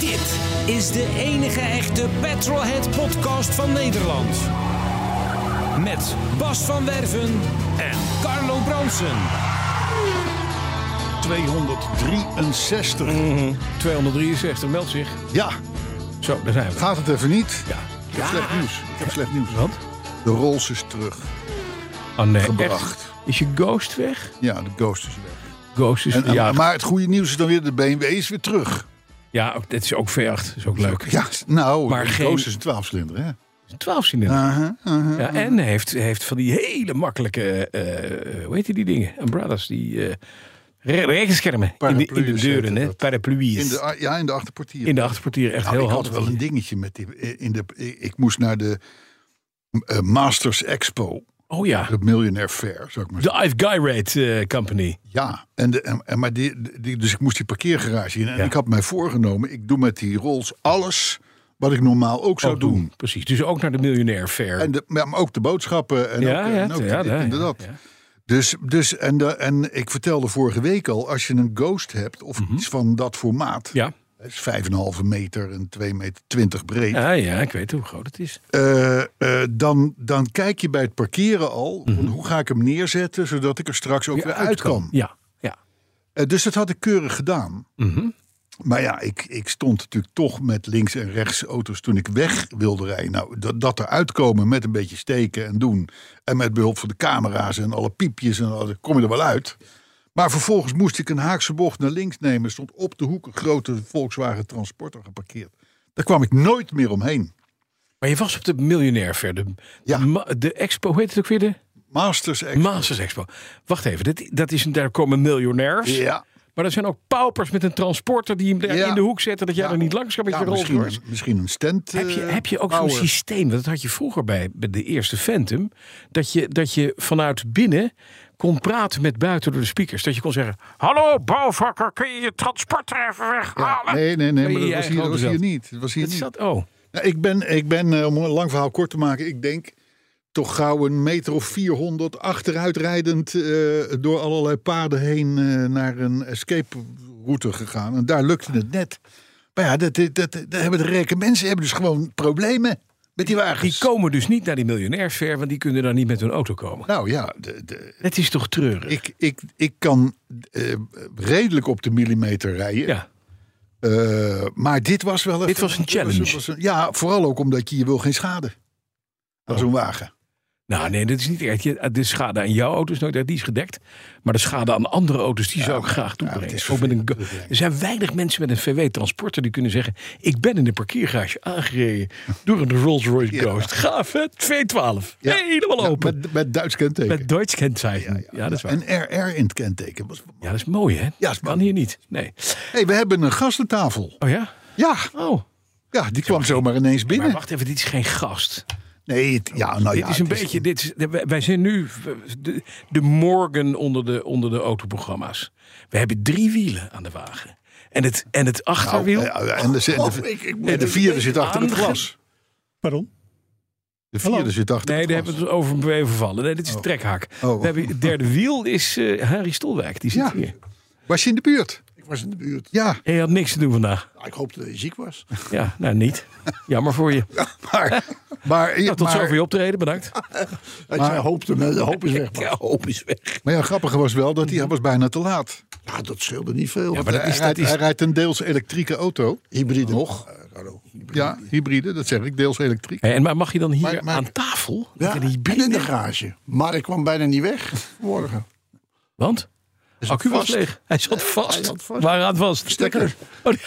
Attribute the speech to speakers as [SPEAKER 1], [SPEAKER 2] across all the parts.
[SPEAKER 1] Dit is de enige echte Petrolhead podcast van Nederland. Met Bas van Werven en Carlo Bronsen.
[SPEAKER 2] 263.
[SPEAKER 3] Mm. 263 meldt zich.
[SPEAKER 2] Ja,
[SPEAKER 3] Zo, daar zijn we.
[SPEAKER 2] gaat het even niet?
[SPEAKER 3] Ja.
[SPEAKER 2] Ik heb slecht nieuws. Ik heb slecht nieuws.
[SPEAKER 3] Wat?
[SPEAKER 2] De Rolls is terug. Ah,
[SPEAKER 3] Oh nee,
[SPEAKER 2] Gebracht.
[SPEAKER 3] echt? Is je Ghost weg?
[SPEAKER 2] Ja, de Ghost is weg.
[SPEAKER 3] Ghost is...
[SPEAKER 2] En, en-
[SPEAKER 3] ja,
[SPEAKER 2] maar het goede nieuws is dan weer, de BMW is weer terug.
[SPEAKER 3] ja, ook- dit is ook V8. Dat is ook leuk.
[SPEAKER 2] Ja, s- nou,
[SPEAKER 3] Maar
[SPEAKER 2] de
[SPEAKER 3] geen-
[SPEAKER 2] Ghost is een 12 cilinder, hè?
[SPEAKER 3] 12 cilinder.
[SPEAKER 2] Aha, aha.
[SPEAKER 3] Ja, en heeft, heeft van die hele makkelijke... eh, eh, hoe heet die dingen? Umbrellas. Die eh re- regenschermen. In de, in de
[SPEAKER 2] Paraplu's
[SPEAKER 3] deuren,
[SPEAKER 2] heet
[SPEAKER 3] hè.
[SPEAKER 2] dat.
[SPEAKER 3] Paraplu's.
[SPEAKER 2] In de, a- ja, in de achterportier.
[SPEAKER 3] In de achterportier. Echt
[SPEAKER 2] Nou,
[SPEAKER 3] heel
[SPEAKER 2] ik had
[SPEAKER 3] handig.
[SPEAKER 2] wel een dingetje met die. eh, In de, ik, ik moest naar de eh, Masters Expo,
[SPEAKER 3] Oh ja.
[SPEAKER 2] de Millionaire Fair, zou ik maar zeggen.
[SPEAKER 3] De Ive Guy Rate eh, Company.
[SPEAKER 2] Ja, en de, en, en- maar die, die- dus ik moest die parkeergarage in. En
[SPEAKER 3] Ja.
[SPEAKER 2] ik had mij voorgenomen, ik doe met die Rolls alles wat ik normaal ook zou
[SPEAKER 3] Ook
[SPEAKER 2] doen.
[SPEAKER 3] Precies. Dus ook naar de miljonair fair.
[SPEAKER 2] En de, ja, maar ook de boodschappen en
[SPEAKER 3] Ja,
[SPEAKER 2] ook, eh,
[SPEAKER 3] ja,
[SPEAKER 2] en ook
[SPEAKER 3] ja,
[SPEAKER 2] dit
[SPEAKER 3] ja,
[SPEAKER 2] en
[SPEAKER 3] ja,
[SPEAKER 2] dat.
[SPEAKER 3] ja.
[SPEAKER 2] Dus, dus en, de, en ik vertelde vorige week al, als je een ghost hebt of iets van dat formaat,
[SPEAKER 3] Mhm. ja.
[SPEAKER 2] dat is 5,5 meter en 2 meter 20 breed,
[SPEAKER 3] Ja, Ah, ja, ik weet hoe groot het is.
[SPEAKER 2] eh, eh, dan, dan kijk je bij het parkeren al, van hoe ga ik hem neerzetten, zodat ik er straks ook weer uit kan.
[SPEAKER 3] Mhm. Ja, ja.
[SPEAKER 2] Eh, dus dat had ik keurig gedaan.
[SPEAKER 3] Mhm.
[SPEAKER 2] Maar ja, ik, ik stond natuurlijk toch met links en rechts auto's toen ik weg wilde rijden. Nou, dat, dat eruit komen met een beetje steken en doen. En met behulp van de camera's en alle piepjes en al, dan kom je er wel uit. Maar vervolgens moest ik een haakse bocht naar links nemen. Er Stond op de hoek een grote Volkswagen Transporter geparkeerd. Daar kwam ik nooit meer omheen.
[SPEAKER 3] Maar je was op de miljonair fair. De,
[SPEAKER 2] Ja.
[SPEAKER 3] de, ma- de expo, hoe heet het ook weer? De
[SPEAKER 2] Masters Expo.
[SPEAKER 3] Masters Expo. Wacht even, dat, dat is, een- daar komen miljonairs.
[SPEAKER 2] Ja.
[SPEAKER 3] Maar er zijn ook paupers met een transporter die hem daar
[SPEAKER 2] Ja.
[SPEAKER 3] in de hoek zetten. Dat jij
[SPEAKER 2] Ja.
[SPEAKER 3] er niet langs kan met
[SPEAKER 2] Ja,
[SPEAKER 3] je Rolls
[SPEAKER 2] misschien,
[SPEAKER 3] Royce.
[SPEAKER 2] een- misschien een stand.
[SPEAKER 3] Heb je,
[SPEAKER 2] eh,
[SPEAKER 3] heb je ook zo'n
[SPEAKER 2] bouwen.
[SPEAKER 3] systeem, want dat had je vroeger bij, bij de eerste Phantom, dat je, dat je vanuit binnen kon praten met buiten door de speakers. Dat je kon zeggen, hallo bouwvakker, kun je je transporter even weghalen?
[SPEAKER 2] Nee, nee, nee, maar
[SPEAKER 3] je
[SPEAKER 2] dat was
[SPEAKER 3] eigen
[SPEAKER 2] hier, dat
[SPEAKER 3] auto
[SPEAKER 2] was hier
[SPEAKER 3] zat.
[SPEAKER 2] niet. Dat was hier
[SPEAKER 3] Dat
[SPEAKER 2] niet.
[SPEAKER 3] zat, oh,
[SPEAKER 2] Nou, ik ben, ik ben eh, om een lang verhaal kort te maken, ik denk toch gauw een meter of 400 achteruitrijdend eh, door allerlei paden heen eh, naar een escape route gegaan. En daar lukte het net. Maar ja, dat, dat, dat, dat hebben de rijke mensen hebben dus gewoon problemen met die
[SPEAKER 3] die
[SPEAKER 2] wagens.
[SPEAKER 3] komen dus niet naar die miljonairs fair, want die kunnen daar niet met hun auto komen.
[SPEAKER 2] nou ja, de, de,
[SPEAKER 3] Dat is toch treurig?
[SPEAKER 2] ik, ik, ik kan eh, redelijk op de millimeter rijden.
[SPEAKER 3] ja.
[SPEAKER 2] Eh, maar dit was wel even...
[SPEAKER 3] Dit was een challenge.
[SPEAKER 2] was een- ja, vooral ook omdat je je wil geen schade aan
[SPEAKER 3] Oh.
[SPEAKER 2] zo'n wagen.
[SPEAKER 3] Nou, nee, dat is niet echt. Je- De schade aan jouw auto is nooit echt, die is gedekt. Maar de schade aan andere auto's, die zou ik graag toebrengen.
[SPEAKER 2] het is
[SPEAKER 3] Ook met een,
[SPEAKER 2] vervelend.
[SPEAKER 3] go- er zijn weinig mensen met een VW-transporter die kunnen zeggen... ik ben in een parkeergarage aangereden door een Rolls-Royce
[SPEAKER 2] Ja.
[SPEAKER 3] Ghost. Gaaf, hè? 212.
[SPEAKER 2] Ja.
[SPEAKER 3] Helemaal
[SPEAKER 2] Ja,
[SPEAKER 3] open.
[SPEAKER 2] Met, met Duits kenteken.
[SPEAKER 3] Met Duits kenteken. Ja, dat is waar.
[SPEAKER 2] En RR in het kenteken. Was-
[SPEAKER 3] ja, dat is mooi, hè?
[SPEAKER 2] Ja, is
[SPEAKER 3] kan
[SPEAKER 2] mooi.
[SPEAKER 3] hier niet. Nee.
[SPEAKER 2] hey, we hebben een gastentafel.
[SPEAKER 3] Oh ja?
[SPEAKER 2] Ja,
[SPEAKER 3] Oh.
[SPEAKER 2] ja die kwam zomaar ineens
[SPEAKER 3] Maar
[SPEAKER 2] binnen.
[SPEAKER 3] wacht even, dit is geen gast.
[SPEAKER 2] Nee, het- ja, nou ja.
[SPEAKER 3] dit is een
[SPEAKER 2] het
[SPEAKER 3] beetje. Dit is, wij- wij zijn nu de, de morgen onder de, onder de autoprogramma's. We hebben drie wielen aan de wagen. En het, en het
[SPEAKER 2] Nou,
[SPEAKER 3] achterwiel.
[SPEAKER 2] ja, en de,
[SPEAKER 3] Oh,
[SPEAKER 2] en de, en de vierde zit achter het glas.
[SPEAKER 4] Pardon?
[SPEAKER 2] De vierde zit achter
[SPEAKER 3] Nee,
[SPEAKER 2] het
[SPEAKER 3] daar
[SPEAKER 2] glas.
[SPEAKER 3] hebben we het over even vallen. Nee, dit is de trekhaak.
[SPEAKER 2] Oh.
[SPEAKER 3] We hebben, het derde wiel is eh, Harry Stolwijk. Die zit
[SPEAKER 2] Ja.
[SPEAKER 3] hier.
[SPEAKER 2] Was je in de buurt?
[SPEAKER 4] Ik was in de buurt.
[SPEAKER 2] Ja,
[SPEAKER 3] Hij had niks te doen vandaag.
[SPEAKER 4] Ja, Ik hoopte dat je ziek was.
[SPEAKER 3] Ja, nou niet. Jammer voor je.
[SPEAKER 2] maar... maar,
[SPEAKER 3] Nou, tot
[SPEAKER 2] maar,
[SPEAKER 3] zover je optreden. Bedankt.
[SPEAKER 4] Ik zei, hoopte, maar de hoop is weg. Maar.
[SPEAKER 3] hoop is weg.
[SPEAKER 2] maar ja, grappig was wel dat hij, hij was bijna te laat.
[SPEAKER 4] Ja, dat scheelde niet veel.
[SPEAKER 3] Ja, maar dat
[SPEAKER 2] hij,
[SPEAKER 3] is, dat
[SPEAKER 2] rijdt,
[SPEAKER 3] is,
[SPEAKER 2] hij rijdt een deels elektrieke auto.
[SPEAKER 4] Hybride.
[SPEAKER 2] Nog?
[SPEAKER 4] Eh, Carlo.
[SPEAKER 2] Ja, hybride, dat zeg ik, deels elektriek.
[SPEAKER 3] en maar mag je dan hier
[SPEAKER 2] Maar- maar-
[SPEAKER 3] aan tafel?
[SPEAKER 4] Ja,
[SPEAKER 3] Met een
[SPEAKER 4] en
[SPEAKER 3] hybride?
[SPEAKER 4] in de garage. Maar ik kwam bijna niet weg morgen.
[SPEAKER 3] Want?
[SPEAKER 4] Is
[SPEAKER 3] accu was
[SPEAKER 4] vast.
[SPEAKER 3] leeg. Hij zat vast.
[SPEAKER 4] hij zat vast.
[SPEAKER 3] Waaraan vast?
[SPEAKER 4] Stekker.
[SPEAKER 3] Oh, nee,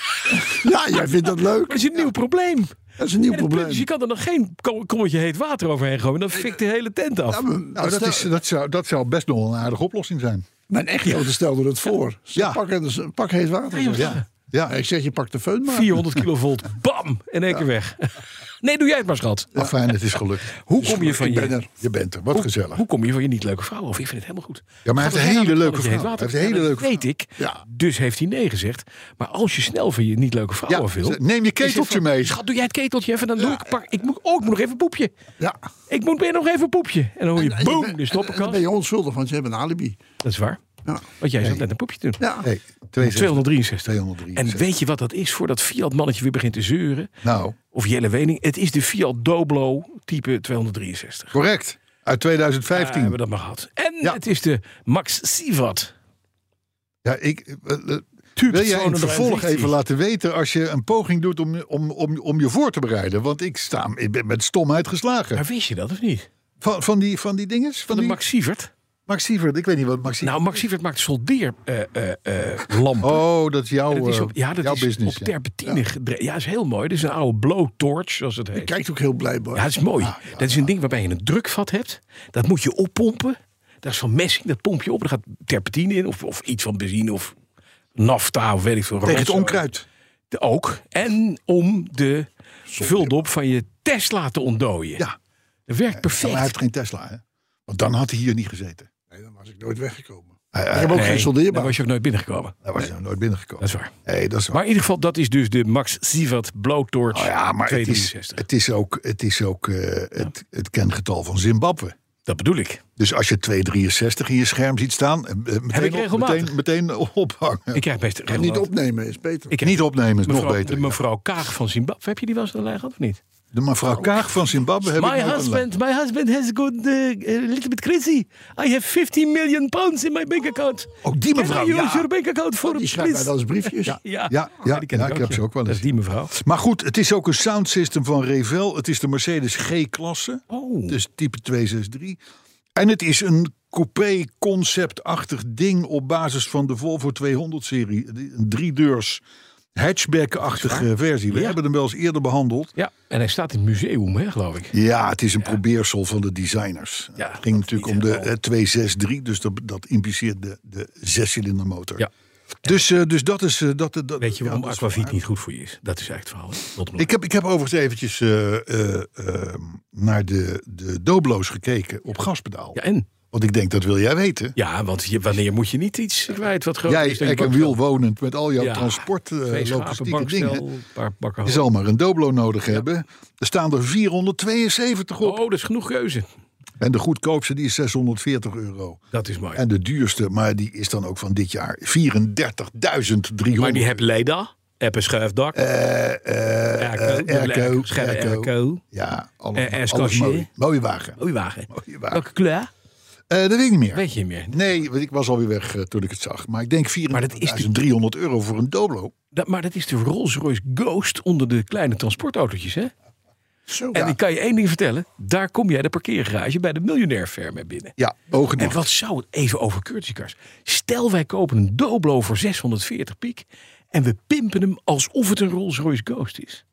[SPEAKER 4] Ja, jij vindt dat
[SPEAKER 3] maar dat
[SPEAKER 4] leuk.
[SPEAKER 3] is een nieuw probleem.
[SPEAKER 4] Dat is een nieuw
[SPEAKER 3] En het punt is, je
[SPEAKER 4] probleem.
[SPEAKER 3] kan er nog geen kom- kommetje heet water overheen gooien. Dan fikt de hele tent af.
[SPEAKER 4] Ja, maar-
[SPEAKER 2] Nou, dat,
[SPEAKER 4] stel-
[SPEAKER 2] is, dat, zou, dat zou best nog wel een aardige oplossing zijn.
[SPEAKER 4] Mijn echtgenote stelde het voor. Ze
[SPEAKER 2] Ja.
[SPEAKER 4] pak, een pak heet water. zegt ze.
[SPEAKER 2] Ja, ja.
[SPEAKER 4] Ik zeg, je pakt de föhn maar.
[SPEAKER 3] 400 kilovolt. Bam! In één keer weg. Nee, doe jij het maar, schat.
[SPEAKER 2] Ah, fijn, het is gelukt.
[SPEAKER 3] Hoe kom je van
[SPEAKER 4] Ik ben
[SPEAKER 3] je...
[SPEAKER 4] er.
[SPEAKER 2] Je bent er, wat
[SPEAKER 3] Hoe,
[SPEAKER 2] gezellig.
[SPEAKER 3] hoe kom je van je niet leuke vrouw af? Ik vind het helemaal goed.
[SPEAKER 2] Ja, maar hij
[SPEAKER 3] Gaat
[SPEAKER 2] heeft een
[SPEAKER 3] het
[SPEAKER 2] hele
[SPEAKER 3] aan
[SPEAKER 2] leuke
[SPEAKER 3] dat je heet
[SPEAKER 2] vrouw.
[SPEAKER 3] water-
[SPEAKER 2] Hij heeft een
[SPEAKER 3] Ja,
[SPEAKER 2] hele
[SPEAKER 3] dat
[SPEAKER 2] leuke
[SPEAKER 3] weet ik.
[SPEAKER 2] Ja.
[SPEAKER 3] Dus heeft hij nee gezegd. Maar als je snel van je niet leuke vrouw
[SPEAKER 2] Ja,
[SPEAKER 3] af wil...
[SPEAKER 2] neem je
[SPEAKER 3] is het
[SPEAKER 2] keteltje
[SPEAKER 3] van,
[SPEAKER 2] mee.
[SPEAKER 3] Schat, doe jij het keteltje even. Dan doe ik... Pak, ik moet, oh, ik moet nog even poepje.
[SPEAKER 4] Ja.
[SPEAKER 3] Ik moet weer nog even poepje. En dan hoor je
[SPEAKER 4] En je
[SPEAKER 3] boem, de
[SPEAKER 4] bent- en Dan ben
[SPEAKER 3] stoppenkast.
[SPEAKER 4] je onschuldig, want je hebt een alibi.
[SPEAKER 3] Dat is waar.
[SPEAKER 4] Ja.
[SPEAKER 3] Want jij zat net een poepje te doen.
[SPEAKER 4] Ja.
[SPEAKER 2] Hey, 62.
[SPEAKER 3] 263.
[SPEAKER 2] 263.
[SPEAKER 3] En weet je wat dat is voordat Fiat-mannetje weer begint te zeuren?
[SPEAKER 2] Nou,
[SPEAKER 3] Of Jelle Wening? Het is de Fiat Doblo type 263.
[SPEAKER 2] correct. Uit
[SPEAKER 3] Ja, hebben we
[SPEAKER 2] 2015.
[SPEAKER 3] dat maar gehad. En
[SPEAKER 2] Ja.
[SPEAKER 3] het is de Max Sivat.
[SPEAKER 2] Ja, ik, eh, eh, wil jij
[SPEAKER 3] Typ
[SPEAKER 2] in het
[SPEAKER 3] 253.
[SPEAKER 2] vervolg even laten weten als je een poging doet om, om, om, om je voor te bereiden? Want ik, sta, ik ben met stomheid geslagen.
[SPEAKER 3] Maar wist je dat of niet? Van,
[SPEAKER 2] Van, van, die, van die dinges? Van,
[SPEAKER 3] de
[SPEAKER 2] die
[SPEAKER 3] Max Sievert.
[SPEAKER 2] Max Sievert, ik weet niet wat Max Sievert-
[SPEAKER 3] Nou, Max Sievert maakt soldeerlampen. eh eh lampen.
[SPEAKER 2] Oh, dat is jouw,
[SPEAKER 3] dat is op,
[SPEAKER 2] eh,
[SPEAKER 3] ja, dat
[SPEAKER 2] jouw
[SPEAKER 3] is
[SPEAKER 2] business.
[SPEAKER 3] op
[SPEAKER 2] ja.
[SPEAKER 3] terpentine gedre- Ja, is heel mooi. Dat is een oude blowtorch, zoals het heet.
[SPEAKER 4] Nou, Kijkt ook heel blijkbaar.
[SPEAKER 3] Ja, dat is mooi.
[SPEAKER 2] Ah,
[SPEAKER 3] dat is een ding waarbij je een drukvat hebt. Dat moet je oppompen. Dat is van messing, dat pomp je op. Er gaat terpentine in of, of iets van benzine of nafta of weet ik veel.
[SPEAKER 2] Tegen het
[SPEAKER 3] rotzooi.
[SPEAKER 2] onkruid.
[SPEAKER 3] De- Ook. En om de vuldop van je Tesla te ontdooien.
[SPEAKER 2] Ja.
[SPEAKER 3] Dat werkt
[SPEAKER 2] Ja,
[SPEAKER 3] perfect.
[SPEAKER 2] maar hij heeft geen Tesla, hè? Want dan had hij hier niet gezeten.
[SPEAKER 4] Nee, dan was ik nooit weggekomen.
[SPEAKER 2] Hij, hij,
[SPEAKER 4] ik heb ook
[SPEAKER 3] Nee,
[SPEAKER 4] geen
[SPEAKER 3] Dan
[SPEAKER 4] soldeerbaar.
[SPEAKER 3] was je ook nooit binnengekomen.
[SPEAKER 2] hij was nou nooit
[SPEAKER 3] Dat
[SPEAKER 2] binnengekomen.
[SPEAKER 3] is waar.
[SPEAKER 2] Nee, dat is waar.
[SPEAKER 3] Maar in ieder geval, dat is dus de Max Sivat Blowtorch
[SPEAKER 2] Nou ja, maar het is,
[SPEAKER 3] 263.
[SPEAKER 2] het is ook, het, is ook eh, het, het kengetal van Zimbabwe.
[SPEAKER 3] Dat bedoel ik.
[SPEAKER 2] Dus als je 263 in je scherm ziet staan, eh, eh, meteen,
[SPEAKER 3] ik
[SPEAKER 2] op-
[SPEAKER 3] regelmatig.
[SPEAKER 2] meteen, meteen ophangen.
[SPEAKER 3] Ik krijg best regelmatig-
[SPEAKER 4] Niet opnemen is beter.
[SPEAKER 3] Ik heb-
[SPEAKER 2] Niet opnemen is
[SPEAKER 3] mevrouw,
[SPEAKER 2] nog beter.
[SPEAKER 3] De mevrouw Kaag van Zimbabwe. Heb je die wel eens aan de lijn gehad of niet?
[SPEAKER 2] De mevrouw Kaag van Zimbabwe heb ik
[SPEAKER 3] My
[SPEAKER 2] nooit aan de lijn.
[SPEAKER 3] husband, my husband has good, uh, a little bit crazy. I have 15 million pounds in my bank account.
[SPEAKER 2] Oh, die
[SPEAKER 3] Can
[SPEAKER 2] mevrouw,
[SPEAKER 3] I use
[SPEAKER 2] ja.
[SPEAKER 3] your bank account for
[SPEAKER 4] Die schrijft mij
[SPEAKER 3] please?
[SPEAKER 4] dan eens briefjes.
[SPEAKER 3] Ja, Oh,
[SPEAKER 2] Ja, ja, ja, ik heb ze ook wel
[SPEAKER 3] Dat
[SPEAKER 2] eens.
[SPEAKER 3] is die mevrouw.
[SPEAKER 2] Maar goed, het is ook een soundsystem van Revel. Het is de Mercedes G-klasse,
[SPEAKER 3] Oh.
[SPEAKER 2] dus type 263. En het is een coupé-conceptachtig ding op basis van de Volvo 200-serie. Een driedeurs hatchback-achtige versie. We
[SPEAKER 3] Ja.
[SPEAKER 2] hebben hem wel eens eerder behandeld.
[SPEAKER 3] Ja, en hij staat in het museum, hè, geloof ik.
[SPEAKER 2] Ja, het is een probeersel van de designers.
[SPEAKER 3] Ja,
[SPEAKER 2] het
[SPEAKER 3] dat
[SPEAKER 2] ging
[SPEAKER 3] is
[SPEAKER 2] natuurlijk om
[SPEAKER 3] niet
[SPEAKER 2] de
[SPEAKER 3] helemaal-
[SPEAKER 2] eh, 263, dus dat, dat impliceert de, de zescilindermotor.
[SPEAKER 3] Ja.
[SPEAKER 2] Dus, eh, dus dat is... eh, dat, dat,
[SPEAKER 3] Weet je
[SPEAKER 2] ja,
[SPEAKER 3] waarom
[SPEAKER 2] dat is wel
[SPEAKER 3] Aquavit
[SPEAKER 2] aardig.
[SPEAKER 3] niet goed voor je is? Dat is eigenlijk het verhaal. hè. Tot nog.
[SPEAKER 2] Ik heb, ik heb overigens eventjes eh, eh, ehm, naar de, de Doblo's gekeken op gaspedaal.
[SPEAKER 3] Ja, en?
[SPEAKER 2] Want ik denk, dat wil jij weten.
[SPEAKER 3] Ja, want je, wanneer moet je niet iets kwijt wat groot
[SPEAKER 2] jij,
[SPEAKER 3] is? dan je
[SPEAKER 2] ik en
[SPEAKER 3] bakstel?
[SPEAKER 2] wiel wonend met al jouw
[SPEAKER 3] Ja,
[SPEAKER 2] transport, eh,
[SPEAKER 3] twee schapen,
[SPEAKER 2] logistieke
[SPEAKER 3] bakstel,
[SPEAKER 2] dingen.
[SPEAKER 3] een paar bakken
[SPEAKER 2] Je zal maar een Doblo nodig hebben. Er staan er 472
[SPEAKER 3] hout.
[SPEAKER 2] op.
[SPEAKER 3] Oh, dat is genoeg keuze.
[SPEAKER 2] En de goedkoopste die is 640 euro.
[SPEAKER 3] Dat is mooi.
[SPEAKER 2] En de duurste, maar die is dan ook van dit jaar 34.300.
[SPEAKER 3] maar die heb Leda, heb een schuifdak,
[SPEAKER 2] eh, airco, airco.
[SPEAKER 3] Erco.
[SPEAKER 2] Ja,
[SPEAKER 3] Eh, eh,
[SPEAKER 2] Nou, alles, alles
[SPEAKER 3] scotchje.
[SPEAKER 2] mooi. Mooie wagen.
[SPEAKER 3] Mooie wagen.
[SPEAKER 2] Mooie wagen.
[SPEAKER 3] Welke kleur?
[SPEAKER 2] Eh, dat weet ik niet meer.
[SPEAKER 3] Weet je niet meer.
[SPEAKER 2] Nee, want ik was alweer weg eh, toen ik het zag. Maar ik denk 4.300
[SPEAKER 3] Maar dat is
[SPEAKER 2] euro voor een Doblo.
[SPEAKER 3] Dat, maar dat is de Rolls-Royce Ghost onder de kleine transportautootjes, hè?
[SPEAKER 4] Zo.
[SPEAKER 3] En ik kan je één ding vertellen. Daar kom jij de parkeergarage bij de miljonair fair mee binnen.
[SPEAKER 2] Ja, ogen
[SPEAKER 3] En wat zou het even over courtesy cars? Stel wij kopen een Doblo voor 640 piek en we pimpen hem alsof het een Rolls-Royce Ghost is.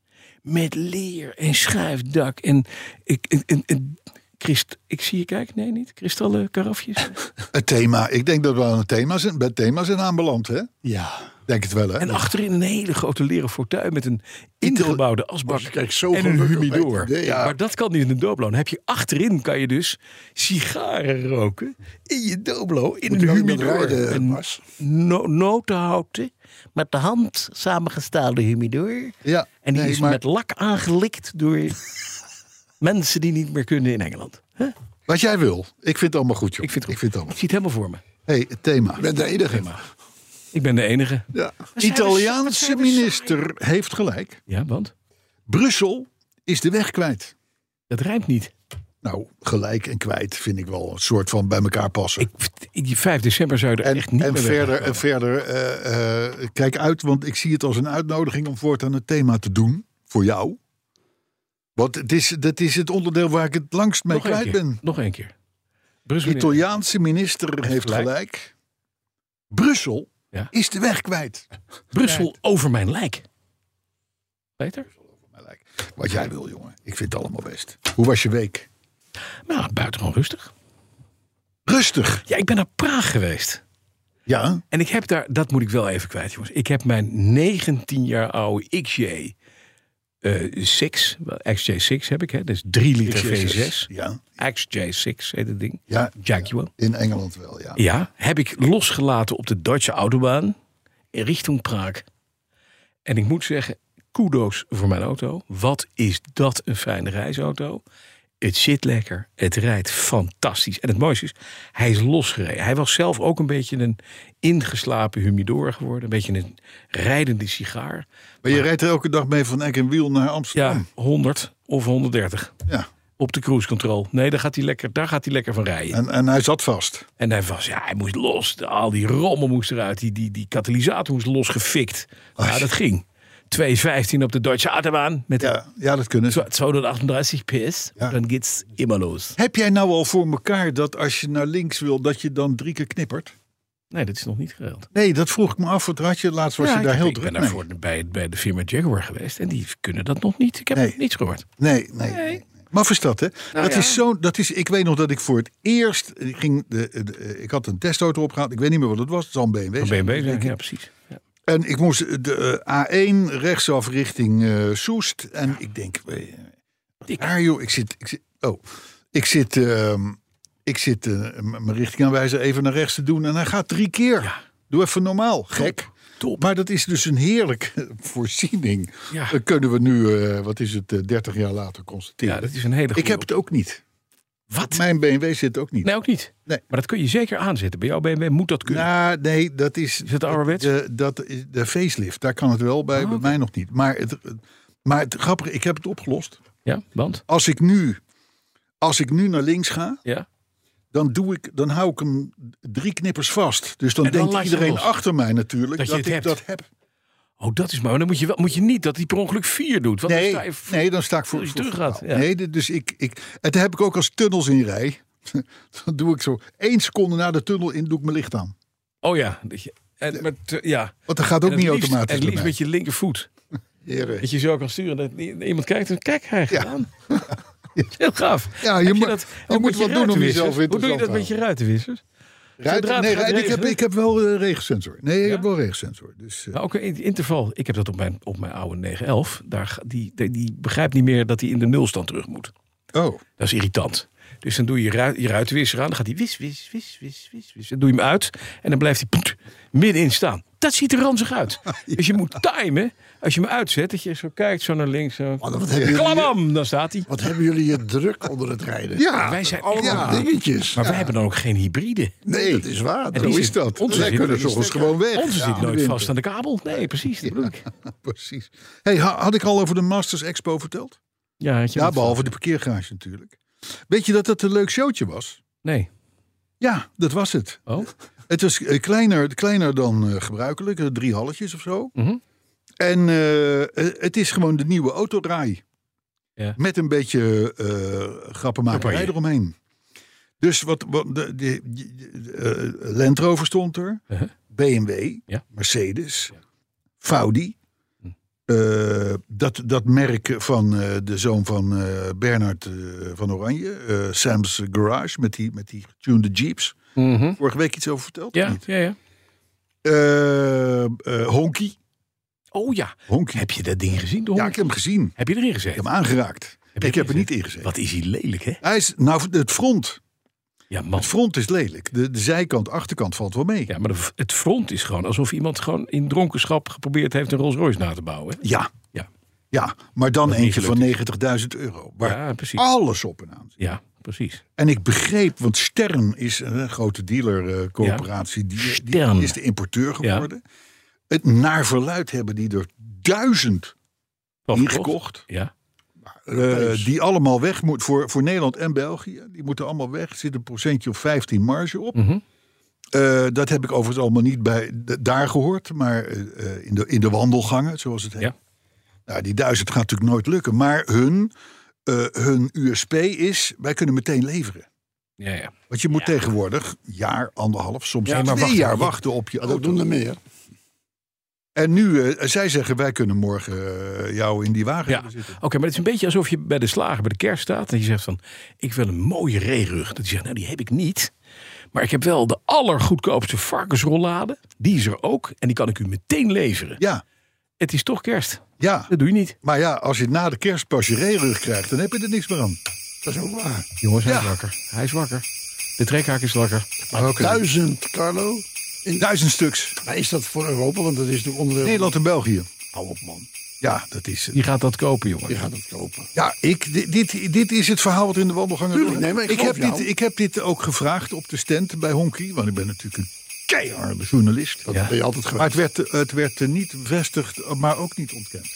[SPEAKER 3] Met leer en schuifdak en ik en, en, en- Christ, ik zie je kijken, nee niet, kristallen karafjes.
[SPEAKER 2] Het thema, ik denk dat we aan het thema zijn, bij thema zijn aanbeland, hè?
[SPEAKER 4] Ja.
[SPEAKER 2] Denk het wel, hè?
[SPEAKER 3] En achterin een hele grote leren fortuin met een ingebouwde asbak
[SPEAKER 4] je kijkt zo
[SPEAKER 3] en een
[SPEAKER 4] gelukkig bij
[SPEAKER 3] humidor.
[SPEAKER 4] het idee, ja.
[SPEAKER 3] Maar dat kan niet in een doblo. Dan heb je achterin kan je dus sigaren roken in je doblo in
[SPEAKER 4] Moet
[SPEAKER 3] een
[SPEAKER 4] je iemand
[SPEAKER 3] humidor.
[SPEAKER 4] rijden,
[SPEAKER 3] Een
[SPEAKER 4] Bas?
[SPEAKER 3] no notenhouten met de hand samengestaalde humidor.
[SPEAKER 2] ja,
[SPEAKER 3] En die
[SPEAKER 2] nee,
[SPEAKER 3] is
[SPEAKER 2] maar
[SPEAKER 3] met lak aangelikt door mensen die niet meer kunnen in Engeland. Hè?
[SPEAKER 2] Wat jij wil. Ik vind het allemaal goed, joh.
[SPEAKER 3] Ik vind het goed.
[SPEAKER 2] Ik vind het
[SPEAKER 3] Ik
[SPEAKER 2] allemaal.
[SPEAKER 3] zie het helemaal voor me.
[SPEAKER 2] hey, het thema.
[SPEAKER 4] Ik ben de enige.
[SPEAKER 3] Ik ben de enige.
[SPEAKER 2] Ja.
[SPEAKER 3] zijn dus- we-
[SPEAKER 2] Italiaanse
[SPEAKER 3] wat zijn we
[SPEAKER 2] minister heeft gelijk.
[SPEAKER 3] Ja, want
[SPEAKER 2] Brussel is de weg kwijt.
[SPEAKER 3] dat rijmt niet.
[SPEAKER 2] Nou, gelijk en kwijt vind ik wel een soort van bij elkaar passen.
[SPEAKER 3] Ik, die 5 december zou je er
[SPEAKER 2] En,
[SPEAKER 3] echt niet
[SPEAKER 2] en
[SPEAKER 3] meer weg
[SPEAKER 2] verder, en verder eh, eh, kijk uit, want ik zie het als een uitnodiging om voortaan het thema te doen. Voor jou. Want het is, dat is het onderdeel waar ik het langst mee
[SPEAKER 3] Nog één
[SPEAKER 2] kwijt
[SPEAKER 3] keer.
[SPEAKER 2] ben.
[SPEAKER 3] Nog één keer. Brussel.
[SPEAKER 2] Italiaanse minister heeft
[SPEAKER 3] gelijk.
[SPEAKER 2] gelijk. Brussel
[SPEAKER 3] Ja.
[SPEAKER 2] is de weg kwijt.
[SPEAKER 3] Brussel over mijn lijk. Peter?
[SPEAKER 2] Wat jij wil, jongen. Ik vind het allemaal best. Hoe was je week?
[SPEAKER 3] Nou, buitengewoon rustig.
[SPEAKER 2] Rustig.
[SPEAKER 3] Ja, ik ben naar Praag geweest.
[SPEAKER 2] Ja,
[SPEAKER 3] En ik heb daar, dat moet ik wel even kwijt, jongens. Ik heb mijn 19 jaar oude eh, XJ6, XJ6 heb ik, hè? Dat is 3 liter
[SPEAKER 2] XJ6,
[SPEAKER 3] V6.
[SPEAKER 2] ja.
[SPEAKER 3] XJ6 heet het ding.
[SPEAKER 2] Ja.
[SPEAKER 3] Jaguar.
[SPEAKER 2] in Engeland wel, ja.
[SPEAKER 3] Ja, heb ik losgelaten op de Duitse autobaan in richting Praag. En ik moet zeggen, kudo's voor mijn auto. Wat is dat een fijne reisauto. Het zit lekker, het rijdt fantastisch. En het mooiste is, hij is losgereden. Hij was zelf ook een beetje een ingeslapen humidor geworden. Een beetje een rijdende sigaar.
[SPEAKER 2] Maar je rijdt er elke dag mee van Eck en Wiel naar
[SPEAKER 3] Ja,
[SPEAKER 2] Amsterdam.
[SPEAKER 3] 100 of 130
[SPEAKER 2] Ja.
[SPEAKER 3] op de cruise control. Nee, daar gaat hij lekker, daar gaat hij lekker van rijden.
[SPEAKER 2] En, en hij zat vast.
[SPEAKER 3] En hij was, ja, hij moest los. De- Al die rommel moest eruit. Die, die, die katalysator moest losgefikt. Ja, dat ging. 2,15 op de Duitse Autobahn. Met
[SPEAKER 2] Ja, ja dat kunnen ze.
[SPEAKER 3] 238 PS.
[SPEAKER 2] Ja.
[SPEAKER 3] Dan geht's immer los.
[SPEAKER 2] Heb jij nou al voor elkaar dat als je naar links wil, dat je dan drie keer knippert?
[SPEAKER 3] Nee, dat is nog niet geregeld.
[SPEAKER 2] Nee, dat vroeg ik me af. Want had je laatst was
[SPEAKER 3] Ja,
[SPEAKER 2] je daar
[SPEAKER 3] ik,
[SPEAKER 2] heel
[SPEAKER 3] ik
[SPEAKER 2] druk
[SPEAKER 3] ben
[SPEAKER 2] mee.
[SPEAKER 3] daarvoor bij, bij de firma Jaguar geweest. En die kunnen dat nog niet. Ik heb
[SPEAKER 2] Nee.
[SPEAKER 3] niets gehoord.
[SPEAKER 2] Nee, nee. nee. Maar verstad, hè? dat
[SPEAKER 3] Nou ja.
[SPEAKER 2] is zo. Dat is, ik weet nog dat ik voor het eerst. Ik, ging de, eh, de- de- ik had een testauto opgehaald. Ik weet niet meer wat het was. Het zal een BMW.
[SPEAKER 3] Dan
[SPEAKER 2] zijn.
[SPEAKER 3] ben je bezig. Ja, precies. Ja.
[SPEAKER 2] En ik moest de eh, A1 rechtsaf richting eh, Soest. En ik denk, eh, wat
[SPEAKER 3] Dik.
[SPEAKER 2] raar, joh. Ik zit, ik zit, oh, ik zit, ehm, ik zit eh, m- mijn richtingaanwijzer even naar rechts te doen. En hij gaat drie keer. Doe even normaal, gek.
[SPEAKER 3] top.
[SPEAKER 2] Maar dat is dus een heerlijke voorziening.
[SPEAKER 3] Ja.
[SPEAKER 2] Dat kunnen we nu, eh, wat is het, eh, 30 jaar later constateren.
[SPEAKER 3] Ja, dat is een hele
[SPEAKER 2] ik
[SPEAKER 3] goede
[SPEAKER 2] heb het ook niet.
[SPEAKER 3] Wat?
[SPEAKER 2] Mijn BMW zit ook niet.
[SPEAKER 3] Nee, ook niet.
[SPEAKER 2] Nee.
[SPEAKER 3] Maar dat kun je zeker aanzetten. Bij jouw BMW moet dat kunnen.
[SPEAKER 2] Nou, nee, dat is.
[SPEAKER 3] Is het ouderwets?
[SPEAKER 2] De, dat is de facelift, daar kan het wel bij,
[SPEAKER 3] Oh,
[SPEAKER 2] bij mij nog niet. Maar het, maar het grappige, ik heb het opgelost.
[SPEAKER 3] Ja, want?
[SPEAKER 2] Als ik nu, als ik nu naar links ga,
[SPEAKER 3] Ja.
[SPEAKER 2] dan, doe ik, dan hou ik hem drie knippers vast. Dus dan,
[SPEAKER 3] En dan laat
[SPEAKER 2] denkt
[SPEAKER 3] je
[SPEAKER 2] iedereen
[SPEAKER 3] los.
[SPEAKER 2] achter mij natuurlijk dat,
[SPEAKER 3] Dat je het
[SPEAKER 2] ik
[SPEAKER 3] hebt.
[SPEAKER 2] dat heb.
[SPEAKER 3] Oh, dat is maar. maar Dan moet je, wel, moet je niet dat hij per ongeluk 4 doet. Want dan
[SPEAKER 2] Nee,
[SPEAKER 3] sta je v-
[SPEAKER 2] nee, dan sta ik voor.
[SPEAKER 3] Als je
[SPEAKER 2] voor-
[SPEAKER 3] terug gaat,
[SPEAKER 2] voor-
[SPEAKER 3] ja.
[SPEAKER 2] Nee, dit- dus ik, ik, en dat heb ik ook als tunnels in rij. Dan doe ik zo één seconde na de tunnel in, doe ik mijn licht aan.
[SPEAKER 3] Oh ja. dat je- En, maar te- ja.
[SPEAKER 2] Want dat gaat ook niet
[SPEAKER 3] En het liefst-
[SPEAKER 2] automatisch.
[SPEAKER 3] En het liefst
[SPEAKER 2] bij
[SPEAKER 3] met je linkervoet.
[SPEAKER 2] mij. Heren.
[SPEAKER 3] Dat je zo kan sturen. Dat i- iemand kijkt en kijk, hij
[SPEAKER 2] Ja.
[SPEAKER 3] gedaan. Heel gaaf.
[SPEAKER 2] Ja, je
[SPEAKER 3] Heb
[SPEAKER 2] mo-
[SPEAKER 3] dat
[SPEAKER 2] je
[SPEAKER 3] ook
[SPEAKER 2] moet
[SPEAKER 3] met
[SPEAKER 2] wat doen om
[SPEAKER 3] ruitenwissers?
[SPEAKER 2] jezelf
[SPEAKER 3] Hoe doe je
[SPEAKER 2] interessant
[SPEAKER 3] dat
[SPEAKER 2] te
[SPEAKER 3] met je
[SPEAKER 2] houden?
[SPEAKER 3] ruitenwissers?
[SPEAKER 2] Ruit-
[SPEAKER 3] Zodra het
[SPEAKER 2] nee,
[SPEAKER 3] gaat
[SPEAKER 2] ruit- ik, heb,
[SPEAKER 3] regenen?
[SPEAKER 2] ik heb wel eh, regensensor. Nee, ik heb wel regensensor. Dus, eh,
[SPEAKER 3] Nou, ook in interval. Ik heb dat op mijn, op mijn oude 911. Daar, ga- die, die, die begrijpt niet meer dat hij in de nulstand terug moet.
[SPEAKER 2] oh,
[SPEAKER 3] Dat is irritant. Dus dan doe je ru- je ruitenwisser aan. Dan gaat hij wis, wis, wis, wis, wis, wis. Dan doe je hem uit. En dan blijft hij poet, middenin staan. Dat ziet er ranzig uit. Dus je moet timen. Als je hem uitzet, dat je zo kijkt, zo naar links. Zo.
[SPEAKER 4] Maar wat, hebben jullie,
[SPEAKER 3] Klabam, dan staat hij.
[SPEAKER 4] wat hebben jullie je druk onder het rijden?
[SPEAKER 2] ja.
[SPEAKER 3] Wij zijn
[SPEAKER 4] Allemaal
[SPEAKER 3] ja.
[SPEAKER 4] dingetjes.
[SPEAKER 3] Maar wij hebben dan ook geen hybride.
[SPEAKER 4] nee, dat is waar.
[SPEAKER 3] En
[SPEAKER 2] Zo
[SPEAKER 3] die
[SPEAKER 2] is
[SPEAKER 3] zit-
[SPEAKER 2] dat.
[SPEAKER 3] onze
[SPEAKER 2] Wij
[SPEAKER 3] zit-
[SPEAKER 2] kunnen soms gewoon weg.
[SPEAKER 3] Onze
[SPEAKER 2] Ja,
[SPEAKER 3] zit
[SPEAKER 2] in de
[SPEAKER 3] nooit
[SPEAKER 2] winter.
[SPEAKER 3] vast aan de kabel. Nee, precies. Dat bedoel ik.
[SPEAKER 2] Precies. Hey, ha- had ik al over de Masters Expo verteld?
[SPEAKER 3] Ja, had je
[SPEAKER 2] Ja,
[SPEAKER 3] dat-
[SPEAKER 2] behalve de parkeergarage natuurlijk. Weet je dat dat een leuk showtje was?
[SPEAKER 3] Nee.
[SPEAKER 2] Ja, dat was het.
[SPEAKER 3] Oh,
[SPEAKER 2] Het was eh, kleiner, kleiner dan eh, gebruikelijk, eh, drie halletjes of zo.
[SPEAKER 3] Mhm.
[SPEAKER 2] En eh, eh, het is gewoon de nieuwe autorij.
[SPEAKER 3] Ja.
[SPEAKER 2] Met een beetje eh grappenmakerij
[SPEAKER 3] Campagne.
[SPEAKER 2] eromheen. Dus wat, wat de, de, de- eh, Land Rover stond er,
[SPEAKER 3] Uh-huh.
[SPEAKER 2] BMW,
[SPEAKER 3] Ja. Hm.
[SPEAKER 2] Mercedes, Faudi. Eh, dat, dat merk van eh, de zoon van eh, Bernard eh, van Oranje, eh, Sam's Garage, met die, met die getunede jeeps. Vorige week iets over verteld? of
[SPEAKER 3] ja,
[SPEAKER 2] niet?
[SPEAKER 3] ja, ja.
[SPEAKER 2] Eh, eh, honky.
[SPEAKER 3] Oh ja.
[SPEAKER 2] honky.
[SPEAKER 3] Heb je dat ding gezien? de
[SPEAKER 2] Ja,
[SPEAKER 3] hond?
[SPEAKER 2] ik heb hem gezien. Ik
[SPEAKER 3] Heb je erin gezeten?
[SPEAKER 2] heb hem aangeraakt.
[SPEAKER 3] Heb je
[SPEAKER 2] ik heb er
[SPEAKER 3] erin
[SPEAKER 2] niet in gezeten.
[SPEAKER 3] Wat is hij lelijk, hè?
[SPEAKER 2] Hij is, nou, het front.
[SPEAKER 3] Ja, man.
[SPEAKER 2] Het front is lelijk. De, de zijkant, achterkant valt wel mee. Ja.
[SPEAKER 3] Ja, maar de- het front is gewoon alsof iemand gewoon in dronkenschap geprobeerd heeft een Rolls Royce na te bouwen. hè?
[SPEAKER 2] Ja,
[SPEAKER 3] Ja,
[SPEAKER 2] maar dan
[SPEAKER 3] niet
[SPEAKER 2] eentje van 90.000 euro. Waar Ah.
[SPEAKER 3] ja precies.
[SPEAKER 2] alles op en aan zit.
[SPEAKER 3] Ja, precies.
[SPEAKER 2] En ik begreep, want Stern is een eh, grote dealercoöperatie. die, die
[SPEAKER 3] Stern.
[SPEAKER 2] is de importeur
[SPEAKER 3] Ja.
[SPEAKER 2] geworden. Het naar verluid hebben die er duizend
[SPEAKER 3] Pas
[SPEAKER 2] Niet
[SPEAKER 3] gekocht.
[SPEAKER 2] gekocht.
[SPEAKER 3] Ja.
[SPEAKER 2] Eh, die allemaal weg moet voor, voor Nederland en België. Die moeten allemaal weg. Er zit een procentje of 15 marge op.
[SPEAKER 3] Mhm.
[SPEAKER 2] Eh, dat heb ik overigens allemaal niet bij, d- daar gehoord. Maar eh, eh, in, de, in de wandelgangen, zoals het heet.
[SPEAKER 3] Ja.
[SPEAKER 2] Nou, die duizend gaat natuurlijk nooit lukken. Maar hun, eh, hun USP is, wij kunnen meteen leveren.
[SPEAKER 3] Ja, ja.
[SPEAKER 2] Want je moet tegenwoordig jaar, anderhalf, soms
[SPEAKER 3] maar
[SPEAKER 2] twee
[SPEAKER 3] wacht,
[SPEAKER 2] jaar
[SPEAKER 3] je-
[SPEAKER 2] wachten op je
[SPEAKER 4] Dat
[SPEAKER 2] auto.
[SPEAKER 4] doen er meer.
[SPEAKER 2] En nu, eh, zij zeggen, wij kunnen morgen eh, jou in die wagen
[SPEAKER 3] ja.
[SPEAKER 2] hebben zitten.
[SPEAKER 3] Oké, maar het is een beetje alsof je bij de slager bij de kerst staat en je zegt van, ik wil een mooie reerug. Dat je zegt, nou die heb ik niet, Maar ik heb wel de allergoedkoopste varkensrollade. Die is er ook. En die kan ik u meteen leveren.
[SPEAKER 2] Ja,
[SPEAKER 3] Het is toch kerst.
[SPEAKER 2] ja.
[SPEAKER 3] Dat doe je niet.
[SPEAKER 2] Maar ja, als je na de kerst pas je reerug krijgt, dan heb je er niks meer aan.
[SPEAKER 4] Dat is ook waar.
[SPEAKER 3] Jongens, hij
[SPEAKER 2] Ja.
[SPEAKER 3] is wakker. Hij is wakker. De trekhaak is wakker.
[SPEAKER 4] Maar
[SPEAKER 2] Oké.
[SPEAKER 4] duizend, Carlo.
[SPEAKER 2] Duizend stuks.
[SPEAKER 4] Maar is dat voor Europa? Want dat is natuurlijk onderdeel.
[SPEAKER 2] Nederland en België.
[SPEAKER 4] Hou op, man.
[SPEAKER 2] Ja, dat is.
[SPEAKER 3] Die gaat dat kopen, jongen.
[SPEAKER 4] Je gaat het kopen.
[SPEAKER 2] Ja, ik, di- dit, dit is het verhaal wat in de wandelgangen
[SPEAKER 4] Tuurlijk,
[SPEAKER 2] doorgaat.
[SPEAKER 4] nee, maar
[SPEAKER 2] ik,
[SPEAKER 4] ik geloof
[SPEAKER 2] heb
[SPEAKER 4] jou.
[SPEAKER 2] dit, ik heb dit ook gevraagd op de stand bij Honky. Want ik ben natuurlijk een keiharde journalist.
[SPEAKER 4] Dat ben je altijd
[SPEAKER 2] Maar
[SPEAKER 4] geweest.
[SPEAKER 2] het werd, het werd eh, niet bevestigd, maar ook niet ontkend.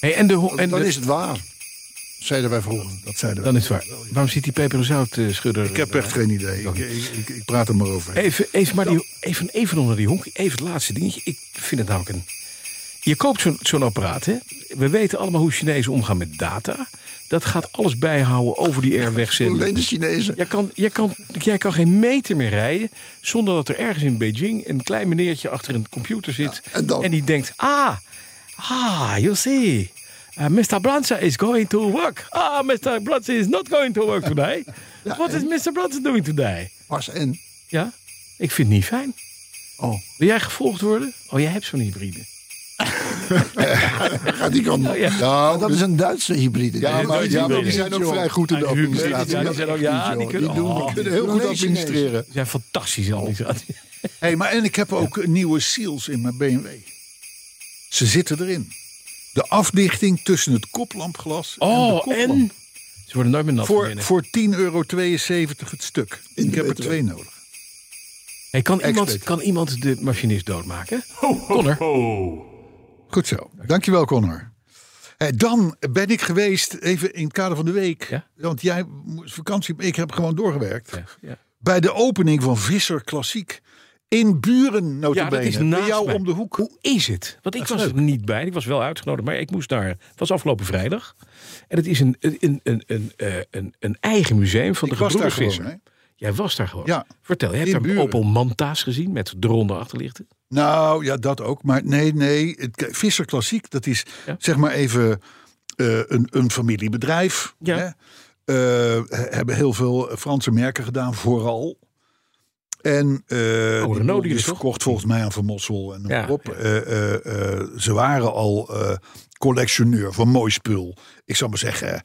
[SPEAKER 3] Hey, en de, ho- en
[SPEAKER 4] dan
[SPEAKER 3] de-
[SPEAKER 4] is het waar. Zeiden wij vroeger.
[SPEAKER 2] Dat zeiden
[SPEAKER 3] dan
[SPEAKER 2] wij.
[SPEAKER 3] is het waar. Waarom zit die peper en zout eh, schudder?
[SPEAKER 2] Ik heb echt geen idee. Ik, ik, ik, ik praat er maar over.
[SPEAKER 3] Even, even, maar die, even, even onder die honk. Even het laatste dingetje. Ik vind het namelijk een... Je koopt zo'n zo'n apparaat, hè? We weten allemaal hoe Chinezen omgaan met data. Dat gaat alles bijhouden over die airweg
[SPEAKER 4] Alleen de Chinezen.
[SPEAKER 3] Jij kan, jij, kan, jij kan geen meter meer rijden zonder dat er ergens in Beijing een klein meneertje achter een computer zit.
[SPEAKER 4] en dan?
[SPEAKER 3] die denkt: Ah, ah, you see. uh, Mr. Blanza is going to work. Ah, Mr. Blanza is not going to work today. What is Mr. Blanza doing today?
[SPEAKER 4] Pas en.
[SPEAKER 3] Ja, ik vind het niet fijn.
[SPEAKER 4] Oh,
[SPEAKER 3] Wil jij gevolgd worden? Oh, jij hebt zo'n hybride.
[SPEAKER 4] gaat die kant op.
[SPEAKER 3] ja.
[SPEAKER 4] Maar dat is een Duitse hybride.
[SPEAKER 2] dus- Ja,
[SPEAKER 4] Dat
[SPEAKER 2] maar,
[SPEAKER 4] is
[SPEAKER 2] ja,
[SPEAKER 4] niet
[SPEAKER 2] maar
[SPEAKER 4] meer.
[SPEAKER 2] die zijn ook vrij goed in de
[SPEAKER 3] Ja, die
[SPEAKER 2] administratie.
[SPEAKER 3] zijn ook- ja, die
[SPEAKER 4] joh.
[SPEAKER 3] kunnen-
[SPEAKER 4] Die doen
[SPEAKER 3] oh,
[SPEAKER 4] we-
[SPEAKER 2] Die kunnen heel goed
[SPEAKER 4] Alleen Chinezen.
[SPEAKER 2] administreren.
[SPEAKER 3] Die zijn fantastisch al. die zaten.
[SPEAKER 2] Hey, maar en ik heb ook nieuwe seals in mijn BMW. Ze zitten erin. De afdichting tussen het koplampglas en de
[SPEAKER 3] Oh,
[SPEAKER 2] koplamp.
[SPEAKER 3] en? Ze worden nooit meer nat. van
[SPEAKER 2] Voor,
[SPEAKER 3] binnen.
[SPEAKER 2] voor 10,72 euro het stuk. Ik heb er twee nodig.
[SPEAKER 3] Hey, kan, iemand,
[SPEAKER 2] Expert.
[SPEAKER 3] kan iemand de machinist doodmaken? Connor.
[SPEAKER 2] Goed zo. Dankjewel, Connor. Eh, Dan ben ik geweest, even in het kader van de week.
[SPEAKER 3] Ja?
[SPEAKER 2] Want jij moest vakantie, ik heb gewoon doorgewerkt.
[SPEAKER 3] Ja, ja.
[SPEAKER 2] Bij de opening van Visser Klassiek. In Buren,
[SPEAKER 3] Ja, dat
[SPEAKER 2] notabene.
[SPEAKER 3] is naast
[SPEAKER 2] bij jou
[SPEAKER 3] mij.
[SPEAKER 2] om de hoek.
[SPEAKER 3] Hoe is het? Want ik
[SPEAKER 2] is
[SPEAKER 3] was er niet bij. Ik was wel uitgenodigd, maar ik moest daar. Het was afgelopen vrijdag. En het is een, een, een, een, eh, een, een eigen museum van
[SPEAKER 2] Ik
[SPEAKER 3] de
[SPEAKER 2] was daar
[SPEAKER 3] gebroeders
[SPEAKER 2] gewoon,
[SPEAKER 3] Visser.
[SPEAKER 2] hè?
[SPEAKER 3] Jij was daar gewoon.
[SPEAKER 2] Ja,
[SPEAKER 3] Vertel, je
[SPEAKER 2] in
[SPEAKER 3] hebt daar
[SPEAKER 2] Buren.
[SPEAKER 3] Opel Manta's gezien met de ronde achterlichten.
[SPEAKER 2] Nou, ja, dat ook. Maar nee, nee. Het, kijk, Visser Klassiek, dat is
[SPEAKER 3] Ja.
[SPEAKER 2] zeg maar even eh, een, een familiebedrijf.
[SPEAKER 3] Ja.
[SPEAKER 2] Hè? Eh, he- hebben heel veel Franse merken gedaan, vooral. En eh die
[SPEAKER 3] Renault
[SPEAKER 2] boel is
[SPEAKER 3] die Oh, is toch?
[SPEAKER 2] verkocht volgens mij aan Van Mossel en noem
[SPEAKER 3] Ja,
[SPEAKER 2] maar op. Eh, eh, eh, ze waren al eh, collectioneur van mooi spul. Ik zou maar zeggen,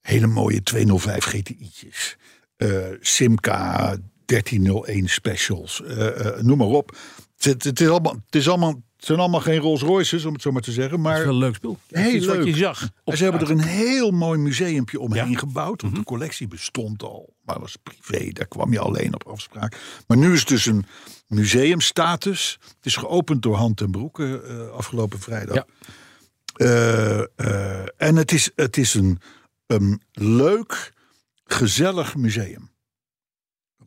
[SPEAKER 2] hele mooie 205 GTI'tjes. Eh, Simca 1301 specials, eh, eh, noem maar op. Het, het, het is allemaal, het, is allemaal, het zijn allemaal geen Rolls Royces, om het zo maar te zeggen.
[SPEAKER 3] Dat is
[SPEAKER 2] Maar
[SPEAKER 3] wel een leuk spul. Dat is
[SPEAKER 2] Heel
[SPEAKER 3] iets wat
[SPEAKER 2] leuk.
[SPEAKER 3] je zag. op
[SPEAKER 2] en ze hebben er
[SPEAKER 3] straat.
[SPEAKER 2] een heel mooi museumpje omheen gebouwd. Want de collectie bestond al, maar was privé. Daar kwam je alleen op afspraak. Maar nu is het dus een museumstatus. Het is geopend door Hand ten Broeke eh, afgelopen vrijdag.
[SPEAKER 3] Ja.
[SPEAKER 2] Eh, eh, en het is, het is een, een leuk, gezellig museum.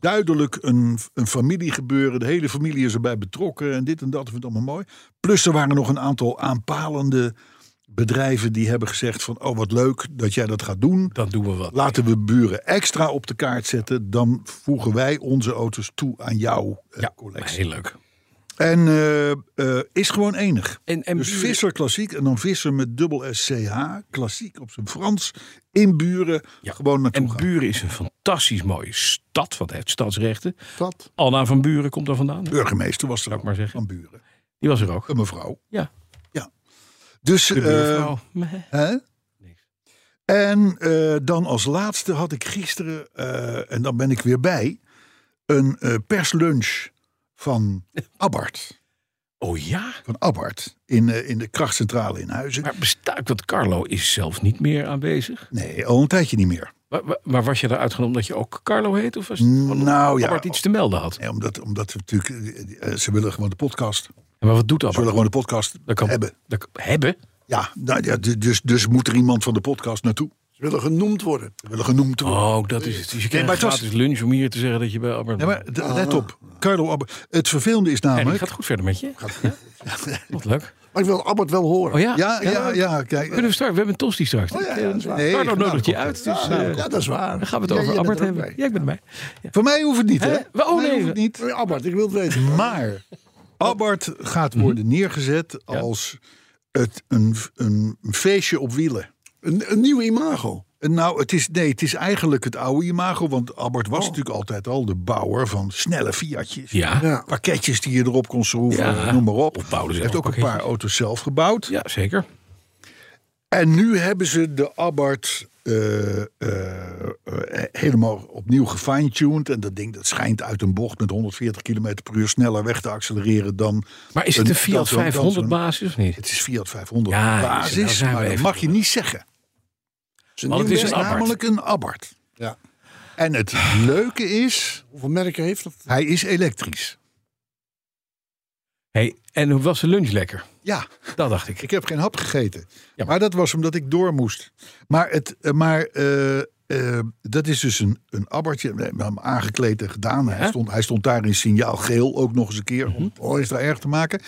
[SPEAKER 2] Duidelijk een, een familiegebeuren. De hele familie is erbij betrokken. En dit en dat. Ik vind het allemaal mooi. Plus er waren nog een aantal aanpalende bedrijven die hebben gezegd van... oh, wat leuk dat jij dat gaat doen.
[SPEAKER 3] Dat doen we wat.
[SPEAKER 2] Laten we buren extra op de kaart zetten. Dan voegen wij onze auto's toe aan jouw eh,
[SPEAKER 3] Ja,
[SPEAKER 2] collectie.
[SPEAKER 3] heel leuk.
[SPEAKER 2] En eh, eh, is gewoon enig.
[SPEAKER 3] En, en
[SPEAKER 2] Dus
[SPEAKER 3] Buren-
[SPEAKER 2] Visser klassiek en dan Visser met dubbel SCH. Klassiek op zijn Frans. In Buren.
[SPEAKER 3] Ja.
[SPEAKER 2] Gewoon naartoe
[SPEAKER 3] En
[SPEAKER 2] gaan.
[SPEAKER 3] Buren is een fantastisch mooie stad, want hij heeft stadsrechten.
[SPEAKER 4] Dat.
[SPEAKER 3] Anna van Buren komt daar vandaan.
[SPEAKER 2] Burgemeester was er
[SPEAKER 3] Zou ik
[SPEAKER 2] ook
[SPEAKER 3] maar zeggen.
[SPEAKER 2] van Buren.
[SPEAKER 3] Die was er ook.
[SPEAKER 2] Een mevrouw.
[SPEAKER 3] Ja.
[SPEAKER 2] ja. Dus,
[SPEAKER 3] De
[SPEAKER 2] eh,
[SPEAKER 3] buurvrouw.
[SPEAKER 2] hè?
[SPEAKER 3] Niks.
[SPEAKER 2] En eh, dan als laatste had ik gisteren, eh, en dan ben ik weer bij, een eh, perslunch van Abbart.
[SPEAKER 3] Oh ja?
[SPEAKER 2] Van Abbart in, eh, in de krachtcentrale in Huizen.
[SPEAKER 3] Maar bestaat, want Carlo is zelf niet meer aanwezig.
[SPEAKER 2] Nee, al een tijdje niet meer.
[SPEAKER 3] Maar, maar- maar was je daar uitgenomen omdat je ook Carlo heet? Of was het
[SPEAKER 2] Nou,
[SPEAKER 3] gewoon
[SPEAKER 2] ja.
[SPEAKER 3] omdat Abbart iets te melden had?
[SPEAKER 2] Nee, omdat, omdat we natuurlijk, eh, eh, ze willen gewoon de podcast. Ze
[SPEAKER 3] Ja, Maar wat doet Abbart?
[SPEAKER 2] willen gewoon de podcast
[SPEAKER 3] Dat kan-
[SPEAKER 2] hebben.
[SPEAKER 3] Dat kan- hebben?
[SPEAKER 2] Ja, nou, ja du- dus, dus moet er iemand van de podcast naartoe.
[SPEAKER 4] Ze willen genoemd worden.
[SPEAKER 2] Ze willen genoemd worden.
[SPEAKER 3] Oh, dat is het. Dus je krijgt
[SPEAKER 2] maar het was-
[SPEAKER 3] gratis lunch om hier te zeggen dat je bij Abbart
[SPEAKER 2] Nee, maar d-
[SPEAKER 4] Ah.
[SPEAKER 2] let op, Carlo Abbart. Het vervelende is
[SPEAKER 3] Hey,
[SPEAKER 2] namelijk...
[SPEAKER 3] het gaat goed verder met je. Ja? Wat leuk.
[SPEAKER 4] Maar ik wil Abbott wel horen.
[SPEAKER 3] Oh ja?
[SPEAKER 2] Ja, ja, ja. kijk,
[SPEAKER 3] Kunnen we starten? We hebben een tosti straks.
[SPEAKER 4] Oh ja, ja, dat is waar.
[SPEAKER 2] Nee,
[SPEAKER 3] Carlo
[SPEAKER 2] vanavond
[SPEAKER 3] nodigt je
[SPEAKER 2] komt
[SPEAKER 3] uit.
[SPEAKER 2] het.
[SPEAKER 3] Dus,
[SPEAKER 2] Ja,
[SPEAKER 3] eh,
[SPEAKER 2] vanavond
[SPEAKER 4] Ja, dat is waar.
[SPEAKER 3] dan gaan we
[SPEAKER 4] Ja,
[SPEAKER 3] het over
[SPEAKER 4] jij bent
[SPEAKER 3] Abbart
[SPEAKER 4] er ook
[SPEAKER 3] hebben.
[SPEAKER 4] bij.
[SPEAKER 3] Ja, ik ben erbij.
[SPEAKER 2] Voor mij hoeft het niet, hè?
[SPEAKER 3] Hè? We- oh,
[SPEAKER 2] Voor mij
[SPEAKER 3] nee,
[SPEAKER 2] hoeft het
[SPEAKER 3] we-
[SPEAKER 2] niet.
[SPEAKER 4] Hey, Abbott, ik wil het weten.
[SPEAKER 2] Maar Abbart gaat worden neergezet als het, een, een feestje op wielen.
[SPEAKER 4] Een, een nieuw imago.
[SPEAKER 2] Eh, Nou, het is, nee, het is eigenlijk het oude imago. Want Albert was natuurlijk altijd al de bouwer van snelle Fiatjes.
[SPEAKER 3] Ja.
[SPEAKER 4] Ja.
[SPEAKER 2] Pakketjes die je erop kon schroeven,
[SPEAKER 3] Ja.
[SPEAKER 2] noem maar op.
[SPEAKER 3] Of bouwde
[SPEAKER 2] Hij
[SPEAKER 3] zelf
[SPEAKER 2] heeft ook een paar
[SPEAKER 3] pakketjes.
[SPEAKER 2] auto's zelf gebouwd.
[SPEAKER 3] Ja, zeker.
[SPEAKER 2] En nu hebben ze de Abarth eh, eh, eh, helemaal opnieuw gefine-tuned. En dat ding dat schijnt uit een bocht met 140 km per uur sneller weg te accelereren dan...
[SPEAKER 3] Maar is het een
[SPEAKER 2] dan
[SPEAKER 3] Fiat
[SPEAKER 2] zo'n- dan zo'n-
[SPEAKER 3] 500 basis of niet?
[SPEAKER 2] Het is Fiat 500
[SPEAKER 3] Ja, is het. Nou
[SPEAKER 2] basis,
[SPEAKER 3] zijn we
[SPEAKER 2] maar dat
[SPEAKER 3] even-
[SPEAKER 2] mag je niet zeggen.
[SPEAKER 3] Want het
[SPEAKER 2] Het
[SPEAKER 3] is een
[SPEAKER 2] is
[SPEAKER 3] Abarth.
[SPEAKER 2] namelijk een Abarth.
[SPEAKER 4] Ja.
[SPEAKER 2] En het leuke is,
[SPEAKER 4] Hoeveel merken heeft dat?
[SPEAKER 2] hij is elektrisch.
[SPEAKER 3] Hey, en hoe was de lunch lekker?
[SPEAKER 2] Ja,
[SPEAKER 3] Dat dacht ik.
[SPEAKER 2] ik heb geen hap gegeten.
[SPEAKER 3] Ja.
[SPEAKER 2] Maar dat was omdat ik door moest. Maar, het, eh, maar eh, eh, dat is dus een, een abbertje. We hebben hem aangekleed en gedaan. Hij,
[SPEAKER 3] Ja. Mhm.
[SPEAKER 2] stond, hij stond daar in signaal geel ook nog eens een keer. Om het extra erg te maken.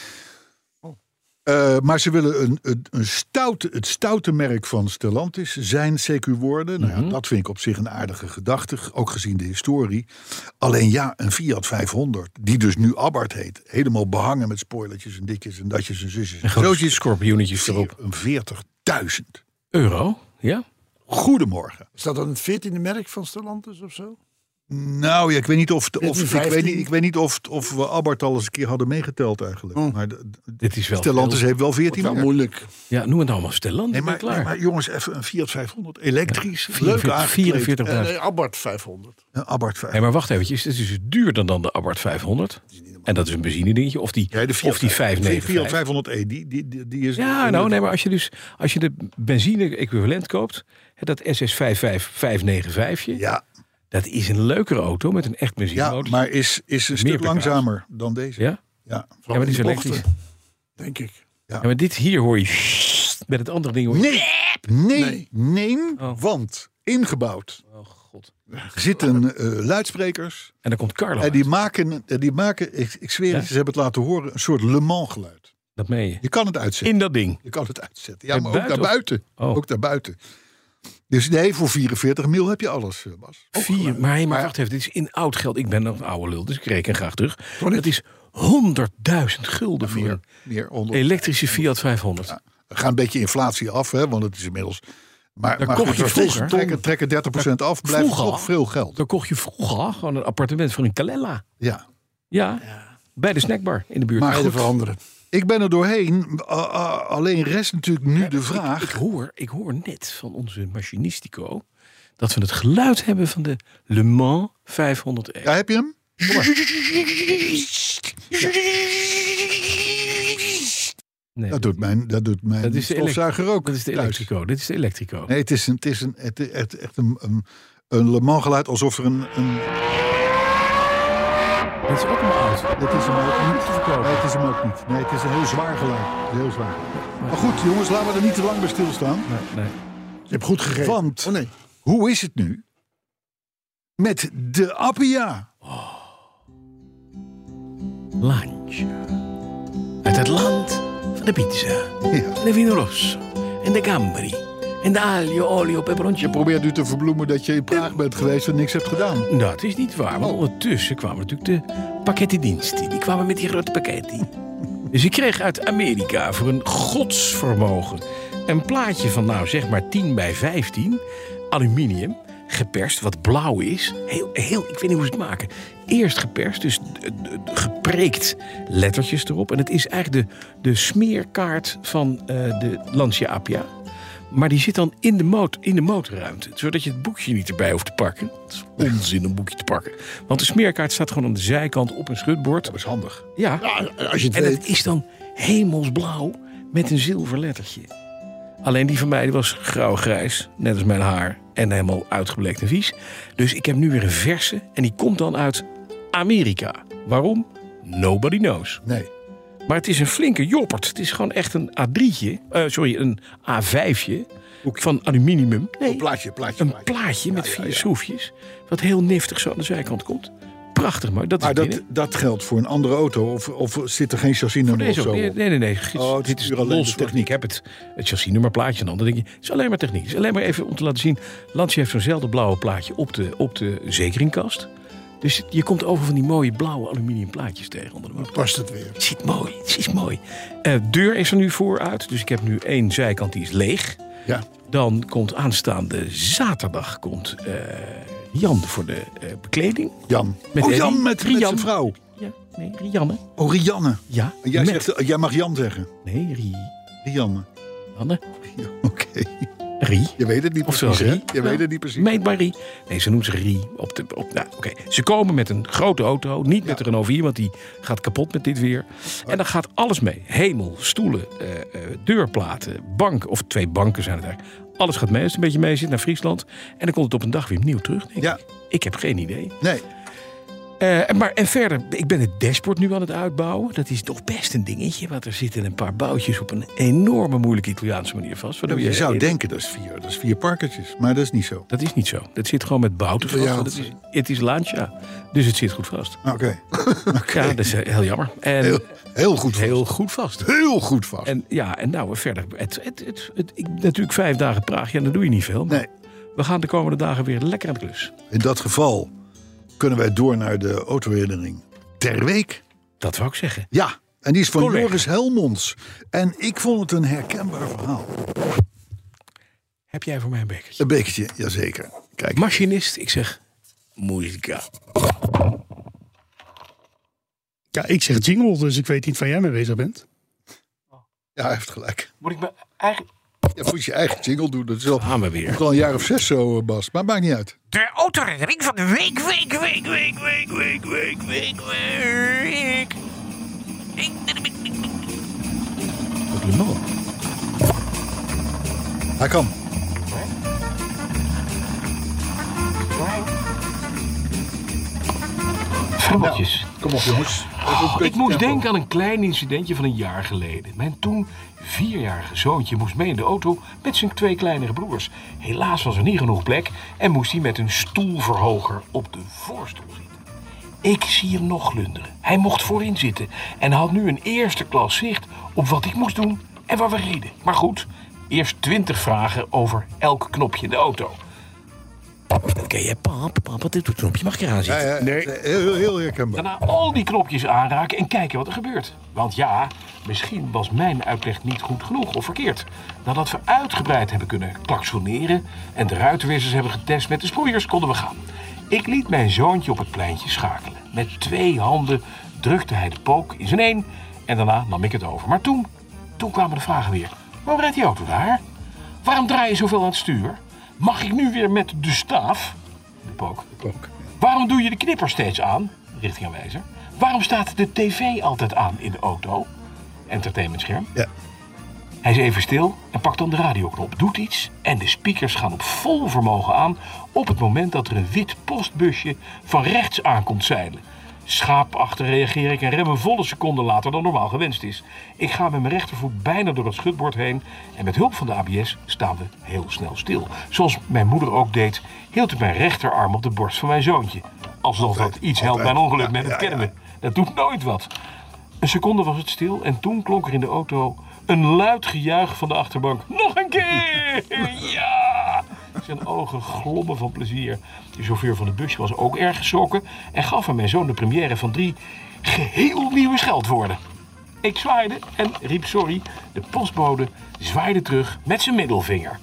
[SPEAKER 3] Oh.
[SPEAKER 2] Eh, maar ze willen een, een, een stout, het stoute merk van Stellantis zijn CQ worden. Nou
[SPEAKER 3] Mhm.
[SPEAKER 2] ja, dat vind ik op zich een aardige gedachte, ook gezien de historie. Alleen ja, een Fiat 500, die dus nu Abarth heet, helemaal behangen met spoilertjes en ditjes en datjes en zusjes en
[SPEAKER 3] Grootje
[SPEAKER 2] zootjes.
[SPEAKER 3] scorpioenetjes erop.
[SPEAKER 2] Vier- een 40.000.
[SPEAKER 3] Euro? Ja?
[SPEAKER 2] Goedemorgen.
[SPEAKER 4] Is dat dan het veertiende merk van Stellantis of zo?
[SPEAKER 2] Nou ja, ik weet niet of,
[SPEAKER 4] Dit is
[SPEAKER 2] of, ik
[SPEAKER 4] 15.
[SPEAKER 2] weet niet, ik weet niet of, of we Abarth al eens een keer hadden meegeteld eigenlijk. Maar de, de-
[SPEAKER 3] Dit is Oh. wel...
[SPEAKER 2] Stellantis heeft wel 14
[SPEAKER 4] Wel
[SPEAKER 2] merken.
[SPEAKER 4] moeilijk.
[SPEAKER 3] Ja, noem het allemaal Stellantis.
[SPEAKER 2] Nee,
[SPEAKER 3] ben
[SPEAKER 2] maar,
[SPEAKER 3] je klaar.
[SPEAKER 2] nee, maar jongens, even een Fiat 500 elektrisch.
[SPEAKER 3] Ja,
[SPEAKER 2] leuk
[SPEAKER 3] 44
[SPEAKER 2] aangekleed.
[SPEAKER 3] 44.
[SPEAKER 4] Eh, nee, Abarth 500.
[SPEAKER 2] Een Abarth 500.
[SPEAKER 3] Hey, maar wacht eventjes. Dit is dus duurder dan de Abarth 500. En dat is een benzine dingetje. Of die,
[SPEAKER 2] Ja, de Fiat,
[SPEAKER 3] of die 595.
[SPEAKER 2] Fiat 500e, die, die, die, die is...
[SPEAKER 3] Ja, nou nee, maar als je dus als je de benzine equivalent koopt, hè, dat SS 595
[SPEAKER 2] Ja,
[SPEAKER 3] dat is een leukere auto met een echt
[SPEAKER 2] ja
[SPEAKER 3] benzinemotor.
[SPEAKER 2] maar is, is een stuk
[SPEAKER 3] pk's.
[SPEAKER 2] langzamer dan deze.
[SPEAKER 3] ja?
[SPEAKER 2] Ja.
[SPEAKER 3] Ja, maar die is
[SPEAKER 4] in de
[SPEAKER 3] elektrisch.
[SPEAKER 4] bochten. Denk ik.
[SPEAKER 3] Ja, maar dit hier hoor je met het andere ding hoor je.
[SPEAKER 2] Nee, nee, nee,
[SPEAKER 3] Oh.
[SPEAKER 2] want ingebouwd
[SPEAKER 3] Oh god. Oh.
[SPEAKER 2] zitten eh, luidsprekers...
[SPEAKER 3] En dan komt Carlo.
[SPEAKER 2] En die
[SPEAKER 3] uit.
[SPEAKER 2] maken, eh, die maken ik, ik zweer
[SPEAKER 3] Ja?
[SPEAKER 2] het, ze hebben het laten horen, een soort Le Mans geluid.
[SPEAKER 3] Dat meen je.
[SPEAKER 2] Je kan het uitzetten.
[SPEAKER 3] In dat ding.
[SPEAKER 2] Je kan het uitzetten. Ja,
[SPEAKER 3] En
[SPEAKER 2] maar
[SPEAKER 3] buiten
[SPEAKER 2] ook naar
[SPEAKER 3] of-
[SPEAKER 2] buiten.
[SPEAKER 3] Oh.
[SPEAKER 2] Ook naar buiten. Dus nee, voor 44 mil heb je alles, eh, Bas.
[SPEAKER 3] Vier, maar, hey, maar wacht even, dit is in oud geld. Ik ben nog een oude lul, dus ik reken graag terug.
[SPEAKER 4] Toilet.
[SPEAKER 3] Dat is 100.000 gulden voor
[SPEAKER 2] Meer,
[SPEAKER 3] een
[SPEAKER 2] meer onder.
[SPEAKER 3] elektrische Fiat 500.
[SPEAKER 2] We gaan een beetje inflatie af, hè, want het is inmiddels... Maar,
[SPEAKER 3] Daar
[SPEAKER 2] maar
[SPEAKER 3] kocht
[SPEAKER 2] goed,
[SPEAKER 3] je
[SPEAKER 2] nog steeds
[SPEAKER 3] vroeger.
[SPEAKER 2] trekken, trekken 30% af, blijft
[SPEAKER 3] Vroeger al.
[SPEAKER 2] toch veel geld.
[SPEAKER 3] Dan kocht je vroeger gewoon een appartement voor een Calella.
[SPEAKER 2] Ja.
[SPEAKER 3] Ja, bij de snackbar in de buurt.
[SPEAKER 2] Maar
[SPEAKER 3] Goed.
[SPEAKER 4] Beide veranderen.
[SPEAKER 2] Ik ben er doorheen. A- a- alleen rest natuurlijk nu de vraag...
[SPEAKER 3] Ik hoor, ik hoor net van onze machinistico dat we het geluid hebben van de Le Mans 500
[SPEAKER 2] Ja, heb je hem?
[SPEAKER 3] Nee,
[SPEAKER 2] Dat doet mijn, dat doet mijn
[SPEAKER 3] Dat is de elekt-
[SPEAKER 2] stofzuiger ook.
[SPEAKER 3] dat is de
[SPEAKER 2] thuis.
[SPEAKER 3] elektrico. Dit is de elektrico.
[SPEAKER 2] Nee, het is, een, het is een, het, het- echt een, een, een Le Mans geluid alsof er een... een
[SPEAKER 3] Dat is ook een oud.
[SPEAKER 2] het is hem ook
[SPEAKER 3] Te
[SPEAKER 2] niet.
[SPEAKER 3] verkopen.
[SPEAKER 2] Nee, het is hem ook niet. Nee, het is een heel zwaar geluid. Het is Heel zwaar. Maar goed, jongens, laten we er niet te lang bij stilstaan.
[SPEAKER 3] Nee.
[SPEAKER 4] Je hebt goed gegeten.
[SPEAKER 2] Want-
[SPEAKER 4] Oh nee.
[SPEAKER 2] Hoe is het nu met de Appia?
[SPEAKER 3] Lancia. Uit het land van de pizza.
[SPEAKER 2] Ja.
[SPEAKER 3] En de vino rosso. En de gamberi. En de aglio, olio, peperoncino.
[SPEAKER 2] Probeer nu te verbloemen dat je in Praag bent geweest en niks hebt gedaan.
[SPEAKER 3] Dat is niet waar, want ondertussen kwamen natuurlijk de pakkettendiensten. Die kwamen met die grote pakketten. Dus ik kreeg uit Amerika voor een godsvermogen een plaatje van, nou zeg maar 10 bij 15, aluminium, geperst, wat blauw is. Heel, heel, ik weet niet hoe ze het maken. Eerst geperst, dus eh, eh, gepreekt lettertjes erop. En het is eigenlijk de, de smeerkaart van eh, de Lancia Appia. Maar die zit dan in de, mot- in de motorruimte. Zodat je het boekje niet erbij hoeft te pakken. Het is onzin om een boekje te pakken. Want de smeerkaart staat gewoon aan de zijkant op een schutbord.
[SPEAKER 2] Dat is handig.
[SPEAKER 3] Ja.
[SPEAKER 4] Als je het
[SPEAKER 3] En
[SPEAKER 4] weet.
[SPEAKER 3] dat is dan hemelsblauw met een zilver lettertje. Alleen die van mij die was grauw-grijs, net als mijn haar. En helemaal uitgebleekt en vies. Dus ik heb nu weer een verse. En die komt dan uit Amerika. Waarom? Nobody knows.
[SPEAKER 2] Nee.
[SPEAKER 3] Maar het is een flinke joppert. Het is gewoon echt een A3'tje. eh, sorry, een A5'tje. Van aluminium. Nee,
[SPEAKER 2] Plaatje, plaatje,
[SPEAKER 3] een
[SPEAKER 2] plaatje.
[SPEAKER 3] plaatje met vier schroefjes. Wat heel niftig zo aan de zijkant komt. Prachtig, maar dat is
[SPEAKER 2] Maar dat,
[SPEAKER 3] binnen.
[SPEAKER 2] dat geldt voor een andere auto. Of, of zit er geen chassis-nummer of
[SPEAKER 3] Deze
[SPEAKER 2] zo?
[SPEAKER 3] ook. Nee,
[SPEAKER 2] op?
[SPEAKER 3] nee, nee. nee. Gids,
[SPEAKER 2] Oh, het is
[SPEAKER 3] dit is
[SPEAKER 2] puur alleen de
[SPEAKER 3] los. want
[SPEAKER 2] techniek.
[SPEAKER 3] Ik heb het, het chassisnummer plaatje dan. Dan denk je, het is alleen maar techniek. Het is alleen maar even om te laten zien. Lancia heeft zo'nzelfde blauwe plaatje op de, op de zekeringkast. Dus je komt over van die mooie blauwe aluminium plaatjes tegen onder de motor.
[SPEAKER 4] Past het weer.
[SPEAKER 3] Het zit mooi, het zit mooi. Eh, deur is er nu vooruit, dus ik heb nu één zijkant die is leeg.
[SPEAKER 2] Ja.
[SPEAKER 3] Dan komt aanstaande zaterdag komt, eh, Jan voor de eh, bekleding.
[SPEAKER 2] Jan.
[SPEAKER 3] Met
[SPEAKER 2] oh,
[SPEAKER 3] Eddie.
[SPEAKER 2] Jan met, met
[SPEAKER 3] Rian.
[SPEAKER 2] zijn vrouw.
[SPEAKER 3] Ja, nee, Rianne.
[SPEAKER 2] Oh, Rianne.
[SPEAKER 3] Ja,
[SPEAKER 2] Jij,
[SPEAKER 3] met-
[SPEAKER 2] zegt, eh, jij mag Jan zeggen.
[SPEAKER 3] Nee,
[SPEAKER 2] Rianne.
[SPEAKER 3] Rianne.
[SPEAKER 2] Ja, Oké.
[SPEAKER 3] Rie.
[SPEAKER 2] Je weet het niet
[SPEAKER 3] Of zo,
[SPEAKER 2] precies, hè?
[SPEAKER 3] Rie.
[SPEAKER 2] Je weet
[SPEAKER 3] Ja.
[SPEAKER 2] het niet precies.
[SPEAKER 3] Meet maar Rie. Nee, ze noemt ze Rie. Op de, op, nou, oké. Ze komen met een grote auto. Niet met de Renault 4, want die gaat kapot met dit weer. En dan gaat alles mee. Hemel, stoelen, eh, eh, deurplaten, bank. Of twee banken zijn het eigenlijk. Alles gaat mee als het een beetje mee zit naar Friesland. En dan komt het op een dag weer opnieuw terug, denk
[SPEAKER 2] Ja.
[SPEAKER 3] ik. Ik heb geen idee.
[SPEAKER 2] Nee.
[SPEAKER 3] Eh, en maar, en verder, ik ben het dashboard nu aan het uitbouwen. Dat is toch best een dingetje. Want er zitten een paar boutjes op een enorme moeilijke Italiaanse manier vast. waardoor
[SPEAKER 2] Je zou
[SPEAKER 3] in-
[SPEAKER 2] denken, dat is vier, dat is vier parkertjes. Maar dat is niet zo.
[SPEAKER 3] Dat is niet zo. Dat zit gewoon met bouten vast.
[SPEAKER 4] Ja.
[SPEAKER 3] want Het is, het is Lancia. Dus het zit goed vast.
[SPEAKER 2] Oké.
[SPEAKER 3] Ja, dat is eh, heel jammer. En
[SPEAKER 2] Heel, heel goed vast.
[SPEAKER 3] heel goed vast.
[SPEAKER 2] Heel goed vast.
[SPEAKER 3] En ja, en nou verder. Het, het, het, het- ik, natuurlijk vijf dagen Praag. Ja, dan doe je niet veel. Maar
[SPEAKER 2] Nee.
[SPEAKER 3] We gaan de komende dagen weer lekker aan de klus.
[SPEAKER 2] In dat geval kunnen wij door naar de autoherinnering ter week.
[SPEAKER 3] Dat wou ik zeggen.
[SPEAKER 2] Ja, en die is van
[SPEAKER 3] Collega.
[SPEAKER 2] Joris Helmonds. En ik vond het een herkenbaar verhaal.
[SPEAKER 3] Heb jij voor mij een bekertje?
[SPEAKER 2] Een bekertje, jazeker. Kijk,
[SPEAKER 3] Machinist, ik zeg... Muzika.
[SPEAKER 5] Ja, ik zeg jingle, dus ik weet niet waar jij mee bezig bent.
[SPEAKER 2] ja, hij heeft gelijk.
[SPEAKER 3] Moet ik mijn eigen...
[SPEAKER 2] Ja, moet je eigen jingle doen. Dat is al,
[SPEAKER 3] Gaan we weer.
[SPEAKER 2] al een jaar of zes zo, eh, Bas. Maar maakt niet uit.
[SPEAKER 6] De autoherinnering van de week, week, week, week, week, week, week, week, week.
[SPEAKER 3] Op Le Mans.
[SPEAKER 2] Hij kan.
[SPEAKER 3] Vrouwtjes.
[SPEAKER 2] Kom op, jongens.
[SPEAKER 3] Ik moest denken aan een klein incidentje van een jaar geleden. Mijn toen vierjarige zoontje moest mee in de auto met zijn twee kleinere broers. Helaas was er niet genoeg plek en moest hij met een stoelverhoger op de voorstoel zitten. Ik zie hem nog glunderen. Hij mocht voorin zitten en had nu een eerste klas zicht op wat ik moest doen en waar we reden. Maar goed, eerst twintig vragen over elk knopje in de auto. Oké, hè, pap, pap, dit knopje mag ik eraan zitten.
[SPEAKER 2] nee. Heel, Eh, heel, heel herkenbaar.
[SPEAKER 3] Daarna nou al die knopjes aanraken en kijken wat er gebeurt. Want ja, misschien was mijn uitleg niet goed genoeg of verkeerd. Nadat we uitgebreid hebben kunnen klaksoneren en de ruitenwissers hebben getest met de sproeiers, konden we gaan. Ik liet mijn zoontje op het pleintje schakelen. Met twee handen drukte hij de pook in zijn een en daarna nam ik het over. Maar toen, toen kwamen de vragen weer. Waarom rijdt die auto daar? Waarom draai je zoveel aan het stuur? Mag ik nu weer met de staaf? De pook. Waarom doe je de knipper steeds aan? Richtingaanwijzer. Waarom staat de tv altijd aan in de auto? Entertainmentscherm.
[SPEAKER 2] Ja.
[SPEAKER 3] Hij is even stil en pakt dan de radioknop. Doet iets en de speakers gaan op vol vermogen aan... op het moment dat er een wit postbusje van rechts aankomt zeilen. Schaapachtig reageer ik en rem een volle seconde later dan normaal gewenst is. Ik ga met mijn rechtervoet bijna door het schutbord heen... en met hulp van de ABS staan we heel snel stil. Zoals mijn moeder ook deed, hield ik mijn rechterarm op de borst van mijn zoontje. Alsof dat iets helpt bij een ongeluk, maar dat kennen we. Dat doet nooit wat. Een seconde was het stil en toen klonk er in de auto een luid gejuich van de achterbank. Nog een keer! Ja! Zijn ogen glommen van plezier. De chauffeur van de busje was ook erg geschrokken en gaf aan mijn zoon de première van drie geheel nieuwe scheldwoorden. Ik zwaaide en riep sorry. De postbode zwaaide terug met zijn middelvinger.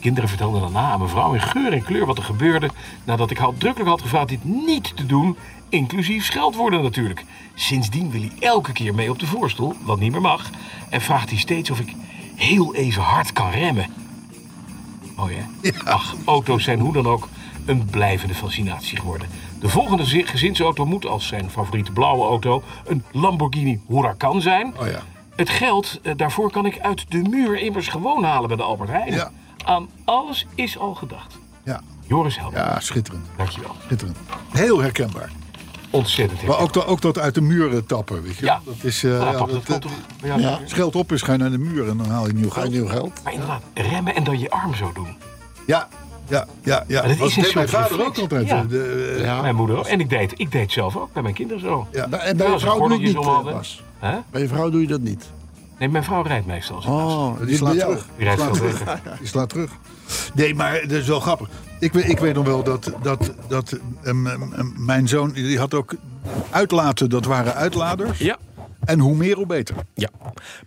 [SPEAKER 3] Kinderen vertelden daarna aan mevrouw in geur en kleur wat er gebeurde nadat ik uitdrukkelijk had gevraagd dit niet te doen, inclusief scheldwoorden natuurlijk. Sindsdien wil hij elke keer mee op de voorstoel, wat niet meer mag, en vraagt hij steeds of ik heel even hard kan remmen. Mooi hè? Ach, auto's zijn hoe dan ook een blijvende fascinatie geworden. De volgende zi- gezinsauto moet als zijn favoriete blauwe auto een Lamborghini Huracan zijn.
[SPEAKER 2] Oh ja.
[SPEAKER 3] Het geld eh, daarvoor kan ik uit de muur immers gewoon halen bij de Albert Heijn.
[SPEAKER 2] Ja.
[SPEAKER 3] Aan alles is al gedacht.
[SPEAKER 2] Ja.
[SPEAKER 3] Joris Helm,
[SPEAKER 2] ja, schitterend.
[SPEAKER 3] dankjewel.
[SPEAKER 2] Schitterend. Heel herkenbaar.
[SPEAKER 3] Ontzettend
[SPEAKER 2] Maar
[SPEAKER 3] heel
[SPEAKER 2] ook, dat- ook dat uit de muren tappen, weet je wel.
[SPEAKER 3] Ja.
[SPEAKER 2] Dat is... eh,
[SPEAKER 3] Ah,
[SPEAKER 2] ja,
[SPEAKER 3] pap, dat
[SPEAKER 2] dat,
[SPEAKER 3] komt
[SPEAKER 2] eh,
[SPEAKER 3] toch bij jou
[SPEAKER 2] ja.
[SPEAKER 3] niet meer?
[SPEAKER 2] Scheld op is, ga je naar de muur en dan haal je nieuw geld.
[SPEAKER 4] Nieuw geld.
[SPEAKER 3] Maar inderdaad, remmen en dan je arm zo doen.
[SPEAKER 2] Ja, ja, ja. ja.
[SPEAKER 3] dat is
[SPEAKER 2] Dat
[SPEAKER 3] een
[SPEAKER 2] deed mijn
[SPEAKER 3] soort
[SPEAKER 2] vader ook
[SPEAKER 3] reflex.
[SPEAKER 2] altijd.
[SPEAKER 3] Ja.
[SPEAKER 2] De, eh,
[SPEAKER 3] Mijn moeder ook. En ik deed, ik deed zelf ook, bij mijn kinderen zo.
[SPEAKER 2] ja.
[SPEAKER 4] Bij- En bij je
[SPEAKER 3] Als ze
[SPEAKER 4] vrouw doe je
[SPEAKER 3] gordeltjes
[SPEAKER 4] het niet,
[SPEAKER 3] om
[SPEAKER 4] eh,
[SPEAKER 3] hadden.
[SPEAKER 4] Bas.
[SPEAKER 3] Hè?
[SPEAKER 4] Bij je vrouw doe je dat niet.
[SPEAKER 3] Nee, mijn vrouw rijdt meestal. zo.
[SPEAKER 4] Oh,
[SPEAKER 2] Die slaat
[SPEAKER 4] bij jou.
[SPEAKER 2] terug.
[SPEAKER 3] Die rijdt
[SPEAKER 2] Slaat
[SPEAKER 3] veel
[SPEAKER 2] terug.
[SPEAKER 3] beter.
[SPEAKER 2] Die slaat terug. Nee, maar dat is wel grappig. Ik, weet- ik weet nog wel dat, dat, dat ehm, ehm, ehm, mijn zoon, die had ook uitlaten, dat waren uitladers.
[SPEAKER 3] Ja,
[SPEAKER 2] En hoe meer, hoe beter.
[SPEAKER 3] Ja.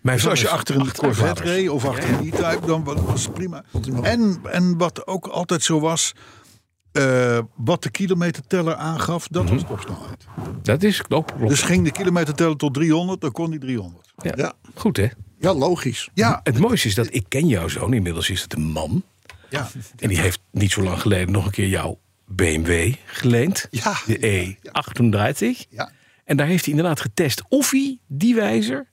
[SPEAKER 3] Mijn
[SPEAKER 2] Dus als je
[SPEAKER 3] vader
[SPEAKER 2] achter een
[SPEAKER 3] acht
[SPEAKER 2] Corvette
[SPEAKER 3] uitladers.
[SPEAKER 2] reed of achter een E-Type, dan wa- was het prima. En, en wat ook altijd zo was, eh, wat de kilometerteller aangaf, dat was topsnelheid.
[SPEAKER 3] Dat is klopt. klopt.
[SPEAKER 2] Dus ging de kilometerteller tot 300, dan kon die 300.
[SPEAKER 3] ja.
[SPEAKER 4] ja.
[SPEAKER 3] Goed hè?
[SPEAKER 4] Ja, logisch.
[SPEAKER 2] Ja,
[SPEAKER 3] Het mooiste is dat ik ken jouw zoon. Inmiddels is het een man.
[SPEAKER 2] ja.
[SPEAKER 3] En die heeft niet zo lang geleden nog een keer jouw BMW geleend.
[SPEAKER 2] Ja.
[SPEAKER 3] De E38.
[SPEAKER 2] ja.
[SPEAKER 3] En daar heeft hij inderdaad getest of hij die wijzer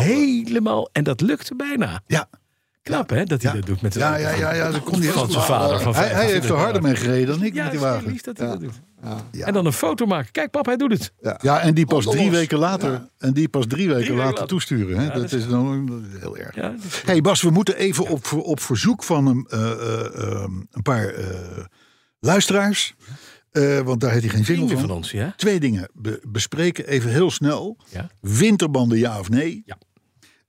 [SPEAKER 3] helemaal... En dat lukte bijna.
[SPEAKER 2] ja.
[SPEAKER 3] Knap hè, dat hij
[SPEAKER 2] Ja.
[SPEAKER 3] dat doet met de
[SPEAKER 2] Ja, ja, ja, ja, dat kon hij
[SPEAKER 3] van
[SPEAKER 2] heel
[SPEAKER 3] zijn
[SPEAKER 2] snel.
[SPEAKER 3] vader. Van
[SPEAKER 2] Hij, hij
[SPEAKER 3] 25
[SPEAKER 2] heeft er harder
[SPEAKER 3] jaar.
[SPEAKER 2] mee gereden dan ik
[SPEAKER 3] Ja,
[SPEAKER 2] met
[SPEAKER 3] het
[SPEAKER 2] die
[SPEAKER 3] is heel
[SPEAKER 2] wagen.
[SPEAKER 3] lief dat hij dat doet. En dan een foto maken. Kijk pap, hij doet het.
[SPEAKER 2] Ja. en die pas drie
[SPEAKER 4] los.
[SPEAKER 2] weken later, en die pas drie weken
[SPEAKER 3] weken
[SPEAKER 2] later
[SPEAKER 3] later.
[SPEAKER 2] toesturen. Hè? dat, is dan dat is heel erg.
[SPEAKER 3] Ja, dat is-
[SPEAKER 2] hey Bas, we moeten even op, ver- op verzoek van een, eh, eh, eh, een paar eh, luisteraars, eh, want daar heeft hij geen zin
[SPEAKER 3] Vrienden
[SPEAKER 2] van.
[SPEAKER 3] van ons, ja.
[SPEAKER 2] Twee dingen be- bespreken, even heel snel.
[SPEAKER 3] Ja.
[SPEAKER 2] Winterbanden ja of nee?
[SPEAKER 3] Ja.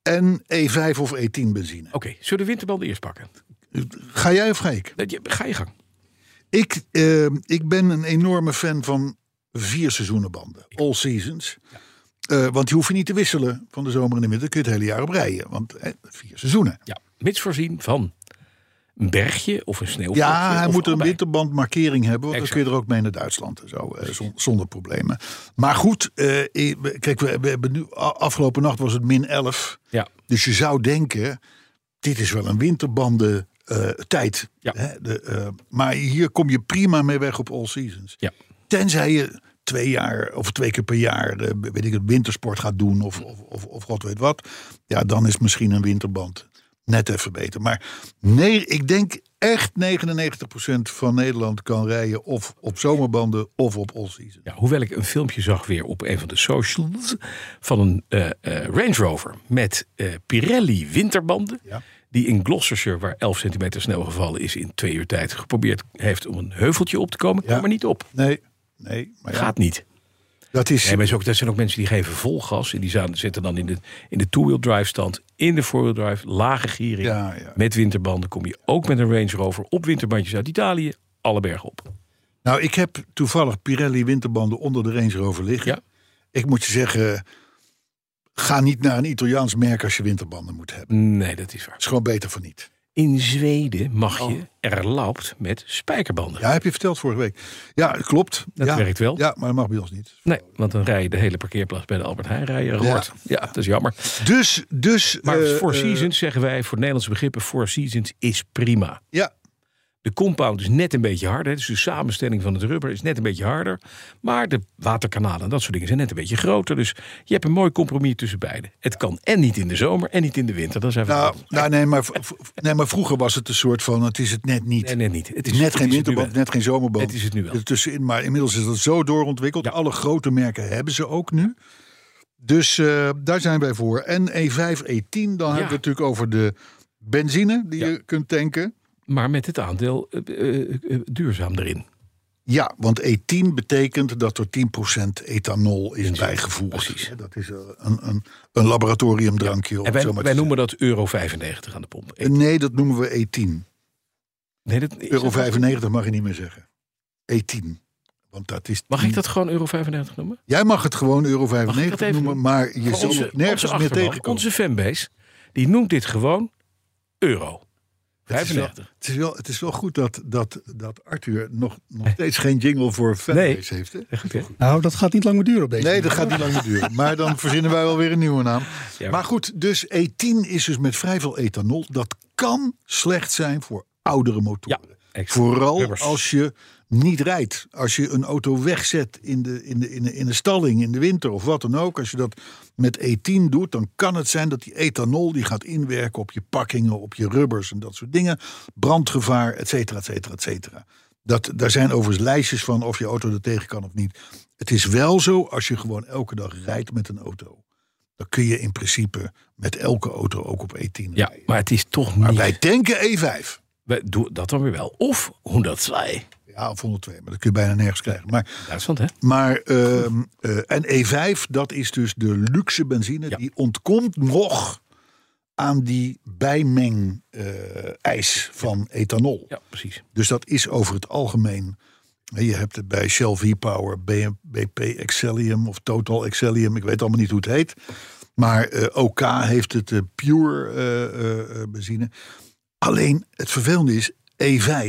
[SPEAKER 2] En E5 of E10 benzine.
[SPEAKER 3] Oké, zullen we de winterbanden eerst pakken?
[SPEAKER 2] Ga jij of ga ik?
[SPEAKER 3] Dat je- Ga je gang.
[SPEAKER 2] Ik, eh, ik ben een enorme fan van vier seizoenenbanden. All seasons. Eh, want die hoef je niet te wisselen van de zomer en de winter. Kun je het hele jaar op rijden. Want eh, vier seizoenen.
[SPEAKER 3] Ja, mits voorzien van een bergje of een sneeuw.
[SPEAKER 2] Ja, eh, hij moet een
[SPEAKER 3] allebei.
[SPEAKER 2] winterbandmarkering hebben. Want
[SPEAKER 3] Exact.
[SPEAKER 2] dan kun je er ook mee naar Duitsland en zo. eh, zon- zonder problemen. Maar goed, eh, eh, kijk, we, we hebben nu, a- afgelopen nacht was het min 11.
[SPEAKER 3] Ja,
[SPEAKER 2] Dus je zou denken, dit is wel een winterbanden eh, tijd.
[SPEAKER 3] Ja.
[SPEAKER 2] Hè, de, eh, maar hier kom je prima mee weg op all seasons.
[SPEAKER 3] ja.
[SPEAKER 2] Tenzij je twee jaar of twee keer per jaar, eh, weet ik het, wintersport gaat doen of, of, of, of god weet wat. Ja, dan is misschien een winterband net even beter. Maar nee, ik denk echt 99% van Nederland kan rijden of op zomerbanden of op all-season.
[SPEAKER 3] ja. Hoewel ik een filmpje zag weer op een van de socials van een eh, eh, Range Rover met eh, Pirelli winterbanden.
[SPEAKER 2] Ja.
[SPEAKER 3] Die in Gloucestershire, waar 11 centimeter sneeuw gevallen is, in twee uur tijd geprobeerd heeft om een heuveltje op te komen.
[SPEAKER 2] Ja.
[SPEAKER 3] Maar niet op.
[SPEAKER 2] Nee, nee, maar ja,
[SPEAKER 3] Gaat niet.
[SPEAKER 2] dat is...
[SPEAKER 3] Nee, maar is ook, dat zijn ook mensen die geven vol gas. En die za- zitten dan in de, in de two-wheel drive stand, in de four-wheel drive, lage giering.
[SPEAKER 2] Ja, ja.
[SPEAKER 3] Met winterbanden kom je ook met een Range Rover op winterbandjes uit Italië, alle bergen op.
[SPEAKER 2] Nou, ik heb toevallig Pirelli winterbanden onder de Range Rover liggen.
[SPEAKER 3] Ja.
[SPEAKER 2] Ik moet je zeggen, ga niet naar een Italiaans merk als je winterbanden moet hebben.
[SPEAKER 3] Nee, dat is waar.
[SPEAKER 2] is gewoon beter van niet.
[SPEAKER 3] In Zweden mag je erlaubt met spijkerbanden.
[SPEAKER 2] Oh. Ja, heb je verteld vorige week. Ja, klopt.
[SPEAKER 3] Dat
[SPEAKER 2] ja.
[SPEAKER 3] werkt wel.
[SPEAKER 2] Ja, maar dat mag bij ons niet.
[SPEAKER 3] Nee, want dan rij je de hele parkeerplaats bij de Albert Heijn rijden.
[SPEAKER 2] Ja.
[SPEAKER 3] Ja. ja, dat is jammer.
[SPEAKER 2] Dus, dus...
[SPEAKER 3] Maar
[SPEAKER 2] eh,
[SPEAKER 3] Four
[SPEAKER 2] eh,
[SPEAKER 3] Seasons zeggen wij, voor Nederlandse begrippen, Four Seasons is prima.
[SPEAKER 2] ja,
[SPEAKER 3] De compound is net een beetje harder. hè. Dus de samenstelling van het rubber is net een beetje harder. Maar de waterkanalen en dat soort dingen zijn net een beetje groter. Dus je hebt een mooi compromis tussen beide. Het kan en niet in de zomer en niet in de winter. Dan zijn we
[SPEAKER 2] nou,
[SPEAKER 3] het-
[SPEAKER 2] nou nee, maar, v- v- nee, maar vroeger was het een soort van, het is het net niet.
[SPEAKER 3] Nee, nee, niet.
[SPEAKER 2] Het is net geen
[SPEAKER 3] het nu
[SPEAKER 2] winterband,
[SPEAKER 3] wel.
[SPEAKER 2] net geen zomerband.
[SPEAKER 3] Het is het nu wel.
[SPEAKER 2] Er Tussenin, maar inmiddels is dat zo doorontwikkeld.
[SPEAKER 3] Ja.
[SPEAKER 2] Alle grote merken hebben ze ook nu. Dus eh, daar zijn wij voor. En E E5, E10, dan hebben we het natuurlijk over de benzine die
[SPEAKER 3] Ja.
[SPEAKER 2] je kunt tanken.
[SPEAKER 3] Maar met het aandeel eh, eh, eh, duurzaam erin.
[SPEAKER 2] Ja, want E10 betekent dat er 10% ethanol is bijgevoerd.
[SPEAKER 3] precies.
[SPEAKER 2] Hè, Dat is eh, een, een, een laboratoriumdrankje. om
[SPEAKER 3] En
[SPEAKER 2] het zo
[SPEAKER 3] wij,
[SPEAKER 2] maar te
[SPEAKER 3] wij
[SPEAKER 2] zeggen.
[SPEAKER 3] noemen dat euro 95 aan de pomp. Eh,
[SPEAKER 2] Nee, dat noemen we E E10.
[SPEAKER 3] Nee, dat, is
[SPEAKER 2] Euro
[SPEAKER 3] dat-
[SPEAKER 2] 95 mag je niet meer zeggen. E10. Want dat is
[SPEAKER 3] Mag ik dat gewoon euro 95 noemen?
[SPEAKER 2] Jij mag het gewoon euro
[SPEAKER 3] Mag ik dat
[SPEAKER 2] 95
[SPEAKER 3] even
[SPEAKER 2] noemen, maar je
[SPEAKER 3] Voor
[SPEAKER 2] zal
[SPEAKER 3] onze-
[SPEAKER 2] het nergens
[SPEAKER 3] onze
[SPEAKER 2] meer
[SPEAKER 3] achterban,
[SPEAKER 2] tegenkomen.
[SPEAKER 3] Onze fanbase, die noemt dit gewoon euro
[SPEAKER 2] Het is wel-
[SPEAKER 3] 95.
[SPEAKER 2] Het is wel, het is wel goed dat, dat, dat Arthur nog, nog steeds geen jingle voor fanbase
[SPEAKER 3] Nee.
[SPEAKER 2] heeft. Hè?
[SPEAKER 3] Goed, hè?
[SPEAKER 5] Nou, dat gaat niet lang meer duren op deze.
[SPEAKER 2] Nee, dat gaat niet lang meer duren. Maar dan verzinnen wij wel weer een nieuwe naam.
[SPEAKER 3] Ja.
[SPEAKER 2] Maar goed, dus E10 is dus met vrij veel ethanol. Dat kan slecht zijn voor oudere motoren.
[SPEAKER 3] Ja, exact.
[SPEAKER 2] Vooral
[SPEAKER 3] Rubbers.
[SPEAKER 2] als je niet rijdt. Als je een auto wegzet in de, in, de, in, de, in de stalling in de winter of wat dan ook. Als je dat met E10 doet, dan kan het zijn dat die ethanol die gaat inwerken op je pakkingen, op je rubbers en dat soort dingen. Brandgevaar, et cetera, et cetera, et cetera. Dat, daar zijn overigens lijstjes van of je auto er tegen kan of niet. Het is wel zo als je gewoon elke dag rijdt met een auto. Dan kun je in principe met elke auto ook op E E10
[SPEAKER 3] Ja,
[SPEAKER 2] rijden.
[SPEAKER 3] maar het is toch
[SPEAKER 2] Maar
[SPEAKER 3] niet...
[SPEAKER 2] wij tanken E E5.
[SPEAKER 3] We doen dat dan weer wel. Of 102.
[SPEAKER 2] Ja, of 102, maar dat kun je bijna nergens krijgen. Maar,
[SPEAKER 3] Duitsland, hè?
[SPEAKER 2] maar ehm, eh, en E5, dat is dus de luxe benzine.
[SPEAKER 3] Ja.
[SPEAKER 2] Die ontkomt nog aan die bijmeng eh, eis van ethanol.
[SPEAKER 3] Ja, precies.
[SPEAKER 2] Dus dat is over het algemeen Je hebt het bij Shell V-Power, BM BP Excellium of Total Excellium. Ik weet allemaal niet hoe het heet. Maar eh, OK heeft het eh, pure eh, eh, eh, benzine. Alleen het vervelende is, E5,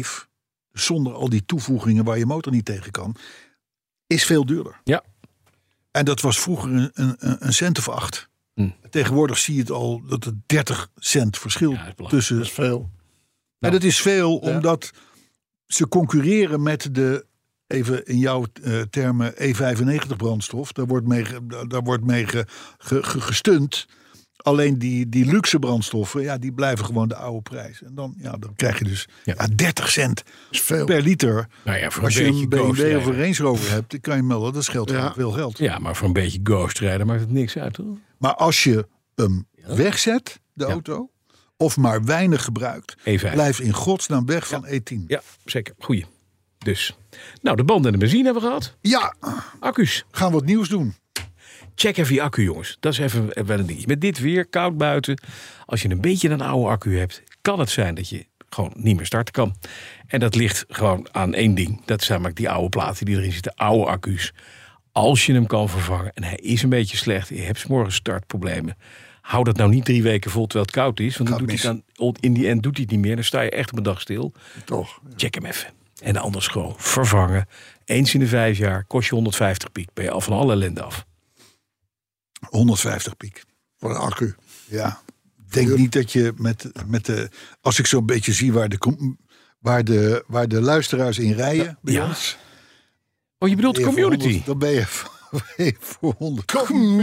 [SPEAKER 2] zonder al die toevoegingen waar je motor niet tegen kan, is veel duurder.
[SPEAKER 3] Ja.
[SPEAKER 2] En dat was vroeger een, een, een cent of acht.
[SPEAKER 3] Hm.
[SPEAKER 2] Tegenwoordig zie je het al dat er 30 cent verschil
[SPEAKER 3] Ja, dat is belachelijk.
[SPEAKER 2] tussen.
[SPEAKER 7] Dat is veel.
[SPEAKER 2] En dat is veel omdat ze concurreren met de, even in jouw eh, termen, E95 brandstof. Daar wordt mee, ge- daar- daar wordt mee ge- ge- ge- gestunt. Alleen die, die luxe brandstoffen, ja, die blijven gewoon de oude prijs. En dan, ja, dan krijg je dus
[SPEAKER 3] Ja.
[SPEAKER 2] ja. 30 cent
[SPEAKER 7] Dat is veel.
[SPEAKER 2] per liter.
[SPEAKER 3] Nou ja, voor
[SPEAKER 2] Als je
[SPEAKER 3] een beetje
[SPEAKER 2] een BMW of
[SPEAKER 3] ghostrijden.
[SPEAKER 2] een Range Rover hebt, dan kan je melden, dat scheelt
[SPEAKER 7] Ja.
[SPEAKER 2] veel geld.
[SPEAKER 3] Ja, maar voor een beetje ghostrijden maakt het niks uit, hoor.
[SPEAKER 2] Maar als je hem wegzet, de auto, of maar weinig gebruikt,
[SPEAKER 3] E5.
[SPEAKER 2] blijf in godsnaam weg van E E10.
[SPEAKER 3] E Ja, zeker. Goeie. Dus. Nou, de band en de benzine hebben we gehad.
[SPEAKER 2] Ja,
[SPEAKER 3] Accu's.
[SPEAKER 2] gaan we wat nieuws doen.
[SPEAKER 3] Check even je accu, jongens. Dat is even eh, wel een dingetje. Met dit weer, koud buiten. Als je een beetje een oude accu hebt, kan het zijn dat je gewoon niet meer starten kan. En dat ligt gewoon aan één ding. Dat zijn namelijk die oude platen die erin zitten, oude accu's. Als je hem kan vervangen en hij is een beetje slecht, je hebt 's morgens startproblemen. Hou dat nou niet drie weken vol terwijl het koud is. Want dan
[SPEAKER 2] Gaat
[SPEAKER 3] doet hij
[SPEAKER 2] mis.
[SPEAKER 3] dan, in die end doet hij het niet meer. Dan sta je echt op een dag stil.
[SPEAKER 7] Toch.
[SPEAKER 3] check hem even. En anders gewoon vervangen. Eens in de vijf jaar kost je 150 piek. Ben je al van alle ellende af.
[SPEAKER 2] 150 piek.
[SPEAKER 7] Voor een accu.
[SPEAKER 2] Ja. Denk niet dat je met, met de. Als ik zo'n beetje zie waar de, com- waar de, waar de luisteraars in rijden. bij
[SPEAKER 3] Ja.
[SPEAKER 2] ons,
[SPEAKER 3] Oh, je bedoelt de
[SPEAKER 2] ben je voor
[SPEAKER 3] community.
[SPEAKER 2] 100 Dan ben je voor- ben je voor 100.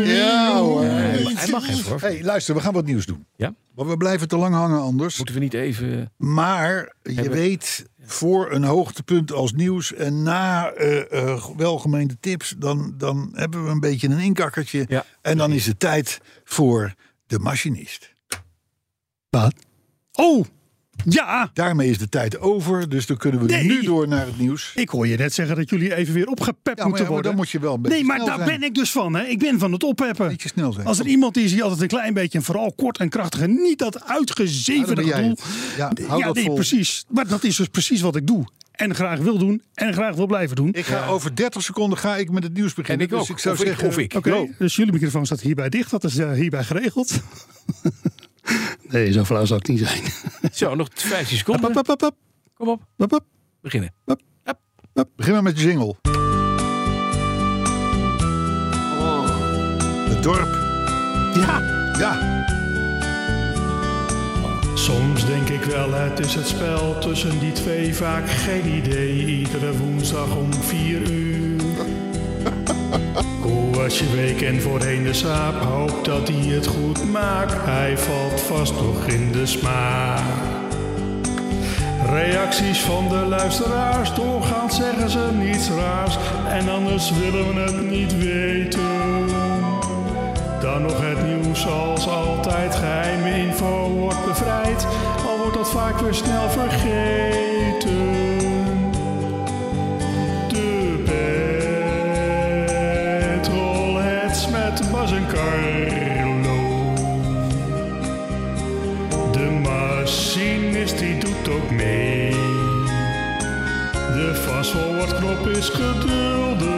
[SPEAKER 7] Ja, hoor.
[SPEAKER 3] hij mag- hij mag geen voor.
[SPEAKER 2] Hey, luister, we gaan wat nieuws doen.
[SPEAKER 3] Ja?
[SPEAKER 2] Want we blijven te lang hangen anders.
[SPEAKER 3] Moeten we niet even...
[SPEAKER 2] Maar je
[SPEAKER 3] Hebben-
[SPEAKER 2] weet, voor een hoogtepunt als nieuws en na eh, eh, welgemeende tips, dan, dan hebben we een beetje een inkakkertje.
[SPEAKER 3] Ja.
[SPEAKER 2] En dan is het tijd voor de machinist.
[SPEAKER 4] Wat? Oh, ja.
[SPEAKER 2] Daarmee is de tijd over, dus dan kunnen we
[SPEAKER 4] Nee.
[SPEAKER 2] nu door naar het nieuws.
[SPEAKER 4] Ik hoor je net zeggen dat jullie even weer opgepept
[SPEAKER 2] Ja, maar,
[SPEAKER 4] moeten
[SPEAKER 2] ja, maar
[SPEAKER 4] worden.
[SPEAKER 2] dan moet je wel een beetje
[SPEAKER 4] nee, maar
[SPEAKER 2] snel
[SPEAKER 4] daar
[SPEAKER 2] zijn.
[SPEAKER 4] ben ik dus van. Hè. Ik ben van het opheppen.
[SPEAKER 2] Beetje snel zijn.
[SPEAKER 4] Als er iemand is die altijd een klein beetje, en vooral kort en krachtig, en niet dat
[SPEAKER 2] Ja,
[SPEAKER 4] uitgezevende
[SPEAKER 2] dan ben jij
[SPEAKER 4] gedoe.
[SPEAKER 2] het. Ja, hou dat
[SPEAKER 4] nee,
[SPEAKER 2] vol.
[SPEAKER 4] precies. Maar dat is dus precies wat ik doe. En graag wil doen. En graag wil blijven doen.
[SPEAKER 2] Ik ga over 30 seconden ga ik met het nieuws beginnen.
[SPEAKER 3] ik ook.
[SPEAKER 2] Dus ik zou
[SPEAKER 3] Of ik-
[SPEAKER 2] zeggen,
[SPEAKER 3] of ik.
[SPEAKER 4] Oké,
[SPEAKER 3] Yo.
[SPEAKER 4] dus jullie microfoon staat hierbij dicht. Dat is eh, hierbij geregeld. nee, zo'n vrouw zou ik niet zijn.
[SPEAKER 3] Zo, nog 15
[SPEAKER 4] Hop, hop,
[SPEAKER 3] seconden.
[SPEAKER 4] hop, hop, hop,
[SPEAKER 3] Kom op,
[SPEAKER 4] hop, hop.
[SPEAKER 3] beginnen.
[SPEAKER 2] Begin maar met de jingle.
[SPEAKER 7] Oh.
[SPEAKER 2] Het dorp.
[SPEAKER 4] Ja.
[SPEAKER 2] Ja,
[SPEAKER 5] Soms denk ik wel, het is het spel tussen die twee vaak geen idee. Iedere woensdag om vier uur. Hoe was je week en voorheen de saap? Hoop dat hij het goed maakt. Hij valt vast nog in de smaak. Reacties van de luisteraars, doorgaans zeggen ze niets raars. En anders willen we het niet weten. Dan nog het nieuws als altijd. Geheime info wordt bevrijd. Al wordt dat vaak weer snel vergeten. De Petrolheads met Bas en Carlo. De machinist die doet ook mee. De vasthoorknop is geduldig.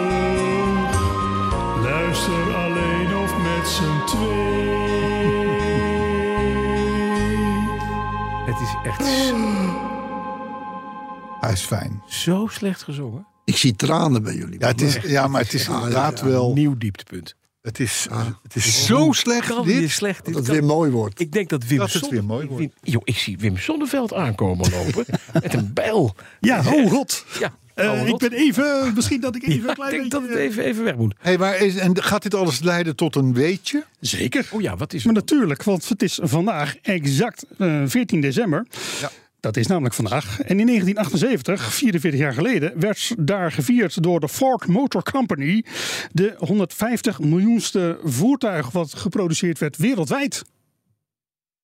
[SPEAKER 5] Luister alleen of met z'n twee.
[SPEAKER 3] Het is echt
[SPEAKER 2] hij is fijn.
[SPEAKER 3] zo slecht gezongen.
[SPEAKER 7] Ik zie tranen bij jullie.
[SPEAKER 2] Ja, het is, ja maar het is inderdaad wel...
[SPEAKER 3] Nieuw dieptepunt.
[SPEAKER 2] Het is, het is zo slecht
[SPEAKER 3] Kan dit
[SPEAKER 2] dit.
[SPEAKER 3] slecht? Dit
[SPEAKER 7] dat Oh. het
[SPEAKER 3] kan-
[SPEAKER 7] weer mooi wordt.
[SPEAKER 3] Ik denk dat Wim
[SPEAKER 2] Dat het
[SPEAKER 3] Sonne-
[SPEAKER 2] weer mooi
[SPEAKER 3] ik-
[SPEAKER 2] wordt.
[SPEAKER 3] Wim- Joh, ik zie Wim Sonneveld aankomen lopen. met een bijl.
[SPEAKER 4] Ja, oh god.
[SPEAKER 3] Ja,
[SPEAKER 4] Eh,
[SPEAKER 3] oude
[SPEAKER 4] ik
[SPEAKER 3] rot.
[SPEAKER 4] ben even, misschien dat ik even
[SPEAKER 3] Ja,
[SPEAKER 4] een
[SPEAKER 3] ik
[SPEAKER 4] klein
[SPEAKER 3] denk
[SPEAKER 4] beetje...
[SPEAKER 3] dat het even, even weg moet.
[SPEAKER 2] Hey, maar is, en gaat dit alles leiden tot een weetje?
[SPEAKER 4] Zeker.
[SPEAKER 3] Oh ja, wat is
[SPEAKER 4] Maar
[SPEAKER 3] het?
[SPEAKER 4] natuurlijk, want het is vandaag exact eh, 14 december.
[SPEAKER 2] Ja.
[SPEAKER 4] Dat is namelijk vandaag. En in 1978, 44 jaar geleden, werd daar gevierd door de Ford Motor Company de 150 miljoenste voertuig wat geproduceerd werd wereldwijd.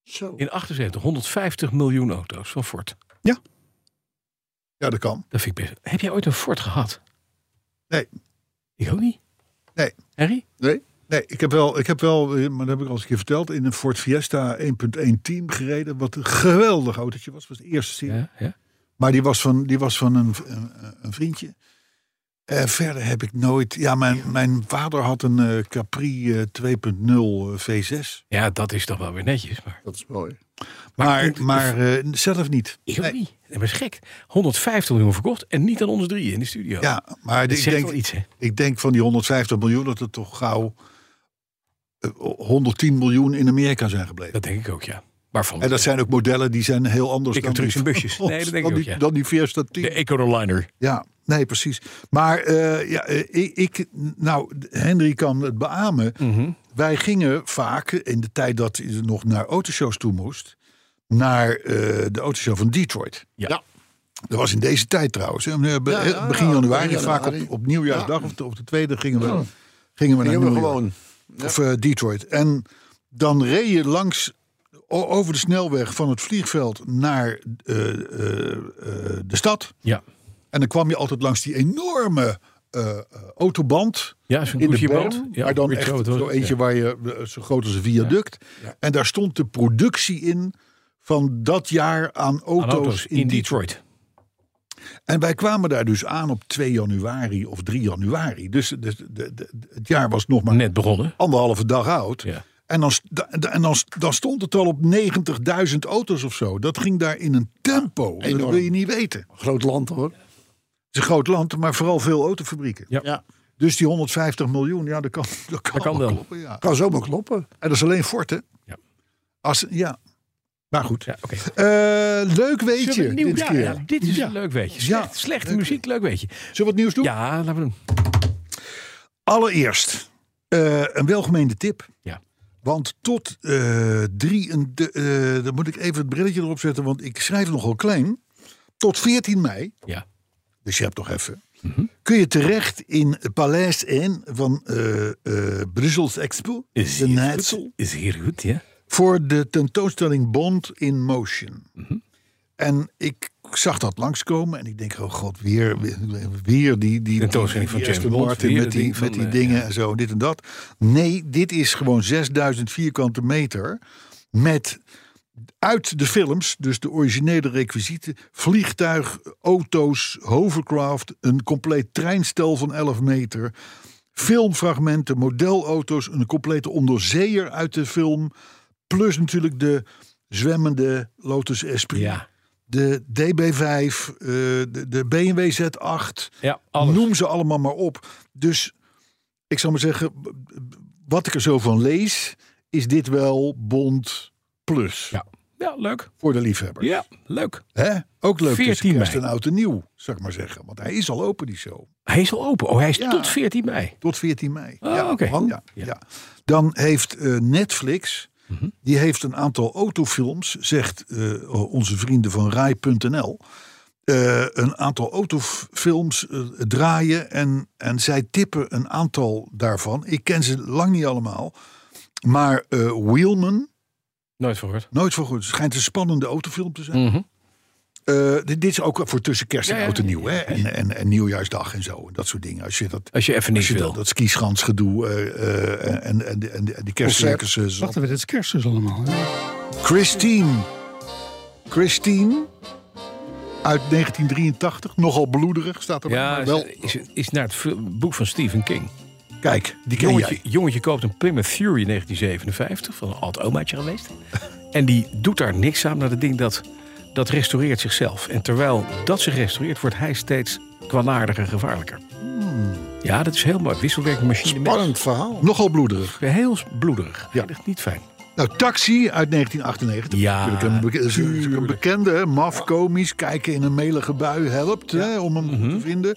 [SPEAKER 7] Zo.
[SPEAKER 3] In 78, 150 miljoen auto's van Ford.
[SPEAKER 2] Ja, dat kan.
[SPEAKER 3] Dat vind ik best. Heb jij ooit een Ford gehad?
[SPEAKER 2] Nee.
[SPEAKER 3] Ik ook niet.
[SPEAKER 2] Nee.
[SPEAKER 3] Harry?
[SPEAKER 2] Nee? Nee, ik heb wel, ik heb wel eh, maar dat heb ik al eens een keer verteld, in een Ford Fiesta 1.1 team gereden. Wat een geweldig autootje was. was de eerste serie.
[SPEAKER 3] Ja, ja.
[SPEAKER 2] Maar die was van, die was van een, een, een vriendje. Eh, verder heb ik nooit. Ja, mijn, mijn vader had een eh, Capri eh, 2.0 V6.
[SPEAKER 3] Ja, dat is toch wel weer netjes. Maar,
[SPEAKER 4] Dat is mooi.
[SPEAKER 2] Maar,
[SPEAKER 3] ik-
[SPEAKER 2] maar eh, zelf niet.
[SPEAKER 3] ik ook niet. Dat was gek. 150 miljoen verkocht en niet aan ons drieën in de studio.
[SPEAKER 2] Ja, maar
[SPEAKER 3] dat
[SPEAKER 2] ik
[SPEAKER 3] zegt wel
[SPEAKER 2] denk,
[SPEAKER 3] iets, hè?
[SPEAKER 2] ik denk van die 150 miljoen dat er toch gauw eh, 110 miljoen in Amerika zijn gebleven.
[SPEAKER 3] Dat denk ik ook, ja. Waarvan?
[SPEAKER 2] En dat zijn ook modellen die zijn heel anders
[SPEAKER 3] Dikke
[SPEAKER 2] dan die,
[SPEAKER 3] trucks en busjes. Nee, dat denk
[SPEAKER 2] dan
[SPEAKER 3] ik ook,
[SPEAKER 2] die,
[SPEAKER 3] ja.
[SPEAKER 2] dan die Fiesta 10.
[SPEAKER 3] de Ecoliner.
[SPEAKER 2] Ja, nee, precies. Maar eh, ja, eh, ik, ik, nou, Henry kan het beamen.
[SPEAKER 3] Mhm.
[SPEAKER 2] Wij gingen vaak, in de tijd dat je nog naar autoshows toe moest, naar eh, de autoshow van Detroit.
[SPEAKER 3] Ja.
[SPEAKER 2] Dat was in deze tijd trouvaus. hè. Eh, be-
[SPEAKER 4] Ja, ja,
[SPEAKER 2] begin
[SPEAKER 4] ja,
[SPEAKER 2] januari,
[SPEAKER 4] begin
[SPEAKER 2] vaak
[SPEAKER 4] januari.
[SPEAKER 2] op, op nieuwjaarsdag of, de, of de tweede gingen we, gingen we naar
[SPEAKER 4] Hier
[SPEAKER 2] New
[SPEAKER 4] hebben we
[SPEAKER 2] York.
[SPEAKER 4] gewoon.
[SPEAKER 2] Of eh, Detroit. En dan reed je langs o- over de snelweg van het vliegveld naar eh, eh, eh, de stad.
[SPEAKER 3] Ja.
[SPEAKER 2] En dan kwam je altijd langs die enorme eh, eh, autoband.
[SPEAKER 3] Ja, zo'n
[SPEAKER 2] in de
[SPEAKER 3] koersjeboot.
[SPEAKER 2] berm,
[SPEAKER 3] Ja,
[SPEAKER 2] maar dan
[SPEAKER 3] weet
[SPEAKER 2] echt
[SPEAKER 3] je wat het
[SPEAKER 2] zo
[SPEAKER 3] was?
[SPEAKER 2] eentje
[SPEAKER 3] Ja.
[SPEAKER 2] waar je eh, zo groot als een viaduct. En daar stond de productie in van dat jaar aan auto's,
[SPEAKER 3] Aan auto's in Detroit.
[SPEAKER 2] En wij kwamen daar dus aan op 2 januari of 3 januari. Dus, dus de, de- de- het jaar was nog maar
[SPEAKER 3] Net begonnen.
[SPEAKER 2] anderhalve dag oud.
[SPEAKER 3] Ja.
[SPEAKER 2] En, dan, st- da- da- en dan, st- dan stond het al op 90.000 auto's of zo. Dat ging daar in een tempo. Dat
[SPEAKER 4] enorm.
[SPEAKER 2] wil je niet weten.
[SPEAKER 4] Groot land hoor.
[SPEAKER 2] Het is een groot land, maar vooral veel autofabrieken.
[SPEAKER 3] Ja.
[SPEAKER 4] Ja.
[SPEAKER 2] Dus die 150 miljoen, ja, dat kan, dat kan,
[SPEAKER 3] Dat kan
[SPEAKER 2] wel
[SPEAKER 3] wel.
[SPEAKER 2] kloppen. Ja.
[SPEAKER 4] Kan zomaar kloppen.
[SPEAKER 2] En dat is alleen Fort, hè?
[SPEAKER 3] Ja.
[SPEAKER 2] Als, ja. Maar goed.
[SPEAKER 3] Ja, oké.
[SPEAKER 2] Eh, leuk
[SPEAKER 3] Zullen
[SPEAKER 2] weet
[SPEAKER 3] we
[SPEAKER 2] je
[SPEAKER 3] een nieuw-
[SPEAKER 2] dit
[SPEAKER 3] ja,
[SPEAKER 2] keer.
[SPEAKER 3] ja, dit is een leuk weetje.
[SPEAKER 2] Ja.
[SPEAKER 3] Slecht, slechte
[SPEAKER 2] Leuk
[SPEAKER 3] muziek, leuk weetje.
[SPEAKER 2] Zullen we wat nieuws doen?
[SPEAKER 3] Ja, laten we doen.
[SPEAKER 2] Allereerst eh, een welgemeende tip.
[SPEAKER 3] Ja.
[SPEAKER 2] Want tot eh drie, en de- eh, dan moet ik even het brilletje erop zetten, want ik schrijf nogal klein. Tot 14 mei,
[SPEAKER 3] Ja.
[SPEAKER 2] dus je hebt nog even,
[SPEAKER 3] Mhm.
[SPEAKER 2] kun je terecht in Paleis 1 van eh eh, Brussels Expo, de Nijtsel,
[SPEAKER 3] Is hier goed, ja?
[SPEAKER 2] voor de tentoonstelling Bond in Motion.
[SPEAKER 3] Mhm.
[SPEAKER 2] En ik zag dat langskomen en ik denk, oh god, weer, weer, weer die, die
[SPEAKER 3] Tentoonstelling van
[SPEAKER 2] die Aston
[SPEAKER 3] James Bond,
[SPEAKER 2] Martin
[SPEAKER 3] weer
[SPEAKER 2] met
[SPEAKER 3] dat
[SPEAKER 2] die,
[SPEAKER 3] ding van,
[SPEAKER 2] met die
[SPEAKER 3] eh,
[SPEAKER 2] dingen en zo, dit en dat. Nee, dit is gewoon 6000 vierkante meter met uit de films, dus de originele requisieten, vliegtuig, auto's, hovercraft, een compleet treinstel van 11 meter, filmfragmenten, modelauto's, een complete onderzeeër uit de film, plus natuurlijk de zwemmende Lotus Esprit,
[SPEAKER 3] Ja.
[SPEAKER 2] de DB5, eh, de, de BMW Z8,
[SPEAKER 3] Ja, alles.
[SPEAKER 2] noem ze allemaal maar op. Dus ik zal maar zeggen, b- b- wat ik er zo van lees, is dit wel Bond Plus
[SPEAKER 3] Ja. ja, leuk.
[SPEAKER 2] voor de liefhebber.
[SPEAKER 3] Ja, leuk.
[SPEAKER 2] Hè? Ook leuk
[SPEAKER 3] 14
[SPEAKER 2] tussen kerst
[SPEAKER 3] mei.
[SPEAKER 2] en oud en nieuw, zou ik maar zeggen. Want hij is al open, die show.
[SPEAKER 3] Hij is al open. Oh, hij is
[SPEAKER 2] Ja.
[SPEAKER 3] tot 14 mei.
[SPEAKER 2] Tot 14 mei.
[SPEAKER 3] Ah, oké.
[SPEAKER 2] man, ja, ja. Dan heeft eh, Netflix,
[SPEAKER 3] Mhm.
[SPEAKER 2] die heeft een aantal autofilms, zegt eh, onze vrienden van Rai.nl. eh, een aantal autofilms eh, draaien en, en zij tippen een aantal daarvan. Ik ken ze lang niet allemaal. Maar eh, Wheelman,
[SPEAKER 3] Nooit verhoord.
[SPEAKER 2] nooit van goed. Het schijnt een spannende autofilm te zijn.
[SPEAKER 3] Mhm.
[SPEAKER 2] Eh, dit, dit is ook voor tussen kerst en
[SPEAKER 3] Ja, ja,
[SPEAKER 2] oud en nieuw. Hè? En, en, en nieuwjaarsdag en zo. En dat soort dingen. Als je dat,
[SPEAKER 3] Als je even
[SPEAKER 2] als
[SPEAKER 3] niks
[SPEAKER 2] je
[SPEAKER 3] wil.
[SPEAKER 2] dat, dat skieschansgedoe eh, eh, en, en, en, en, en die kerstcircussen. zat.
[SPEAKER 5] Wacht even, dit is kerst dus allemaal. hè?
[SPEAKER 2] Christine. Christine. Uit 1983. Nogal bloederig staat er.
[SPEAKER 3] ja,
[SPEAKER 2] maar
[SPEAKER 3] is,
[SPEAKER 2] wel.
[SPEAKER 3] is, is naar het fil- boek van Stephen King.
[SPEAKER 2] Kijk, die ken
[SPEAKER 3] Jongetje,
[SPEAKER 2] jij.
[SPEAKER 3] jongetje koopt een Plymouth Fury 1957, van een oud omaatje geweest. En die doet daar niks aan, maar dat ding dat, dat restaureert zichzelf. En terwijl dat zich restaureert, wordt hij steeds kwaadaardiger en gevaarlijker. Ja, dat is heel mooi. Wisselwerking machine
[SPEAKER 4] Spannend verhaal.
[SPEAKER 2] Nogal bloederig.
[SPEAKER 3] mens. Heel bloederig. Ja. Niet fijn.
[SPEAKER 2] Nou, Taxi uit 1998.
[SPEAKER 3] Ja,
[SPEAKER 2] Natuurlijk een, beke- is natuurlijk een bekende, hè. maf, komisch, kijken in een melige bui helpt hè, om hem
[SPEAKER 3] Mhm.
[SPEAKER 2] te vinden.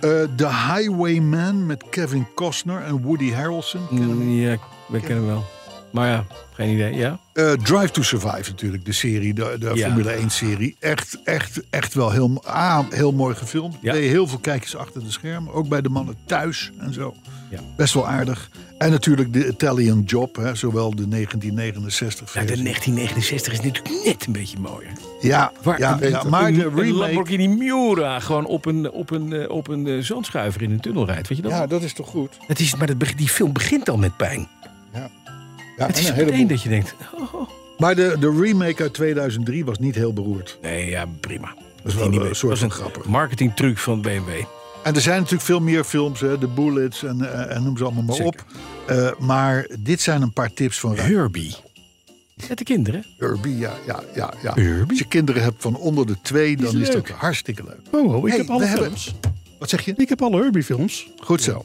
[SPEAKER 2] Eh The Highwayman met Kevin Costner en Woody Harrelson.
[SPEAKER 3] Ja, we kennen hem wel. Maar ja, geen idee. Ja?
[SPEAKER 2] Eh, Drive to Survive natuurlijk, de serie, de, de
[SPEAKER 3] Ja.
[SPEAKER 2] Formule 1-serie. Echt, echt, echt wel heel, mo- A, heel mooi gefilmd.
[SPEAKER 3] Ja.
[SPEAKER 2] B, heel veel kijkers achter de schermen. Ook bij de mannen thuis en zo.
[SPEAKER 3] Ja.
[SPEAKER 2] Best wel aardig. En natuurlijk de Italian Job, hè, zowel de 1969
[SPEAKER 3] Nou, de
[SPEAKER 2] versie.
[SPEAKER 3] 1969 is natuurlijk net een beetje mooier.
[SPEAKER 2] Ja,
[SPEAKER 3] Waar-
[SPEAKER 2] ja,
[SPEAKER 3] een-
[SPEAKER 2] ja, maar
[SPEAKER 3] een,
[SPEAKER 2] de
[SPEAKER 3] een
[SPEAKER 2] remake...
[SPEAKER 3] Lamborghini Miura gewoon op een, op een, eh, op een eh, zandschuiver in een tunnel rijdt. Weet je dat?
[SPEAKER 2] Ja, dat is toch goed?
[SPEAKER 3] Het is, maar dat, beg- die film begint al met pijn.
[SPEAKER 2] Ja,
[SPEAKER 3] Het
[SPEAKER 2] en
[SPEAKER 3] is
[SPEAKER 2] een
[SPEAKER 3] meteen
[SPEAKER 2] heleboel.
[SPEAKER 3] dat je denkt... oh, oh.
[SPEAKER 2] Maar de, de remake uit 2003 was niet heel beroerd.
[SPEAKER 3] Nee, ja, prima. Dat
[SPEAKER 2] is wel een soort van grappig.
[SPEAKER 3] marketingtruc van BMW.
[SPEAKER 2] En er zijn natuurlijk veel meer films, hè, de Bullets en, eh, en noem ze allemaal maar op. Eh, maar dit zijn een paar tips van Ruud
[SPEAKER 3] Herbie. Met de kinderen.
[SPEAKER 2] Herbie. Ja, ja, ja, ja.
[SPEAKER 3] Herbie?
[SPEAKER 2] Als je kinderen hebt van onder de twee, dan is, dat
[SPEAKER 3] leuk.
[SPEAKER 2] hartstikke leuk.
[SPEAKER 5] Oh, oh, ik
[SPEAKER 2] Hey,
[SPEAKER 5] heb alle
[SPEAKER 2] we hebben-
[SPEAKER 5] films.
[SPEAKER 2] Wat zeg je?
[SPEAKER 5] Ik heb alle Herbie-films.
[SPEAKER 2] Goed zo.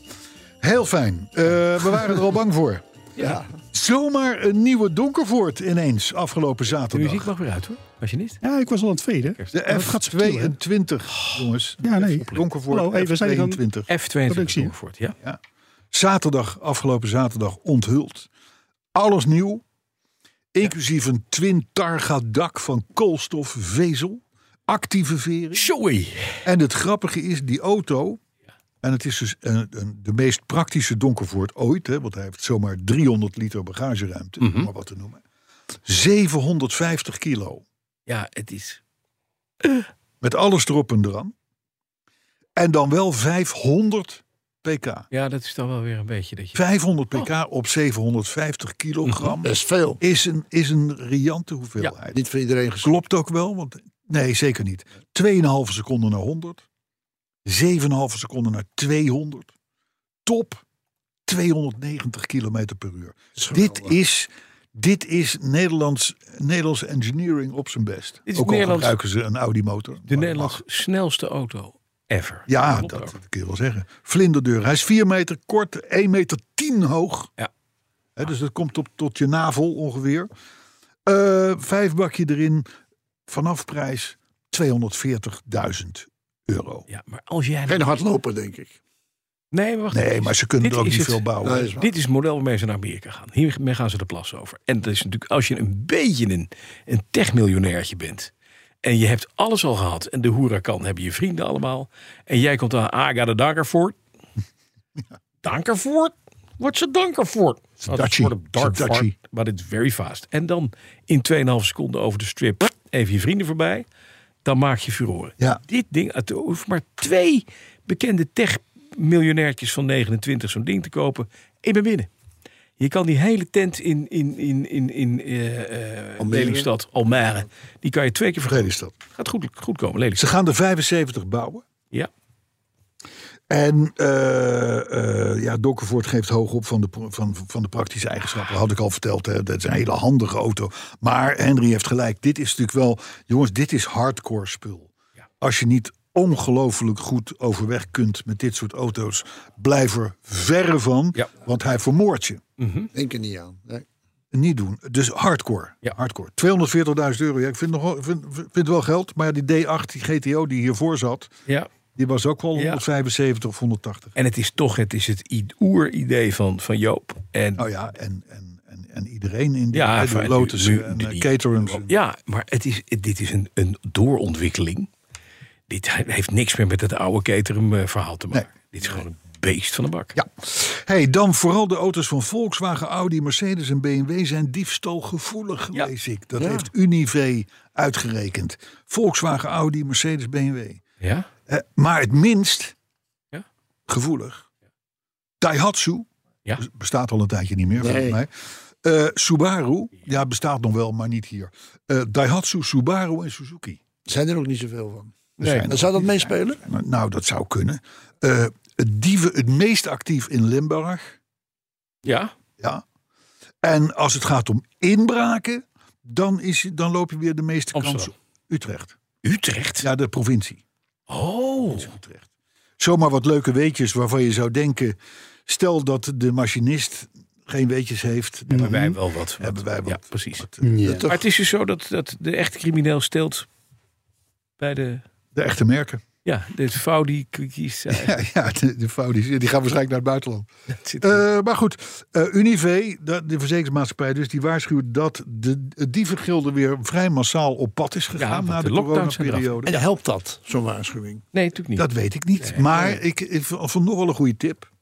[SPEAKER 2] Heel fijn. Eh, we waren er al bang voor.
[SPEAKER 3] Ja.
[SPEAKER 2] Zomaar een nieuwe Donkervoort ineens afgelopen
[SPEAKER 3] De muziek
[SPEAKER 2] zaterdag.
[SPEAKER 3] mag weer uit hoor. Machinist.
[SPEAKER 5] Ja, ik was al aan het veden.
[SPEAKER 2] De
[SPEAKER 5] Oh, gaat subtiel, hè? Oh.
[SPEAKER 2] F22, jongens.
[SPEAKER 5] Ja, nee.
[SPEAKER 2] Donkervoort
[SPEAKER 5] Hallo, hey, we zijn hier aan-
[SPEAKER 2] F22.
[SPEAKER 3] F22
[SPEAKER 5] Productie.
[SPEAKER 3] Roervoort, ja.
[SPEAKER 2] zaterdag, afgelopen zaterdag, onthuld. Alles nieuw. Inclusief een twin targa dak van koolstofvezel. Actieve vering.
[SPEAKER 3] Joey.
[SPEAKER 2] En het grappige is, die auto... En het is dus een, een- de meest praktische Donkervoort ooit. Hè, want hij heeft zomaar 300 liter bagageruimte.
[SPEAKER 5] Mhm.
[SPEAKER 2] om maar wat te noemen. 750 kilo.
[SPEAKER 3] Ja, het is.
[SPEAKER 2] Met alles erop en eraan. En dan wel 500 pk.
[SPEAKER 3] Ja, dat is dan wel weer een beetje dat je.
[SPEAKER 2] 500 pk op 750 kilogram.
[SPEAKER 4] Oh. Mhm, Dat is veel.
[SPEAKER 2] is een, is een riante hoeveelheid.
[SPEAKER 4] Niet voor iedereen gezond.
[SPEAKER 2] Klopt ook wel, want nee, zeker niet. 2,5 seconden naar 100. 7,5 seconden naar 200. Top 290 kilometer per uur. Dit is, dit is Nederlands, Nederlands engineering op zijn best.
[SPEAKER 3] is
[SPEAKER 2] ook al
[SPEAKER 3] Nederlands-
[SPEAKER 2] gebruiken ze een Audi motor.
[SPEAKER 3] De Nederlands snelste auto ever.
[SPEAKER 2] Ja,
[SPEAKER 3] Klopt
[SPEAKER 2] dat
[SPEAKER 3] ook.
[SPEAKER 2] kun je wel zeggen. Vlinderdeur. Hij is 4 meter kort, 1 meter 10 hoog.
[SPEAKER 3] Ja.
[SPEAKER 2] Hè, dus dat komt op, tot je navel ongeveer. Eh, vijf bakje erin. Vanaf prijs 240.000 euro.
[SPEAKER 3] Ja, maar als jij.
[SPEAKER 4] Geen hardloper, denk ik.
[SPEAKER 3] Nee, maar wacht
[SPEAKER 2] Nee,
[SPEAKER 3] even.
[SPEAKER 2] maar ze kunnen
[SPEAKER 3] Dit
[SPEAKER 2] er ook
[SPEAKER 3] is
[SPEAKER 2] niet
[SPEAKER 3] het.
[SPEAKER 2] veel bouwen.
[SPEAKER 4] Nee, is waar.
[SPEAKER 3] Dit is het model waarmee ze naar Amerika gaan. Hiermee gaan ze de plas over. En dat is natuurlijk, als je een beetje een, een techmiljonairtje bent. En je hebt alles al gehad. En de Huracan hebben je vrienden allemaal. En jij komt aan Aga de Dankervoort. Dankervoort? Wat is een Dankervoort? Dat
[SPEAKER 2] Dutchie. Het is een Dutchie.
[SPEAKER 3] Maar dit is very fast. En dan in 2,5 seconden over de strip. Even je vrienden voorbij. Dan maak je furoren.
[SPEAKER 2] Ja.
[SPEAKER 3] Dit ding, het hoeft maar twee bekende tech-miljonairtjes van 29 zo'n ding te kopen. Ik ben binnen. Je kan die hele tent in, in, in, in, in eh, eh, Lelystad, Almere, die kan je twee keer vergeten.
[SPEAKER 2] Vrede is dat.
[SPEAKER 3] Gaat goed, goed komen,
[SPEAKER 2] Ze
[SPEAKER 3] Lelystad.
[SPEAKER 2] gaan er 75 bouwen.
[SPEAKER 3] Ja.
[SPEAKER 2] En eh eh ja, Dokkervoort geeft hoog op van de, pro- van, van de praktische eigenschappen. Had ik al verteld, hè. dat is een hele handige auto. Maar Henry heeft gelijk. Dit is natuurlijk wel, jongens, dit is hardcore spul. Als je niet ongelooflijk goed overweg kunt met dit soort auto's, blijf er verre van.
[SPEAKER 3] Ja. Mhm.
[SPEAKER 2] Want hij vermoordt je.
[SPEAKER 4] Denk er niet aan. Nee.
[SPEAKER 2] Niet doen. Dus hardcore.
[SPEAKER 3] Ja.
[SPEAKER 2] hardcore. 240.000 euro. Ja, ik vind, nog, wel- vind, vind wel geld. Maar ja, die D8, die GTO die hiervoor zat,
[SPEAKER 3] ja.
[SPEAKER 2] die was ook wel
[SPEAKER 3] Ja.
[SPEAKER 2] 175 of 180.
[SPEAKER 3] En het is toch het, is het i- oeridee van, van Joop. En
[SPEAKER 2] Nou ja, en, en, en, en iedereen in die
[SPEAKER 3] Ja,
[SPEAKER 2] ja,
[SPEAKER 3] fijn,
[SPEAKER 2] Lotus
[SPEAKER 3] nu-
[SPEAKER 2] en
[SPEAKER 3] nu
[SPEAKER 2] eh,
[SPEAKER 3] die-
[SPEAKER 2] Caterhams.
[SPEAKER 3] Ja, maar het is, het- dit is een, een doorontwikkeling. Dit he- heeft niks meer met het oude Caterham eh, verhaal te maken.
[SPEAKER 2] Nee.
[SPEAKER 3] Dit is gewoon een beest van de bak.
[SPEAKER 2] Ja. Hey, dan vooral de auto's van Volkswagen, Audi, Mercedes en BMW zijn diefstalgevoelig,
[SPEAKER 3] Ja.
[SPEAKER 2] lees ik. Dat heeft Unive uitgerekend. Volkswagen, Audi, Mercedes, BMW.
[SPEAKER 3] Ja?
[SPEAKER 2] Eh, maar het minst
[SPEAKER 3] Ja.
[SPEAKER 2] gevoelig. Daihatsu
[SPEAKER 3] Ja.
[SPEAKER 2] bes- bestaat al een tijdje niet meer, volgens mij. Eh, Subaru, ja, bestaat nog wel, maar niet hier. Eh, Daihatsu, Subaru en Suzuki.
[SPEAKER 4] Zijn er ook niet zoveel van.
[SPEAKER 3] Nee.
[SPEAKER 4] En zou dat meespelen?
[SPEAKER 2] Nou, dat zou kunnen. Eh, het dieven het meest actief in Limburg.
[SPEAKER 3] Ja?
[SPEAKER 2] Ja. En als het gaat om inbraken, dan, is, dan loop je weer de meeste kans
[SPEAKER 3] Amsterdam.
[SPEAKER 2] op Utrecht.
[SPEAKER 3] Utrecht?
[SPEAKER 2] Ja, de provincie
[SPEAKER 3] Oh.
[SPEAKER 2] Utrecht. Zomaar wat leuke weetjes waarvan je zou denken... stel dat de machinist geen weetjes heeft...
[SPEAKER 3] Hebben wij wel wat. wat-
[SPEAKER 2] Mhm. Hebben wij wat. eh,
[SPEAKER 3] Ja, precies.
[SPEAKER 2] Ja.
[SPEAKER 3] Maar het is dus zo dat, dat de echte crimineel steelt bij de...
[SPEAKER 2] De echte merken.
[SPEAKER 3] Ja, de vrouw die k- kiest. Ja,
[SPEAKER 2] Ja, ja de, de fout is- die gaan waarschijnlijk naar het buitenland.
[SPEAKER 3] dat zit er.
[SPEAKER 2] Eh, maar goed, eh Unive, de, de verzekeringsmaatschappij, dus die waarschuwt dat de, het dievengilde weer vrij massaal op pad is
[SPEAKER 3] Ja,
[SPEAKER 2] gegaan
[SPEAKER 3] want
[SPEAKER 2] na de,
[SPEAKER 3] de lockdowns zijn eraf.
[SPEAKER 2] coronaperiode.
[SPEAKER 4] En helpt dat, zo'n waarschuwing?
[SPEAKER 3] nee, natuurlijk niet.
[SPEAKER 2] Dat weet ik niet, maar Ik, ik vond vond nog wel een goede tip.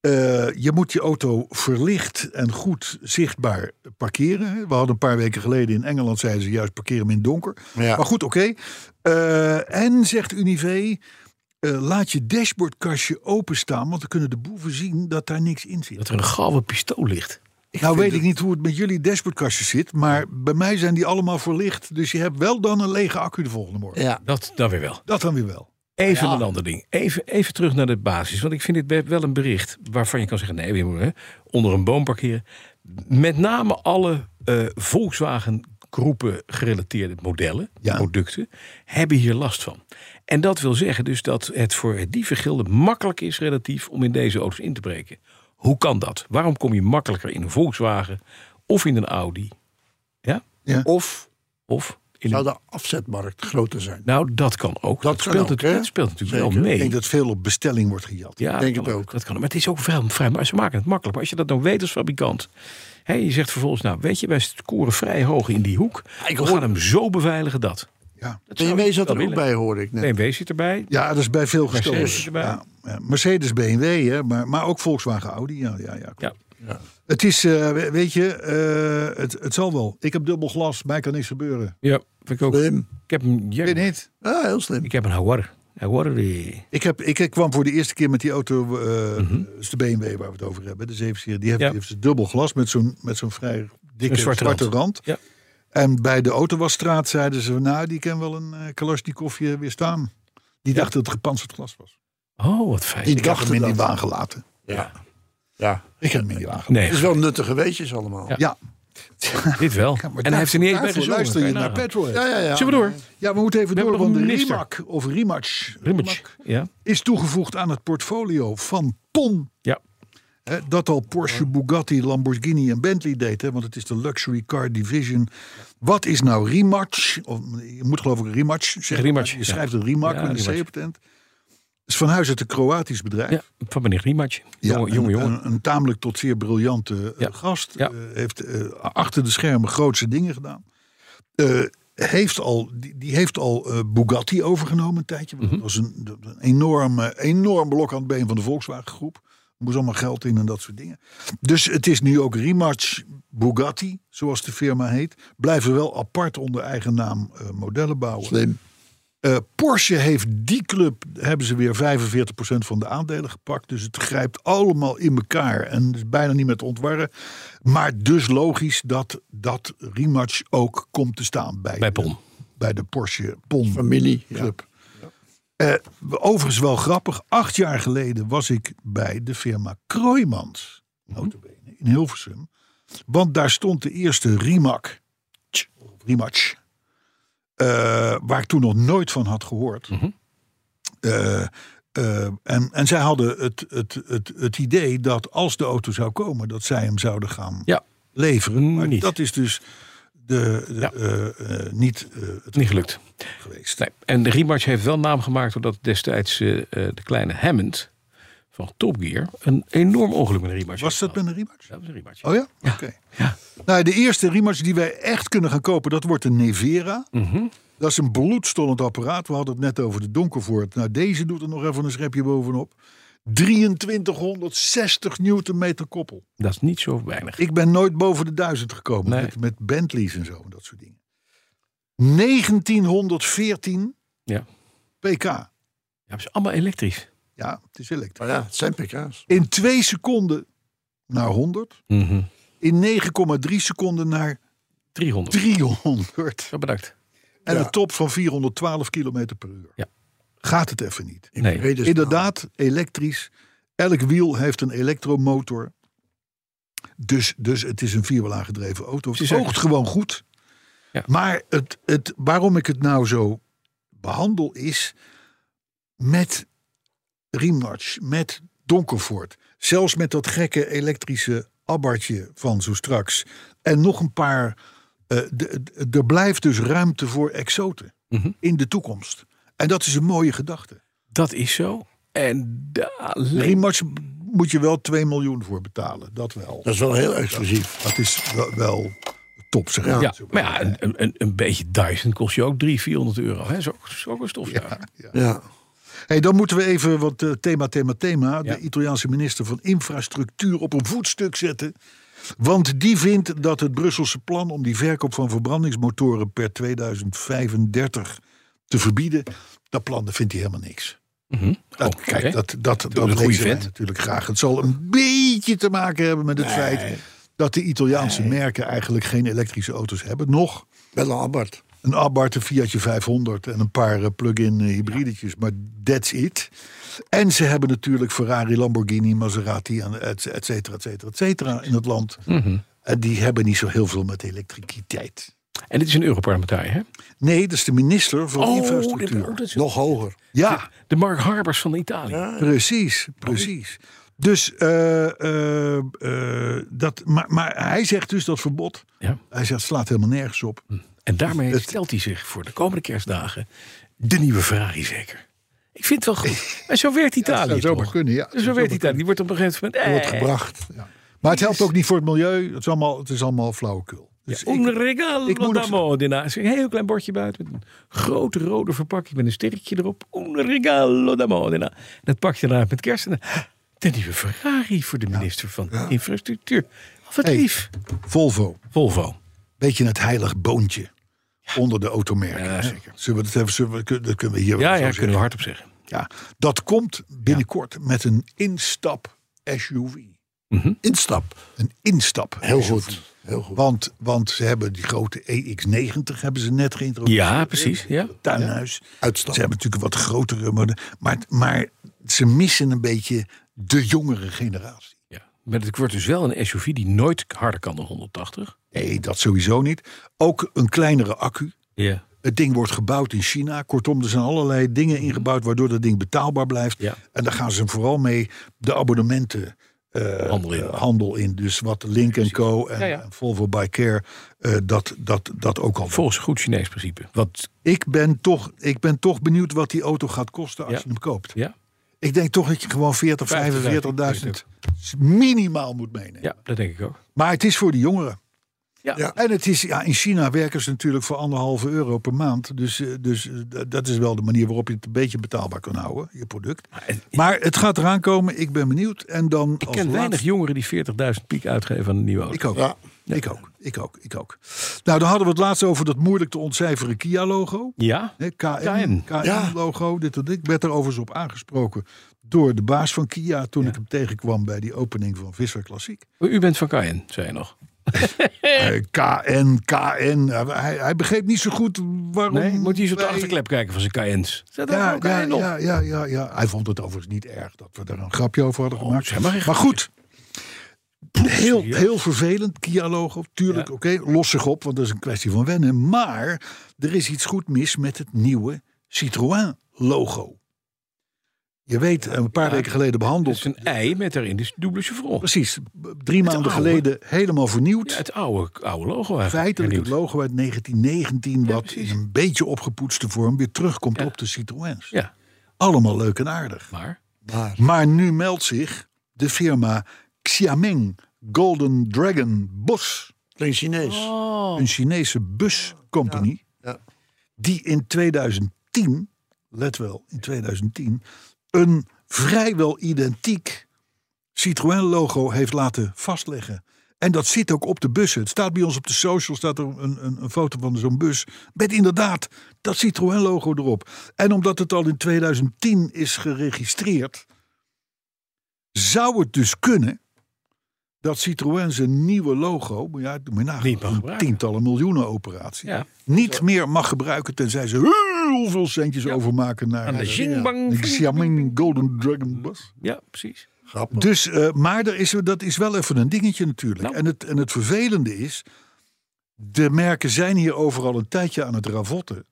[SPEAKER 2] Eh, je moet je auto verlicht en goed zichtbaar parkeren. We hadden een paar weken geleden in Engeland, zeiden ze juist parkeer hem in het donker.
[SPEAKER 4] Ja.
[SPEAKER 2] Maar goed, oké. Eh, en zegt Unive, eh, laat je dashboardkastje openstaan, want dan kunnen de boeven zien dat daar niks in zit.
[SPEAKER 3] Dat er een gouden pistool ligt.
[SPEAKER 2] nou weet ik niet hoe het met jullie dashboardkastjes zit, maar bij mij zijn die allemaal verlicht. Dus je hebt wel dan een lege accu de volgende morgen.
[SPEAKER 4] Ja.
[SPEAKER 3] Dat dan weer wel.
[SPEAKER 2] Dat dan weer wel.
[SPEAKER 3] Even een ander ding. Even, even terug naar de basis. Want ik vind dit be- wel een bericht waarvan je kan zeggen... nee, we moeten onder een boom parkeren. Met name alle eh Volkswagen-groepen gerelateerde modellen,
[SPEAKER 2] Ja.
[SPEAKER 3] producten... hebben hier last van. En dat wil zeggen dus dat het voor het dievengilde makkelijk is relatief... om in deze auto's in te breken. Hoe kan dat? Waarom kom je makkelijker in een Volkswagen of in een Audi? Ja?
[SPEAKER 2] Ja.
[SPEAKER 3] Of, of in
[SPEAKER 4] Zou
[SPEAKER 3] een...
[SPEAKER 4] de afzetmarkt groter zijn?
[SPEAKER 3] Nou, dat kan ook.
[SPEAKER 4] Dat kan
[SPEAKER 3] speelt,
[SPEAKER 4] ook,
[SPEAKER 3] het-
[SPEAKER 4] hè?
[SPEAKER 3] dat speelt natuurlijk
[SPEAKER 4] Zeker.
[SPEAKER 3] wel mee.
[SPEAKER 2] Ik denk dat veel op bestelling wordt gejat.
[SPEAKER 3] Ja,
[SPEAKER 4] denk
[SPEAKER 3] dat
[SPEAKER 4] het
[SPEAKER 3] kan
[SPEAKER 4] ook.
[SPEAKER 3] Dat kan, ook. maar het is ook vrij, vrij maar ze maken het makkelijk. Maar als je dat nou weet als fabrikant. Hè, je zegt vervolgens, nou weet je, wij scoren vrij hoog in die hoek.
[SPEAKER 4] ik
[SPEAKER 3] we
[SPEAKER 4] hoor-
[SPEAKER 3] gaan hem zo beveiligen dat.
[SPEAKER 2] Ja.
[SPEAKER 3] Oh, dat zou
[SPEAKER 4] BMW
[SPEAKER 3] ik
[SPEAKER 4] zat
[SPEAKER 3] wel
[SPEAKER 4] er ook
[SPEAKER 3] willen.
[SPEAKER 4] bij, hoorde ik net.
[SPEAKER 3] BMW zit erbij.
[SPEAKER 2] Ja, dat is bij veel
[SPEAKER 3] Mercedes
[SPEAKER 2] gestolen.
[SPEAKER 3] erbij.
[SPEAKER 2] Ja, ja. Mercedes, BMW, hè, maar, maar ook Volkswagen, Audi. Ja, ja, ja.
[SPEAKER 3] Ja.
[SPEAKER 2] Het is, eh, we- weet je, eh, het, het zal wel. Ik heb dubbel glas, mij kan niks gebeuren.
[SPEAKER 3] ja, vind ik ook.
[SPEAKER 4] Slim.
[SPEAKER 3] Ik heb een,
[SPEAKER 2] Ik
[SPEAKER 3] ja,
[SPEAKER 2] weet niet.
[SPEAKER 4] Ah, heel slim.
[SPEAKER 3] ik heb een Hawar. Hawar eh. die-
[SPEAKER 2] Ik, heb, ik ik kwam voor de eerste keer met die auto, eh is de BMW waar we het over hebben, de 7 serie. Die heeft,
[SPEAKER 3] Mhm. Ja.
[SPEAKER 2] die heeft dus dubbel glas met zo'n met zo'n vrij dikke
[SPEAKER 3] Een
[SPEAKER 2] zwarte,
[SPEAKER 3] zwarte
[SPEAKER 2] rand.
[SPEAKER 3] rand. Ja.
[SPEAKER 2] En bij de Autowasstraat zeiden ze, nou, die kan wel een eh Kalashnikovje weer staan. Die dacht dat het gepantserd glas was.
[SPEAKER 3] Oh, wat fijn.
[SPEAKER 2] Ik heb hem in die waan gelaten.
[SPEAKER 4] Ja. Ja.
[SPEAKER 2] Ik heb hem in die waan gelaten.
[SPEAKER 3] Nee,
[SPEAKER 4] Het is wel nuttige weetjes allemaal.
[SPEAKER 3] Ja.
[SPEAKER 2] Ja,
[SPEAKER 3] dit wel.
[SPEAKER 2] Ja, maar
[SPEAKER 3] en hij heeft er niet eens bij
[SPEAKER 2] daarvoor
[SPEAKER 3] gezongen. nou.
[SPEAKER 2] luister je
[SPEAKER 3] Kan je
[SPEAKER 2] naar
[SPEAKER 3] nagaan.
[SPEAKER 2] Petrolhead.
[SPEAKER 4] Ja,
[SPEAKER 2] Ja,
[SPEAKER 4] ja, ja.
[SPEAKER 3] Zullen we door?
[SPEAKER 2] we moeten even
[SPEAKER 3] We
[SPEAKER 2] door,
[SPEAKER 3] hebben
[SPEAKER 2] want de
[SPEAKER 3] nog een minister.
[SPEAKER 2] Rimac of Rimac,
[SPEAKER 3] Rimmage. Ja.
[SPEAKER 2] is toegevoegd aan het portfolio van Ton.
[SPEAKER 3] Ja.
[SPEAKER 2] Hè, dat al Porsche, Bugatti, Lamborghini en Bentley deed, hè, want het is de Luxury Car Division. Wat is nou Rimac? Of, je moet geloof ik Rimac zeggen.
[SPEAKER 3] Rimac,
[SPEAKER 2] Je
[SPEAKER 3] ja.
[SPEAKER 2] schrijft een Rimac
[SPEAKER 3] Ja,
[SPEAKER 2] met een C
[SPEAKER 3] Rimac.
[SPEAKER 2] op het eind. is van huis uit een Kroatisch bedrijf.
[SPEAKER 3] ja, van meneer Rimmage. Jongen,
[SPEAKER 2] Ja,
[SPEAKER 3] jongen,
[SPEAKER 2] een,
[SPEAKER 3] jongen.
[SPEAKER 2] Een, een tamelijk tot zeer briljante eh,
[SPEAKER 3] Ja.
[SPEAKER 2] gast.
[SPEAKER 3] Ja.
[SPEAKER 2] Eh, heeft eh, achter de schermen grootse dingen gedaan. Eh, heeft al, die, die heeft al eh, Bugatti overgenomen een tijdje. Want
[SPEAKER 3] Mhm.
[SPEAKER 2] Dat was een, dat- een enorm, eh, enorm blok aan het been van de Volkswagen groep. Er moest allemaal geld in en dat soort dingen. Dus het is nu ook Rimac Bugatti, zoals de firma heet. Blijven wel apart onder eigen naam eh, modellen bouwen.
[SPEAKER 4] Slim.
[SPEAKER 2] Eh, Porsche heeft die club, hebben ze weer 45% van de aandelen gepakt. Dus het grijpt allemaal in elkaar en is bijna niet meer te ontwarren. Maar dus logisch dat dat rematch ook komt te staan bij,
[SPEAKER 3] Bij
[SPEAKER 2] de-
[SPEAKER 3] Pon.
[SPEAKER 2] bij de Porsche Pon
[SPEAKER 4] Familie. Ja.
[SPEAKER 2] Club. Eh, overigens wel grappig, acht jaar geleden was ik bij de firma Kroijmans,
[SPEAKER 3] Mhm.
[SPEAKER 2] notabene, in Hilversum. Want daar stond de eerste Rimac, tch, Rimac, eh, waar ik toen nog nooit van had gehoord.
[SPEAKER 3] Mhm.
[SPEAKER 2] Eh, eh, en, en zij hadden het, het, het, het idee dat als de auto zou komen, dat zij hem zouden gaan
[SPEAKER 3] Ja,
[SPEAKER 2] leveren. Maar
[SPEAKER 3] Niet.
[SPEAKER 2] dat is dus de, de,
[SPEAKER 3] Ja.
[SPEAKER 2] eh, eh, niet eh, het
[SPEAKER 3] niet gelukt.
[SPEAKER 2] geweest.
[SPEAKER 3] Nee. En de rematch heeft wel naam gemaakt doordat destijds eh, eh, de kleine Hammond van Top Gear een enorm ongeluk met een rematch
[SPEAKER 2] Was dat met een Rimac?
[SPEAKER 3] Dat was een rematch.
[SPEAKER 2] Oh ja? Oké.
[SPEAKER 3] Ja.
[SPEAKER 2] Nou, de eerste Rimac die wij echt kunnen gaan kopen, dat wordt de Nevera.
[SPEAKER 3] Mhm.
[SPEAKER 2] Dat is een bloedstollend apparaat. We hadden het net over de Donkervoort. Nou, deze doet er nog even een schepje bovenop. 2360 newtonmeter koppel.
[SPEAKER 3] Dat is niet zo weinig.
[SPEAKER 2] Ik ben nooit boven de 1000 gekomen
[SPEAKER 3] Nee.
[SPEAKER 2] met, met Bentleys en zo en dat soort dingen. 1914
[SPEAKER 3] Ja.
[SPEAKER 2] pk.
[SPEAKER 3] Ja, het is allemaal elektrisch.
[SPEAKER 2] Ja, het is elektrisch.
[SPEAKER 4] Maar ja, het zijn pk's.
[SPEAKER 2] In twee seconden naar 100.
[SPEAKER 3] Mhm.
[SPEAKER 2] In 9,3 seconden naar
[SPEAKER 3] 300.
[SPEAKER 2] 300.
[SPEAKER 3] Zo bedankt.
[SPEAKER 2] En een top van 412 km per uur.
[SPEAKER 3] Ja.
[SPEAKER 2] Gaat het even niet.
[SPEAKER 3] Nee.
[SPEAKER 4] Redes-
[SPEAKER 2] Inderdaad, elektrisch. Elk wiel heeft een elektromotor. Dus, dus het is een vierwiel aangedreven auto. Het
[SPEAKER 3] Precies,
[SPEAKER 2] oogt
[SPEAKER 3] ja.
[SPEAKER 2] gewoon goed.
[SPEAKER 3] Ja.
[SPEAKER 2] Maar het, het, waarom ik het nou zo behandel is... met Riemnarts, met Donkervoort... zelfs met dat gekke elektrische abbertje van zo straks... en nog een paar... eh, de- de- er blijft dus ruimte voor exoten
[SPEAKER 3] Mhm.
[SPEAKER 2] in de toekomst. En dat is een mooie gedachte.
[SPEAKER 3] Dat is zo. En daar alleen...
[SPEAKER 2] Rematch moet je wel 2 miljoen voor betalen. Dat wel.
[SPEAKER 4] Dat is wel heel exclusief.
[SPEAKER 2] Dat is wel, wel top, zeg
[SPEAKER 3] Ja, maar ja, een, een- een, een beetje Dyson kost je ook 300, 400 euro. Hè? Zo, zo een stofzuiger.
[SPEAKER 4] Ja.
[SPEAKER 2] Hey, dan moeten we even, want eh, thema, thema, thema...
[SPEAKER 3] Ja.
[SPEAKER 2] de Italiaanse minister van Infrastructuur op een voetstuk zetten. Want die vindt dat het Brusselse plan om die verkoop van verbrandingsmotoren... per 2035 te verbieden, dat plan dat vindt hij helemaal niks.
[SPEAKER 3] Mhm.
[SPEAKER 2] Dat,
[SPEAKER 3] Oh,
[SPEAKER 2] kijk,
[SPEAKER 3] oké.
[SPEAKER 2] dat, dat, dat,
[SPEAKER 3] een goede
[SPEAKER 2] lezen wij
[SPEAKER 3] vent.
[SPEAKER 2] natuurlijk graag. Het zal een beetje te maken hebben met het feit... dat de Italiaanse merken eigenlijk geen elektrische auto's hebben. Nog,
[SPEAKER 4] Bella Abbart.
[SPEAKER 2] een Abarth, een Fiatje 500 en een paar eh, plug-in eh, hybridetjes. Maar that's it. En ze hebben natuurlijk Ferrari, Lamborghini, Maserati, en et et cetera, et cetera, et cetera in het land.
[SPEAKER 3] Mhm.
[SPEAKER 2] En die hebben niet zo heel veel met elektriciteit.
[SPEAKER 3] En dit is een Europarlementariër, hè?
[SPEAKER 2] Nee, dat is de minister van
[SPEAKER 3] dit-
[SPEAKER 2] Infrastructuur.
[SPEAKER 3] oh, dat is-
[SPEAKER 4] Nog hoger.
[SPEAKER 2] Ja,
[SPEAKER 3] de Mark Harbers van Italië.
[SPEAKER 2] precies, precies. Dus, eh, eh, eh, dat, maar, maar hij zegt dus dat verbod.
[SPEAKER 3] Ja.
[SPEAKER 2] Hij zegt, slaat helemaal nergens op.
[SPEAKER 3] En daarmee
[SPEAKER 2] Het-
[SPEAKER 3] stelt hij zich voor de komende kerstdagen de nieuwe Ferrari zeker. Ik vind het wel goed. En zo werkt Italië.
[SPEAKER 2] zou zomaar
[SPEAKER 3] toch?
[SPEAKER 2] kunnen, ja.
[SPEAKER 3] Zo
[SPEAKER 2] Zou
[SPEAKER 3] werkt
[SPEAKER 2] zomaar
[SPEAKER 3] Italië. Die wordt op een gegeven moment. Eh,
[SPEAKER 4] Wordt gebracht.
[SPEAKER 2] Maar het helpt ook niet voor het milieu. Het is allemaal, het is allemaal flauwekul. Dus ik-
[SPEAKER 3] Un regalo
[SPEAKER 2] ik moet nog-
[SPEAKER 3] d'amore. Een heel klein bordje buiten met een grote rode verpakking met een sterretje erop. Un regalo d'amore. En dat pak je daarna met kerst. En dan, de nieuwe Ferrari voor de minister van Infrastructuur. Wat
[SPEAKER 2] Hey.
[SPEAKER 3] lief.
[SPEAKER 2] Volvo,
[SPEAKER 3] Volvo.
[SPEAKER 2] beetje het heilig boontje onder de automerken. Zullen we dat even, zullen we, kun- dat kunnen we hier
[SPEAKER 3] Ja,
[SPEAKER 2] wel zo
[SPEAKER 3] ja,
[SPEAKER 2] zeggen.
[SPEAKER 3] kunnen we hardop zeggen.
[SPEAKER 2] Ja, dat komt binnenkort met een instap SUV.
[SPEAKER 4] Instap.
[SPEAKER 2] Een instap.
[SPEAKER 4] Heel
[SPEAKER 2] SUV.
[SPEAKER 4] goed. Heel goed.
[SPEAKER 2] Want, want ze hebben die grote EX90 hebben ze net geïntroduceerd.
[SPEAKER 3] Ja, precies. Ja.
[SPEAKER 2] Tuinhuis.
[SPEAKER 4] Uitstap.
[SPEAKER 2] Ze hebben natuurlijk wat grotere modellen. Maar, maar ze missen een beetje de jongere generatie.
[SPEAKER 3] Ja, maar het wordt dus wel een SUV die nooit harder kan dan 180.
[SPEAKER 2] Nee, dat sowieso niet. Ook een kleinere accu.
[SPEAKER 3] Ja.
[SPEAKER 2] Het ding wordt gebouwd in China. Kortom, er zijn allerlei dingen ingebouwd waardoor dat ding betaalbaar blijft.
[SPEAKER 3] Mhm. Ja.
[SPEAKER 2] En daar gaan ze vooral mee de abonnementen eh,
[SPEAKER 3] Handel in.
[SPEAKER 2] eh, handel in. Dus wat Link Co. en,
[SPEAKER 3] Ja, ja.
[SPEAKER 2] en Volvo by Care, eh, dat, dat, dat ook al.
[SPEAKER 3] Volgens goed Chinees principe. Wat,
[SPEAKER 2] Ik ben, toch, ik ben toch benieuwd wat die auto gaat kosten als
[SPEAKER 3] Ja.
[SPEAKER 2] je hem koopt.
[SPEAKER 3] ja,
[SPEAKER 2] Ik denk toch dat je gewoon 40, 45.000 minimaal moet meenemen.
[SPEAKER 3] ja, dat denk ik ook.
[SPEAKER 2] Maar het is voor de jongeren.
[SPEAKER 3] Ja.
[SPEAKER 4] Ja.
[SPEAKER 2] En het is, ja, in China werken ze natuurlijk voor anderhalve euro per maand. Dus, eh, dus eh, d- dat is wel de manier waarop je het een beetje betaalbaar kan houden, je product.
[SPEAKER 3] Maar het-
[SPEAKER 2] Maar het gaat eraan komen, ik ben benieuwd. En dan
[SPEAKER 3] Ik
[SPEAKER 2] als
[SPEAKER 3] ken weinig
[SPEAKER 2] laatste-
[SPEAKER 3] jongeren die 40.000 piek uitgeven aan een nieuwe auto.
[SPEAKER 2] Ik ook.
[SPEAKER 4] Ja.
[SPEAKER 2] Ik ook, ik ook, ik ook. Nou, dan hadden we het laatst over dat moeilijk te ontcijferen Kia-logo.
[SPEAKER 3] Ja?
[SPEAKER 2] Hè,
[SPEAKER 3] KN.
[SPEAKER 2] KN,
[SPEAKER 4] Ja.
[SPEAKER 2] KN-logo, dit en dit. Ik werd er overigens op aangesproken door de baas van Kia... toen ik hem tegenkwam bij die opening van Visser Klassiek.
[SPEAKER 3] U bent van Cayenne, zei je nog.
[SPEAKER 2] Eh, KN, KN. Eh, Hij, hij begreep niet zo goed waarom...
[SPEAKER 3] Nee, moet je eens op de
[SPEAKER 2] wij-
[SPEAKER 3] achterklep kijken van zijn Cayennes. Zet daar
[SPEAKER 2] Ja,
[SPEAKER 3] ook
[SPEAKER 2] ja,
[SPEAKER 3] Cayenne op.
[SPEAKER 2] ja, ja, ja, ja. Hij vond het overigens niet erg dat we daar een grapje over hadden gemaakt.
[SPEAKER 3] Oh, zeg maar
[SPEAKER 2] maar,
[SPEAKER 3] geen
[SPEAKER 2] goed. Heel,
[SPEAKER 3] serieus?
[SPEAKER 2] heel vervelend, Kia-logo. Tuurlijk,
[SPEAKER 3] Ja.
[SPEAKER 2] oké, los zich op, want dat is een kwestie van wennen. Maar er is iets goed mis met het nieuwe Citroën-logo. Je weet, een paar weken geleden
[SPEAKER 3] Dat
[SPEAKER 2] behandeld.
[SPEAKER 3] is een ei met daarin dus dubbele chevron.
[SPEAKER 2] Precies, drie maanden
[SPEAKER 3] oude.
[SPEAKER 2] geleden helemaal vernieuwd.
[SPEAKER 3] Ja, het oude, oude logo eigenlijk.
[SPEAKER 2] feitelijk het
[SPEAKER 3] Hernieuwd.
[SPEAKER 2] logo uit 1919, wat in
[SPEAKER 3] precies.
[SPEAKER 2] een beetje opgepoetste vorm weer terugkomt
[SPEAKER 3] Ja.
[SPEAKER 2] op de Citroëns.
[SPEAKER 3] Ja,
[SPEAKER 2] Allemaal leuk en aardig.
[SPEAKER 3] maar...
[SPEAKER 4] Maar
[SPEAKER 2] Maar nu meldt zich de firma Xiameng Golden Dragon Bos,
[SPEAKER 4] klinkt Chinees.
[SPEAKER 3] Oh.
[SPEAKER 2] een Chinese buscompany,
[SPEAKER 4] Ja.
[SPEAKER 2] die in 2010, let wel, in 2010, een vrijwel identiek Citroën-logo heeft laten vastleggen. En dat zit ook op de bussen. Het staat bij ons op de social, staat er een, een, een foto van zo'n bus. Met inderdaad dat Citroën-logo erop. En omdat het al in 2010 is geregistreerd, zou het dus kunnen dat Citroën zijn nieuwe logo, maar ja, doe maar na,
[SPEAKER 3] Niet mag gebruiken.
[SPEAKER 2] tientallen miljoenen operatie,
[SPEAKER 3] Ja.
[SPEAKER 2] niet meer mag gebruiken tenzij ze heel veel centjes overmaken naar
[SPEAKER 3] Aan de
[SPEAKER 2] eh,
[SPEAKER 3] Xinjiang.
[SPEAKER 2] de Xiamen Golden Dragon Bus.
[SPEAKER 3] Ja, precies.
[SPEAKER 4] Grappig.
[SPEAKER 2] Dus, eh, maar er is, dat is wel even een dingetje natuurlijk.
[SPEAKER 3] Nou.
[SPEAKER 2] En, het, en het vervelende is, de merken zijn hier overal een tijdje aan het ravotten.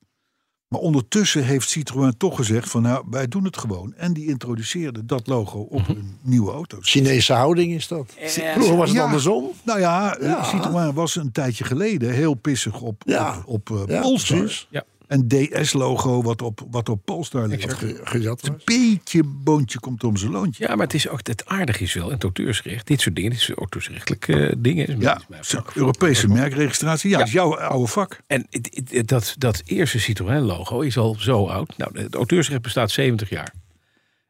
[SPEAKER 2] Maar ondertussen heeft Citroën toch gezegd van nou, wij doen het gewoon. En die introduceerden dat logo
[SPEAKER 3] Mhm.
[SPEAKER 2] op hun nieuwe auto's.
[SPEAKER 4] Chinese houding is dat. Vroeger was het
[SPEAKER 2] Ja.
[SPEAKER 4] andersom.
[SPEAKER 2] Nou ja, eh,
[SPEAKER 4] Ja.
[SPEAKER 2] Citroën was een tijdje geleden heel pissig op,
[SPEAKER 4] Ja.
[SPEAKER 2] op, op eh,
[SPEAKER 4] Ja,
[SPEAKER 2] Polestar.
[SPEAKER 4] precies.
[SPEAKER 3] Ja.
[SPEAKER 2] Een DS-logo wat op, wat op Polestar ligt.
[SPEAKER 4] Wat
[SPEAKER 2] Een
[SPEAKER 4] ge- Gejat was.
[SPEAKER 2] beetje boontje komt om zijn loontje.
[SPEAKER 3] Ja, maar het is ook het aardige is wel, en het auteursrecht, dit soort dingen, dit soort auteursrechtelijke eh, dingen. is-
[SPEAKER 2] Ja,
[SPEAKER 3] is mijn
[SPEAKER 2] zo'n
[SPEAKER 3] vak.
[SPEAKER 2] Europese merkregistratie. Ja, is jouw oude vak.
[SPEAKER 3] En het- het- het- dat, dat eerste Citroën-logo is al zo oud. Nou, het auteursrecht bestaat 70 jaar.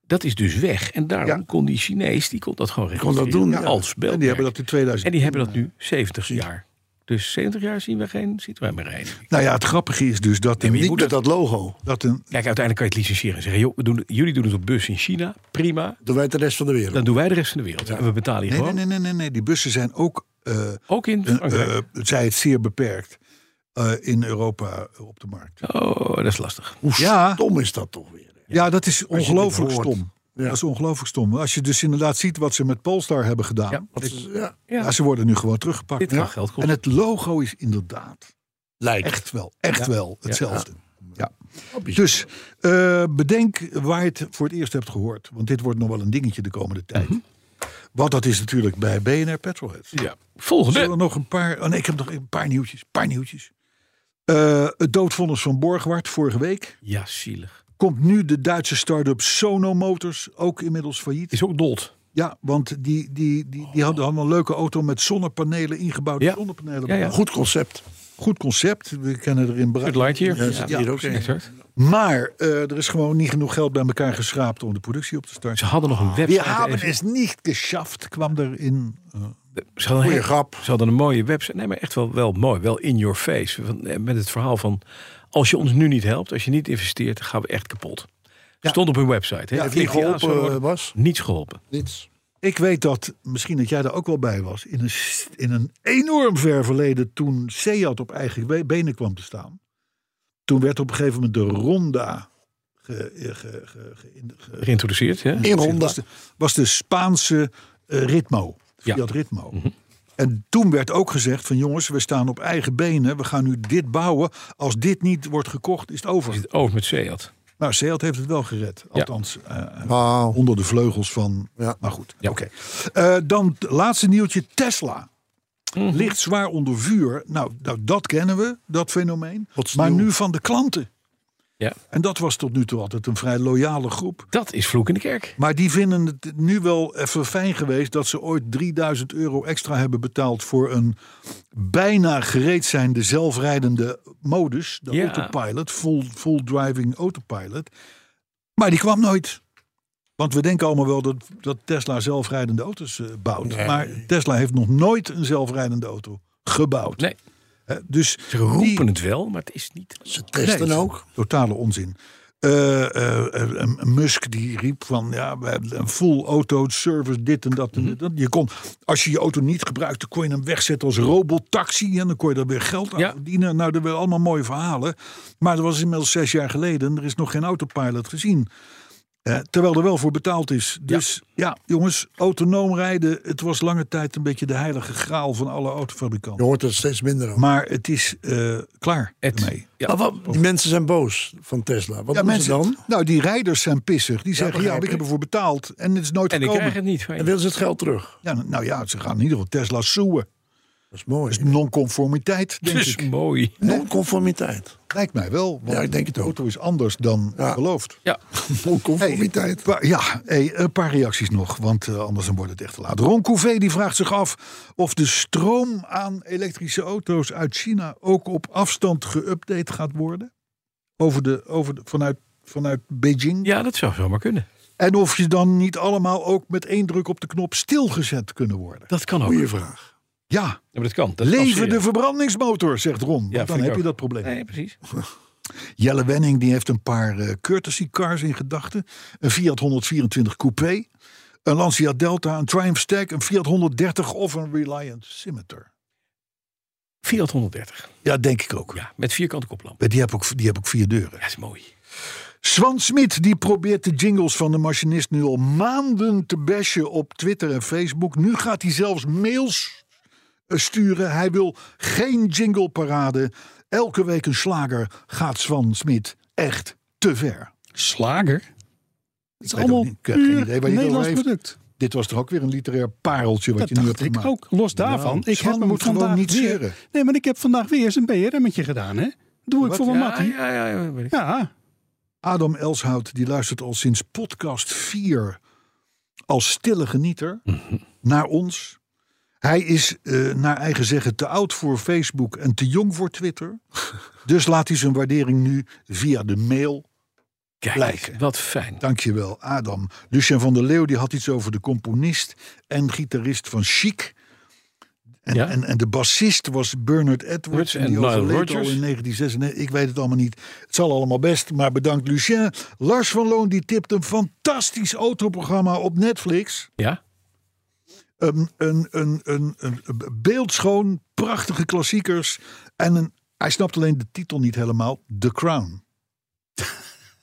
[SPEAKER 3] Dat is dus weg. En daarom
[SPEAKER 2] Ja.
[SPEAKER 3] kon die Chinees, die kon dat gewoon
[SPEAKER 4] dat
[SPEAKER 3] registreren.
[SPEAKER 4] doen, ja.
[SPEAKER 3] Als beeldmerk.
[SPEAKER 2] En die hebben dat in 2000.
[SPEAKER 3] En die hebben dat nu 70 jaar. Dus 70 jaar zien we geen Citroën meer rijden.
[SPEAKER 2] Nou ja, het grappige is dus dat,
[SPEAKER 4] Niet
[SPEAKER 2] een,
[SPEAKER 4] met dat logo.
[SPEAKER 2] dat een.
[SPEAKER 3] Kijk, uiteindelijk kan je het licentiëren en zeggen... Joh, we doen, het- jullie doen het op bus in China, prima.
[SPEAKER 4] Doen wij de rest van de wereld.
[SPEAKER 3] Dan doen wij de rest van de wereld. En we betalen je
[SPEAKER 2] Nee, nee,
[SPEAKER 3] gewoon.
[SPEAKER 2] nee, nee, nee, nee. Die bussen zijn ook. eh,
[SPEAKER 3] Ook in
[SPEAKER 2] eh,
[SPEAKER 3] Frankrijk.
[SPEAKER 2] eh, zij het zeer beperkt. eh, in Europa op de markt.
[SPEAKER 3] Oh, dat is lastig.
[SPEAKER 4] Hoe
[SPEAKER 2] Ja.
[SPEAKER 4] stom is dat toch weer?
[SPEAKER 2] Ja, dat is
[SPEAKER 4] dit
[SPEAKER 2] ongelooflijk
[SPEAKER 4] hoort.
[SPEAKER 2] stom.
[SPEAKER 4] Ja.
[SPEAKER 2] Dat is ongelooflijk stom. Als je dus inderdaad ziet wat ze met Polestar hebben gedaan.
[SPEAKER 3] Ja,
[SPEAKER 4] Dat is, ja.
[SPEAKER 2] ja, ze worden nu gewoon teruggepakt.
[SPEAKER 3] Dit kan geld
[SPEAKER 2] En
[SPEAKER 3] kosten.
[SPEAKER 2] het logo is inderdaad
[SPEAKER 4] Lijkt.
[SPEAKER 2] echt wel, echt wel hetzelfde. Ja.
[SPEAKER 4] bizar.
[SPEAKER 2] Dus eh, bedenk waar je het voor het eerst hebt gehoord. Want dit wordt nog wel een dingetje de komende tijd. Want dat is natuurlijk bij BNR Petrolheads.
[SPEAKER 3] Ja.
[SPEAKER 2] Zullen
[SPEAKER 3] Volgende.
[SPEAKER 2] er nog een paar... Oh nee, ik heb nog een paar nieuwtjes. paar nieuwtjes. Eh, het doodvonnis van Borgward vorige week.
[SPEAKER 3] Ja, zielig.
[SPEAKER 2] Komt nu de Duitse start-up Sono Motors ook inmiddels failliet.
[SPEAKER 3] Is ook dood.
[SPEAKER 2] Ja, want die, die, die, die hadden allemaal een leuke auto met zonnepanelen, ingebouwde
[SPEAKER 3] Ja.
[SPEAKER 2] zonnepanelen.
[SPEAKER 3] Ja, ja.
[SPEAKER 4] Goed concept.
[SPEAKER 2] Goed concept, we kennen er in Bra-
[SPEAKER 3] Het Lightyear.
[SPEAKER 4] Ja, zit hier ook in.
[SPEAKER 3] exact.
[SPEAKER 2] Maar eh, er is gewoon niet genoeg geld bij elkaar geschraapt om de productie op te starten.
[SPEAKER 3] Ze hadden nog een
[SPEAKER 2] Ah. We
[SPEAKER 3] website.
[SPEAKER 2] hebben
[SPEAKER 3] even-
[SPEAKER 2] es niet geschaft, kwam er in. eh,
[SPEAKER 3] Ze hadden, een
[SPEAKER 4] Goeie
[SPEAKER 3] hele-
[SPEAKER 4] grap.
[SPEAKER 3] ze hadden een mooie website. Nee, maar echt wel, wel mooi. Wel in your face. Van, eh, Met het verhaal van... als je ons nu niet helpt, als je niet investeert... dan gaan we echt kapot. Stond op hun website. hè.
[SPEAKER 4] Ja,
[SPEAKER 3] Het
[SPEAKER 4] niet
[SPEAKER 3] ligt hier aan, zo
[SPEAKER 4] geholpen
[SPEAKER 3] wordt-
[SPEAKER 4] eh, Bas.
[SPEAKER 3] Niets geholpen.
[SPEAKER 4] Niets.
[SPEAKER 2] ik weet dat, misschien dat jij daar ook wel bij was, in een, s- in een enorm ver verleden toen Seat op eigen be- benen kwam te staan. Toen werd op een gegeven moment de Ronda ge- eh, ge- ge- ge- in- ge-
[SPEAKER 3] Geïntroduceerd. Hè?
[SPEAKER 4] In Ronda.
[SPEAKER 2] was de, was de Spaanse eh, Ritmo.
[SPEAKER 3] Ja.
[SPEAKER 2] Fiat Ritmo. En toen werd ook gezegd van jongens, we staan op eigen benen. We gaan nu dit bouwen. Als dit niet wordt gekocht, is het over.
[SPEAKER 3] Zit over met Seat.
[SPEAKER 2] Nou, Seat heeft het wel gered.
[SPEAKER 3] Ja.
[SPEAKER 2] Althans, eh,
[SPEAKER 4] Wauw.
[SPEAKER 2] onder de vleugels van...
[SPEAKER 4] Ja.
[SPEAKER 2] Maar goed,
[SPEAKER 3] Ja.
[SPEAKER 2] oké. Eh, dan het laatste nieuwtje, Tesla.
[SPEAKER 3] Mhm.
[SPEAKER 2] Ligt zwaar onder vuur. Nou, nou, dat kennen we, dat fenomeen.
[SPEAKER 4] Wat is
[SPEAKER 2] maar
[SPEAKER 4] nieuw?
[SPEAKER 2] nu van de klanten.
[SPEAKER 3] Ja.
[SPEAKER 2] En dat was tot nu toe altijd een vrij loyale groep.
[SPEAKER 3] Dat is vloek in de kerk.
[SPEAKER 2] Maar die vinden het nu wel even fijn geweest dat ze ooit 3000 euro extra hebben betaald voor een bijna gereed zijnde zelfrijdende modus, de
[SPEAKER 3] Ja.
[SPEAKER 2] autopilot, full, full driving autopilot. Maar die kwam nooit. Want we denken allemaal wel dat, dat Tesla zelfrijdende auto's eh, bouwt.
[SPEAKER 4] Nee.
[SPEAKER 2] Maar Tesla heeft nog nooit een zelfrijdende auto gebouwd.
[SPEAKER 3] Nee.
[SPEAKER 2] Hè, dus
[SPEAKER 3] Ze roepen
[SPEAKER 2] die-
[SPEAKER 3] het wel, maar het is niet...
[SPEAKER 4] Ze testen
[SPEAKER 2] Nee,
[SPEAKER 4] ook.
[SPEAKER 2] Totale onzin. Eh, eh, eh, eh, Musk die riep van ja, we hebben een full auto service, dit en dat. en
[SPEAKER 3] Mhm.
[SPEAKER 2] dat. Je kon, als je je auto niet gebruikte, kon je hem wegzetten als robotaxi. En dan kon je daar weer geld aan
[SPEAKER 3] Ja.
[SPEAKER 2] verdienen. Nou, dat waren allemaal mooie verhalen. Maar dat was inmiddels zes jaar geleden en er is nog geen autopilot gezien. Eh, terwijl er wel voor betaald is. Dus ja. jongens, autonoom rijden. Het was lange tijd een beetje de heilige graal van alle
[SPEAKER 4] Je
[SPEAKER 2] autofabrikanten.
[SPEAKER 4] hoort er steeds minder over.
[SPEAKER 2] Maar het is eh, klaar
[SPEAKER 3] Het,
[SPEAKER 2] ermee.
[SPEAKER 3] ja.
[SPEAKER 4] Maar wat, die mensen zijn boos van Tesla. Wat
[SPEAKER 2] Ja,
[SPEAKER 4] doen ze
[SPEAKER 2] mensen,
[SPEAKER 4] dan?
[SPEAKER 2] Nou, die rijders zijn pissig. Die zeggen, ja,
[SPEAKER 4] begrijp
[SPEAKER 2] ik
[SPEAKER 4] ik.
[SPEAKER 2] heb ervoor betaald en het is nooit
[SPEAKER 3] En ik
[SPEAKER 2] gekomen.
[SPEAKER 3] krijg het niet.
[SPEAKER 4] En willen ze het geld terug?
[SPEAKER 2] Ja, nou ja, ze gaan in ieder geval Tesla soeën.
[SPEAKER 4] Dat is mooi.
[SPEAKER 2] Non-conformiteit, denk
[SPEAKER 3] Dat is
[SPEAKER 2] ik.
[SPEAKER 3] mooi.
[SPEAKER 4] Non-conformiteit.
[SPEAKER 2] Lijkt mij wel. Want
[SPEAKER 4] Ja, ik denk het
[SPEAKER 2] de
[SPEAKER 4] ook.
[SPEAKER 2] auto is anders dan
[SPEAKER 4] Ja.
[SPEAKER 2] beloofd.
[SPEAKER 3] Ja.
[SPEAKER 4] Non-conformiteit.
[SPEAKER 2] Pa- ja, hey, een paar reacties nog, want eh, anders dan wordt het echt te laat. Ron Couvé die vraagt zich af of de stroom aan elektrische auto's uit China ook op afstand geüpdate gaat worden. Over de, over de, vanuit, vanuit Beijing.
[SPEAKER 3] ja, dat zou zomaar kunnen.
[SPEAKER 2] En of je dan niet allemaal ook met één druk op de knop stilgezet kunnen worden.
[SPEAKER 3] Dat kan ook.
[SPEAKER 4] Goeie vraag.
[SPEAKER 2] Ja,
[SPEAKER 3] Ja, maar dat kan. Dat
[SPEAKER 2] leven de
[SPEAKER 3] kan
[SPEAKER 2] verbrandingsmotor, zegt Ron. Want
[SPEAKER 3] Ja, vind
[SPEAKER 2] dan
[SPEAKER 3] ik
[SPEAKER 2] heb je
[SPEAKER 3] ook.
[SPEAKER 2] dat probleem.
[SPEAKER 3] Nee, precies.
[SPEAKER 2] Jelle Wenning die heeft een paar eh, courtesy cars in gedachten. Een Fiat 124 Coupé, een Lancia Delta, een Triumph Stack, een Fiat 130 of een Reliant Scimitar.
[SPEAKER 3] Fiat 130.
[SPEAKER 2] Ja, denk ik ook.
[SPEAKER 3] Ja, met vierkante koplamp.
[SPEAKER 2] Die heb ook, die heb ook vier deuren.
[SPEAKER 3] Ja, is mooi.
[SPEAKER 2] Swan Smit die probeert de jingles van de machinist nu al maanden te bashen op Twitter en Facebook. Nu gaat hij zelfs mails eh, sturen. Hij wil geen jingleparade. Elke week een slager gaat Swan Smit echt te ver.
[SPEAKER 5] Slager. Het is
[SPEAKER 2] weet ook
[SPEAKER 5] allemaal
[SPEAKER 2] niet. Ik heb geen idee waar die
[SPEAKER 5] puur
[SPEAKER 2] het over
[SPEAKER 5] Nederlands
[SPEAKER 2] heeft.
[SPEAKER 5] product.
[SPEAKER 2] Dit was toch ook weer een literair pareltje wat
[SPEAKER 5] Dat
[SPEAKER 2] je nu
[SPEAKER 5] dacht
[SPEAKER 2] hebt
[SPEAKER 5] ik
[SPEAKER 2] gemaakt. Nou,
[SPEAKER 5] ook. Los daarvan. ik
[SPEAKER 2] Swan
[SPEAKER 5] heb hem
[SPEAKER 2] moet gewoon
[SPEAKER 5] vandaag
[SPEAKER 2] niet
[SPEAKER 5] weer-
[SPEAKER 2] zeuren.
[SPEAKER 5] Nee, maar ik heb vandaag weer eens een BRM'tje gedaan, hè? Doe ik voor mijn
[SPEAKER 3] ja,
[SPEAKER 5] mattie.
[SPEAKER 3] ja, ja, ja, weet ik.
[SPEAKER 5] Ja,
[SPEAKER 2] Adam Elshout die luistert al sinds podcast 4 als stille genieter naar ons. Hij is eh, naar eigen zeggen te oud voor Facebook en te jong voor Twitter. dus laat hij zijn waardering nu via de mail.
[SPEAKER 3] Kijk,
[SPEAKER 2] Blijken.
[SPEAKER 3] wat fijn.
[SPEAKER 2] Dankjewel, Adam. Lucien van der Leeuw die had iets over de componist en gitarist van Chic. En,
[SPEAKER 3] Ja.
[SPEAKER 2] en, en de bassist was Bernard Edwards.
[SPEAKER 3] Rich
[SPEAKER 2] En die
[SPEAKER 3] en Nile
[SPEAKER 2] overleed
[SPEAKER 3] Rodgers.
[SPEAKER 2] al in 1996. Ik weet het allemaal niet. Het zal allemaal best, maar bedankt Lucien. Lars van Loon die tipt een fantastisch autoprogramma op Netflix.
[SPEAKER 3] Ja?
[SPEAKER 2] Een, een, een, een, een beeldschoon, prachtige klassiekers. En een Hij snapt alleen de titel niet helemaal. The Crown.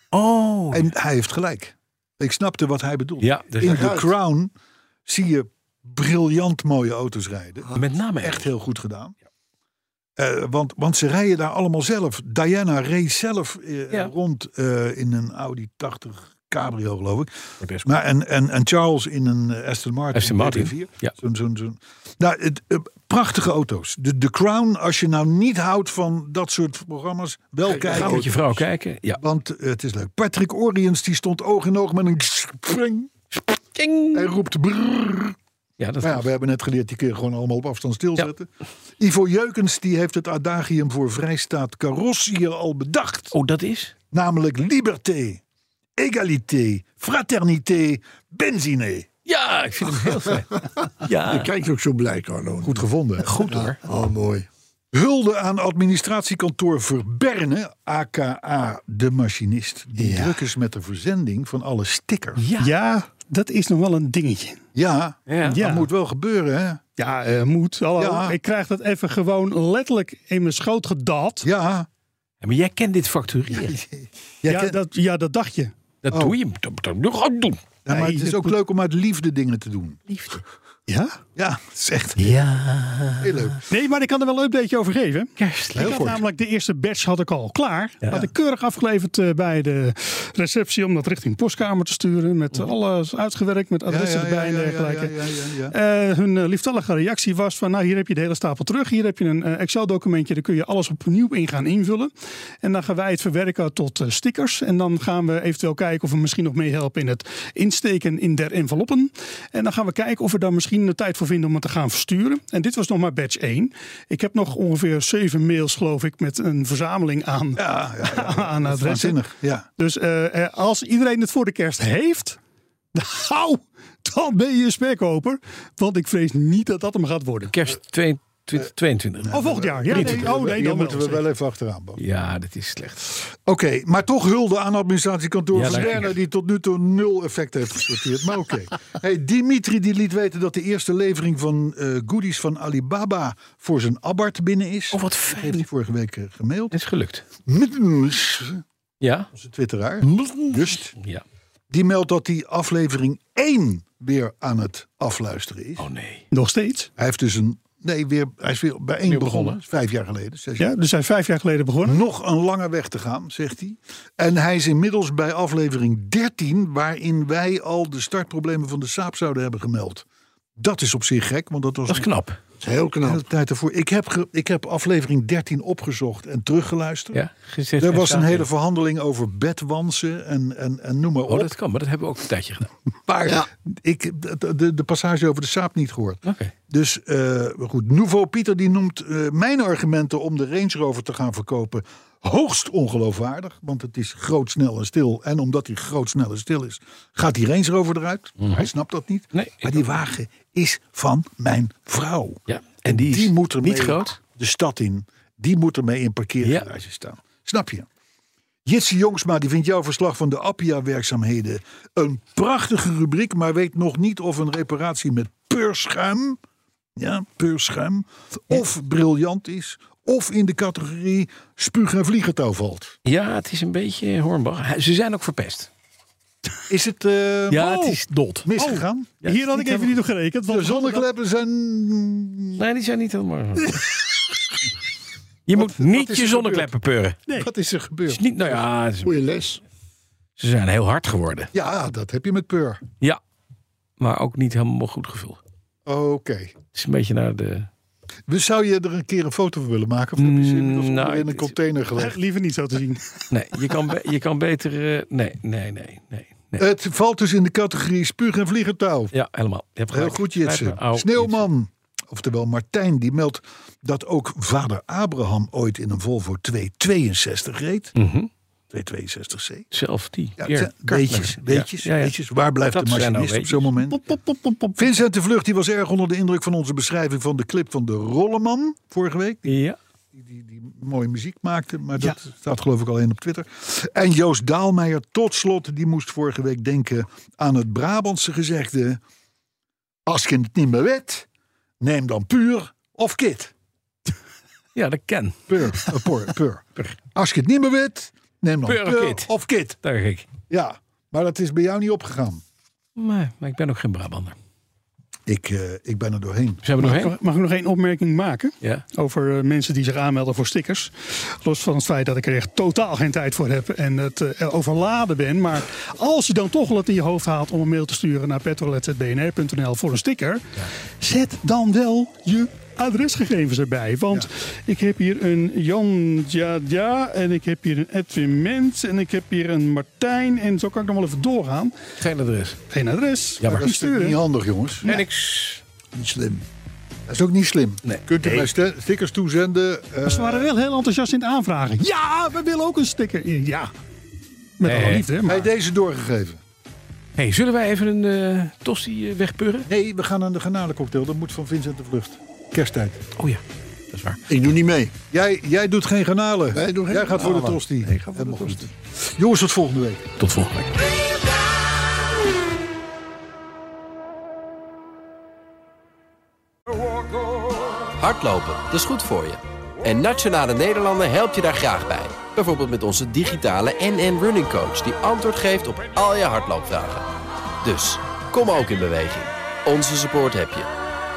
[SPEAKER 3] Oh.
[SPEAKER 2] En hij heeft gelijk. Ik snapte wat hij bedoelt.
[SPEAKER 3] Ja, dus
[SPEAKER 2] In
[SPEAKER 3] hij
[SPEAKER 2] The Crown zie je briljant mooie auto's rijden.
[SPEAKER 3] Met name
[SPEAKER 2] Echt
[SPEAKER 3] echt.
[SPEAKER 2] heel goed gedaan. Eh, want, want ze rijden daar allemaal zelf. Diana race zelf eh,
[SPEAKER 3] Ja.
[SPEAKER 2] rond eh, in een Audi 80 cabrio, geloof ik.
[SPEAKER 3] Wordt best
[SPEAKER 2] Maar en, en, en Charles in een eh, Aston Martin.
[SPEAKER 3] Aston Martin,
[SPEAKER 2] DB4.
[SPEAKER 3] ja.
[SPEAKER 2] Zo'n- zo'n- zo'n- Nou, het, eh, prachtige auto's. De, de Crown, als je nou niet houdt van dat soort programma's, wel
[SPEAKER 3] Ga
[SPEAKER 2] kijken.
[SPEAKER 3] met je vrouw kijken. Ja.
[SPEAKER 2] Want eh, het is leuk. Patrick Oriens die stond oog in oog met een spring. Hij roept brrrr.
[SPEAKER 3] Ja, dat
[SPEAKER 2] Maar ja, we hebben net geleerd, die kun je gewoon allemaal op afstand stilzetten. Ivo Jeukens die heeft het adagium voor vrijstaat carrossier al bedacht.
[SPEAKER 3] Oh, dat is?
[SPEAKER 2] Namelijk liberté, égalité, fraternité, benzine.
[SPEAKER 3] Ja, ik vind hem heel fijn.
[SPEAKER 4] Dan
[SPEAKER 3] Ja,
[SPEAKER 4] kijk je ook zo blij, Carlo.
[SPEAKER 2] Goed gevonden. Goed hoor.
[SPEAKER 4] Oh, mooi.
[SPEAKER 2] Hulde aan administratiekantoor Verberne, aka de machinist. Die
[SPEAKER 4] Ja.
[SPEAKER 2] druk is met de verzending van alle stickers.
[SPEAKER 3] Ja.
[SPEAKER 5] Ja, dat is nog wel een dingetje.
[SPEAKER 2] Ja,
[SPEAKER 3] Ja.
[SPEAKER 2] dat
[SPEAKER 5] Ja.
[SPEAKER 2] moet wel gebeuren hè.
[SPEAKER 5] Ja, eh, moet. Hallo.
[SPEAKER 2] Ja.
[SPEAKER 5] Ik krijg dat even gewoon letterlijk in mijn schoot gedaald.
[SPEAKER 2] Ja,
[SPEAKER 3] maar jij kent dit factureren.
[SPEAKER 2] jij
[SPEAKER 5] ja,
[SPEAKER 2] kent-
[SPEAKER 5] dat, ja, dat dacht je.
[SPEAKER 3] Dat doe je. Dat moet je nog aan doen.
[SPEAKER 2] Ja, maar
[SPEAKER 5] Nee,
[SPEAKER 2] het is
[SPEAKER 5] dat
[SPEAKER 2] ook
[SPEAKER 5] moet-
[SPEAKER 2] leuk om uit liefde dingen te doen.
[SPEAKER 5] Ja?
[SPEAKER 2] Ja, het is echt
[SPEAKER 3] Ja.
[SPEAKER 2] heel leuk.
[SPEAKER 5] Nee, maar ik kan er wel een updateje over geven.
[SPEAKER 3] Kerstelijk.
[SPEAKER 5] ik had namelijk de eerste batch had ik al klaar. Had ik keurig afgeleverd eh, bij de receptie om dat richting postkamer te sturen. Met alles uitgewerkt, met adressen erbij en dergelijke.
[SPEAKER 2] ja, ja, ja.
[SPEAKER 5] Eh, hun eh, lieftallige reactie was van, nou hier heb je de hele stapel terug. Hier heb je een eh, Excel documentje, daar kun je alles opnieuw in gaan invullen. En dan gaan wij het verwerken tot eh, stickers. En dan gaan we eventueel kijken of we misschien nog meehelpen in het insteken in der enveloppen. En dan gaan we kijken of we daar misschien de tijd voor vinden om het te gaan versturen. En dit was nog maar batch 1. Ik heb nog ongeveer zeven mails geloof ik met een verzameling aan,
[SPEAKER 2] Ja, ja, ja.
[SPEAKER 5] aan adressen.
[SPEAKER 2] Waanzinnig. Ja.
[SPEAKER 5] Dus eh, eh, als iedereen het voor de kerst heeft, nou, dan ben je een spekkoper. Want ik vrees niet dat dat hem gaat worden.
[SPEAKER 3] Kerst 2022.
[SPEAKER 5] Oh, volgend jaar. Ja, nee, oh nee,
[SPEAKER 2] Hier
[SPEAKER 5] dan
[SPEAKER 2] moeten we
[SPEAKER 5] wel.
[SPEAKER 2] wel even achteraan. Bas. Oké,
[SPEAKER 3] Ja, dat is slecht.
[SPEAKER 2] maar toch hulde aan administratiekantoor
[SPEAKER 3] Ja,
[SPEAKER 2] van
[SPEAKER 3] lekker.
[SPEAKER 2] Werner... die tot nu toe nul effect heeft gesorteerd. Maar oké. Hey, Dimitri die liet weten dat de eerste levering van eh, goodies van Alibaba... voor zijn Abarth binnen is.
[SPEAKER 3] Oh, wat
[SPEAKER 2] Dat heeft hij
[SPEAKER 3] fijn.
[SPEAKER 2] vorige week eh, gemaild.
[SPEAKER 3] Het is gelukt.
[SPEAKER 2] Onze
[SPEAKER 3] Ja?
[SPEAKER 2] twitteraar. Just.
[SPEAKER 3] Ja.
[SPEAKER 2] Die meldt dat die aflevering 1 weer aan het afluisteren is.
[SPEAKER 3] Oh nee.
[SPEAKER 5] Nog steeds.
[SPEAKER 2] Hij heeft dus een. Nee, weer, hij is weer bij één begonnen.
[SPEAKER 3] begonnen.
[SPEAKER 2] Vijf jaar geleden. Zes
[SPEAKER 5] Ja,
[SPEAKER 2] jaar.
[SPEAKER 5] dus hij is vijf jaar geleden begonnen.
[SPEAKER 2] Nog een lange weg te gaan, zegt hij. En hij is inmiddels bij aflevering 13, waarin wij al de startproblemen van de Saab zouden hebben gemeld. Dat is op zich gek, want dat was
[SPEAKER 3] Dat is
[SPEAKER 2] een
[SPEAKER 3] knap.
[SPEAKER 4] Dat is heel
[SPEAKER 2] hele
[SPEAKER 4] knap.
[SPEAKER 2] tijd ervoor. Ik heb, ge- ik heb aflevering 13 opgezocht en teruggeluisterd.
[SPEAKER 3] Ja?
[SPEAKER 2] Er was een hele verhandeling over bedwansen en, en, en noem maar op.
[SPEAKER 3] Oh, dat kan, maar dat hebben we ook een tijdje gedaan.
[SPEAKER 2] Maar ik de, de- de passage over de saap niet gehoord.
[SPEAKER 3] Oké.
[SPEAKER 2] Dus eh, maar goed, Nouveau Pieter die noemt eh, mijn argumenten om de Range Rover te gaan verkopen hoogst ongeloofwaardig. Want het is groot, snel en stil. En omdat hij groot, snel en stil is, gaat die Range Rover eruit. Hij snapt dat niet.
[SPEAKER 3] Mhm. Nee, ik
[SPEAKER 2] maar die wagen is van mijn vrouw.
[SPEAKER 3] Ja. En die is
[SPEAKER 2] moet er
[SPEAKER 3] niet
[SPEAKER 2] mee
[SPEAKER 3] groot.
[SPEAKER 2] de stad in. Die moet ermee in parkeergarages staan. Snap je? Jitsi Jongsma die vindt jouw verslag van de Appia-werkzaamheden een prachtige rubriek, maar weet nog niet of een reparatie met peurschuim, ja, peurschuim, of briljant is, of in de categorie spuug- en vliegentouw valt.
[SPEAKER 3] Ja, het is een beetje Hornbach. Hij- Ze zijn ook verpest.
[SPEAKER 2] Is het eh,
[SPEAKER 3] Ja,
[SPEAKER 2] oh,
[SPEAKER 3] het is dood.
[SPEAKER 2] misgegaan?
[SPEAKER 3] Ja,
[SPEAKER 5] Hier had ik even niet op gerekend.
[SPEAKER 2] De
[SPEAKER 5] Want
[SPEAKER 2] zonnekleppen zijn...
[SPEAKER 3] Nee, die zijn niet helemaal. je moet niet
[SPEAKER 2] is
[SPEAKER 3] je
[SPEAKER 2] er
[SPEAKER 3] zonnekleppen peuren.
[SPEAKER 2] Wat is er
[SPEAKER 3] Het
[SPEAKER 2] gebeurd?
[SPEAKER 3] is niet, nou ja, het is-
[SPEAKER 4] Goeie les.
[SPEAKER 3] ze zijn heel hard geworden.
[SPEAKER 2] Ja, dat heb je met peur.
[SPEAKER 3] Ja, maar ook niet helemaal goed gevuld.
[SPEAKER 2] Oké.
[SPEAKER 3] Het is een beetje naar de.
[SPEAKER 2] Dus zou je er een keer een foto van willen maken? Of heb je ze inmiddels
[SPEAKER 3] Mm, nou,
[SPEAKER 2] onder in een
[SPEAKER 3] ik-
[SPEAKER 2] container gelegd?
[SPEAKER 5] echt liever niet zo te zien.
[SPEAKER 3] Nee, je kan, be- je kan beter. eh, nee, nee, nee, nee. nee.
[SPEAKER 2] Het valt dus in de categorie spuug- en vliegentouw.
[SPEAKER 3] Ja, helemaal. Je hebt
[SPEAKER 2] Heel
[SPEAKER 3] gelijk.
[SPEAKER 2] goed,
[SPEAKER 3] Gelijk,
[SPEAKER 2] Jitsen.
[SPEAKER 3] maar- oh, au,
[SPEAKER 2] Sneeuwman, oftewel Martijn, die meldt dat ook vader Abraham ooit in een Volvo 262 reed.
[SPEAKER 3] Jitsen. Mhm.
[SPEAKER 2] 262C.
[SPEAKER 3] Zelf die.
[SPEAKER 2] Ja,
[SPEAKER 3] Hier,
[SPEAKER 2] het zijn
[SPEAKER 3] kartlessen.
[SPEAKER 2] weetjes,
[SPEAKER 3] Ja,
[SPEAKER 2] weetjes,
[SPEAKER 3] ja, ja.
[SPEAKER 2] weetjes. Waar blijft
[SPEAKER 3] Dat
[SPEAKER 2] de
[SPEAKER 3] zijn nou
[SPEAKER 2] machinist op zo'n
[SPEAKER 3] weetjes.
[SPEAKER 2] moment? Vincent de Vlucht die was erg onder de indruk van onze beschrijving van de clip van de Rolleman vorige week.
[SPEAKER 3] Ja.
[SPEAKER 2] die, die mooie muziek maakte. Maar dat staat geloof ik alleen op Twitter. En Joost Daalmeijer, tot slot, die moest vorige week denken aan het Brabantse gezegde... Als je het niet meer weet, neem dan puur of kit.
[SPEAKER 3] Ja, dat ken.
[SPEAKER 2] Pur. Eh, pur, pur. Als je het niet meer weet, neem dan
[SPEAKER 3] Pur
[SPEAKER 2] pur,
[SPEAKER 3] of kit.
[SPEAKER 2] of kit.
[SPEAKER 3] Daar ga ik.
[SPEAKER 2] Ja, maar dat is bij jou niet opgegaan.
[SPEAKER 3] Maar, maar ik ben ook geen Brabander.
[SPEAKER 2] Ik, eh, ik ben er doorheen.
[SPEAKER 3] Zijn we er nog heen?
[SPEAKER 5] Mag ik nog één opmerking maken?
[SPEAKER 3] Ja.
[SPEAKER 5] Over eh, mensen die zich aanmelden voor stickers. Los van het feit dat ik er echt totaal geen tijd voor heb en het eh, overladen ben. Maar als je dan toch wel het in je hoofd haalt om een mail te sturen naar petrolet.bnr.nl voor een sticker. Zet dan wel je adresgegevens erbij. Want ik heb hier een Jan Jadja en ik heb hier een Edwin Mens en ik heb hier een Martijn. En zo kan ik nog wel even doorgaan.
[SPEAKER 3] Geen adres.
[SPEAKER 5] Geen adres.
[SPEAKER 3] Ja, maar
[SPEAKER 2] Dat
[SPEAKER 5] Niet
[SPEAKER 2] is natuurlijk
[SPEAKER 5] sturen.
[SPEAKER 2] niet handig, jongens.
[SPEAKER 3] En niks.
[SPEAKER 4] Niet slim.
[SPEAKER 2] Dat is ook niet slim.
[SPEAKER 3] Nee.
[SPEAKER 2] Kunt u bij st- stickers toezenden. eh,
[SPEAKER 5] Maar ze waren wel heel enthousiast in het aanvragen. Ja, we willen ook een sticker. Ja. Met
[SPEAKER 3] Nee.
[SPEAKER 5] alle liefde, maar...
[SPEAKER 2] Bij deze doorgegeven.
[SPEAKER 3] hey, zullen wij even een eh tosti eh, wegpurren?
[SPEAKER 2] Nee, we gaan aan de garnalencocktail. Dat moet van Vincent de Vlucht. Kersttijd.
[SPEAKER 3] Oh ja, dat is waar.
[SPEAKER 4] Ik doe niet mee.
[SPEAKER 2] Jij, jij doet geen garnalen.
[SPEAKER 4] Wij doen geen
[SPEAKER 2] jij gaat voor de
[SPEAKER 4] garnalen.
[SPEAKER 2] tosti.
[SPEAKER 4] Nee, ik ga voor de
[SPEAKER 2] Helemaal
[SPEAKER 4] tosti.
[SPEAKER 2] goed. Jongens, tot volgende week.
[SPEAKER 3] Tot volgende week.
[SPEAKER 8] Hardlopen, dat is goed voor je. En Nationale Nederlanden helpt je daar graag bij. Bijvoorbeeld met onze digitale NN Running Coach... die antwoord geeft op al je hardloopvragen. Dus, kom ook in beweging. Onze support heb je.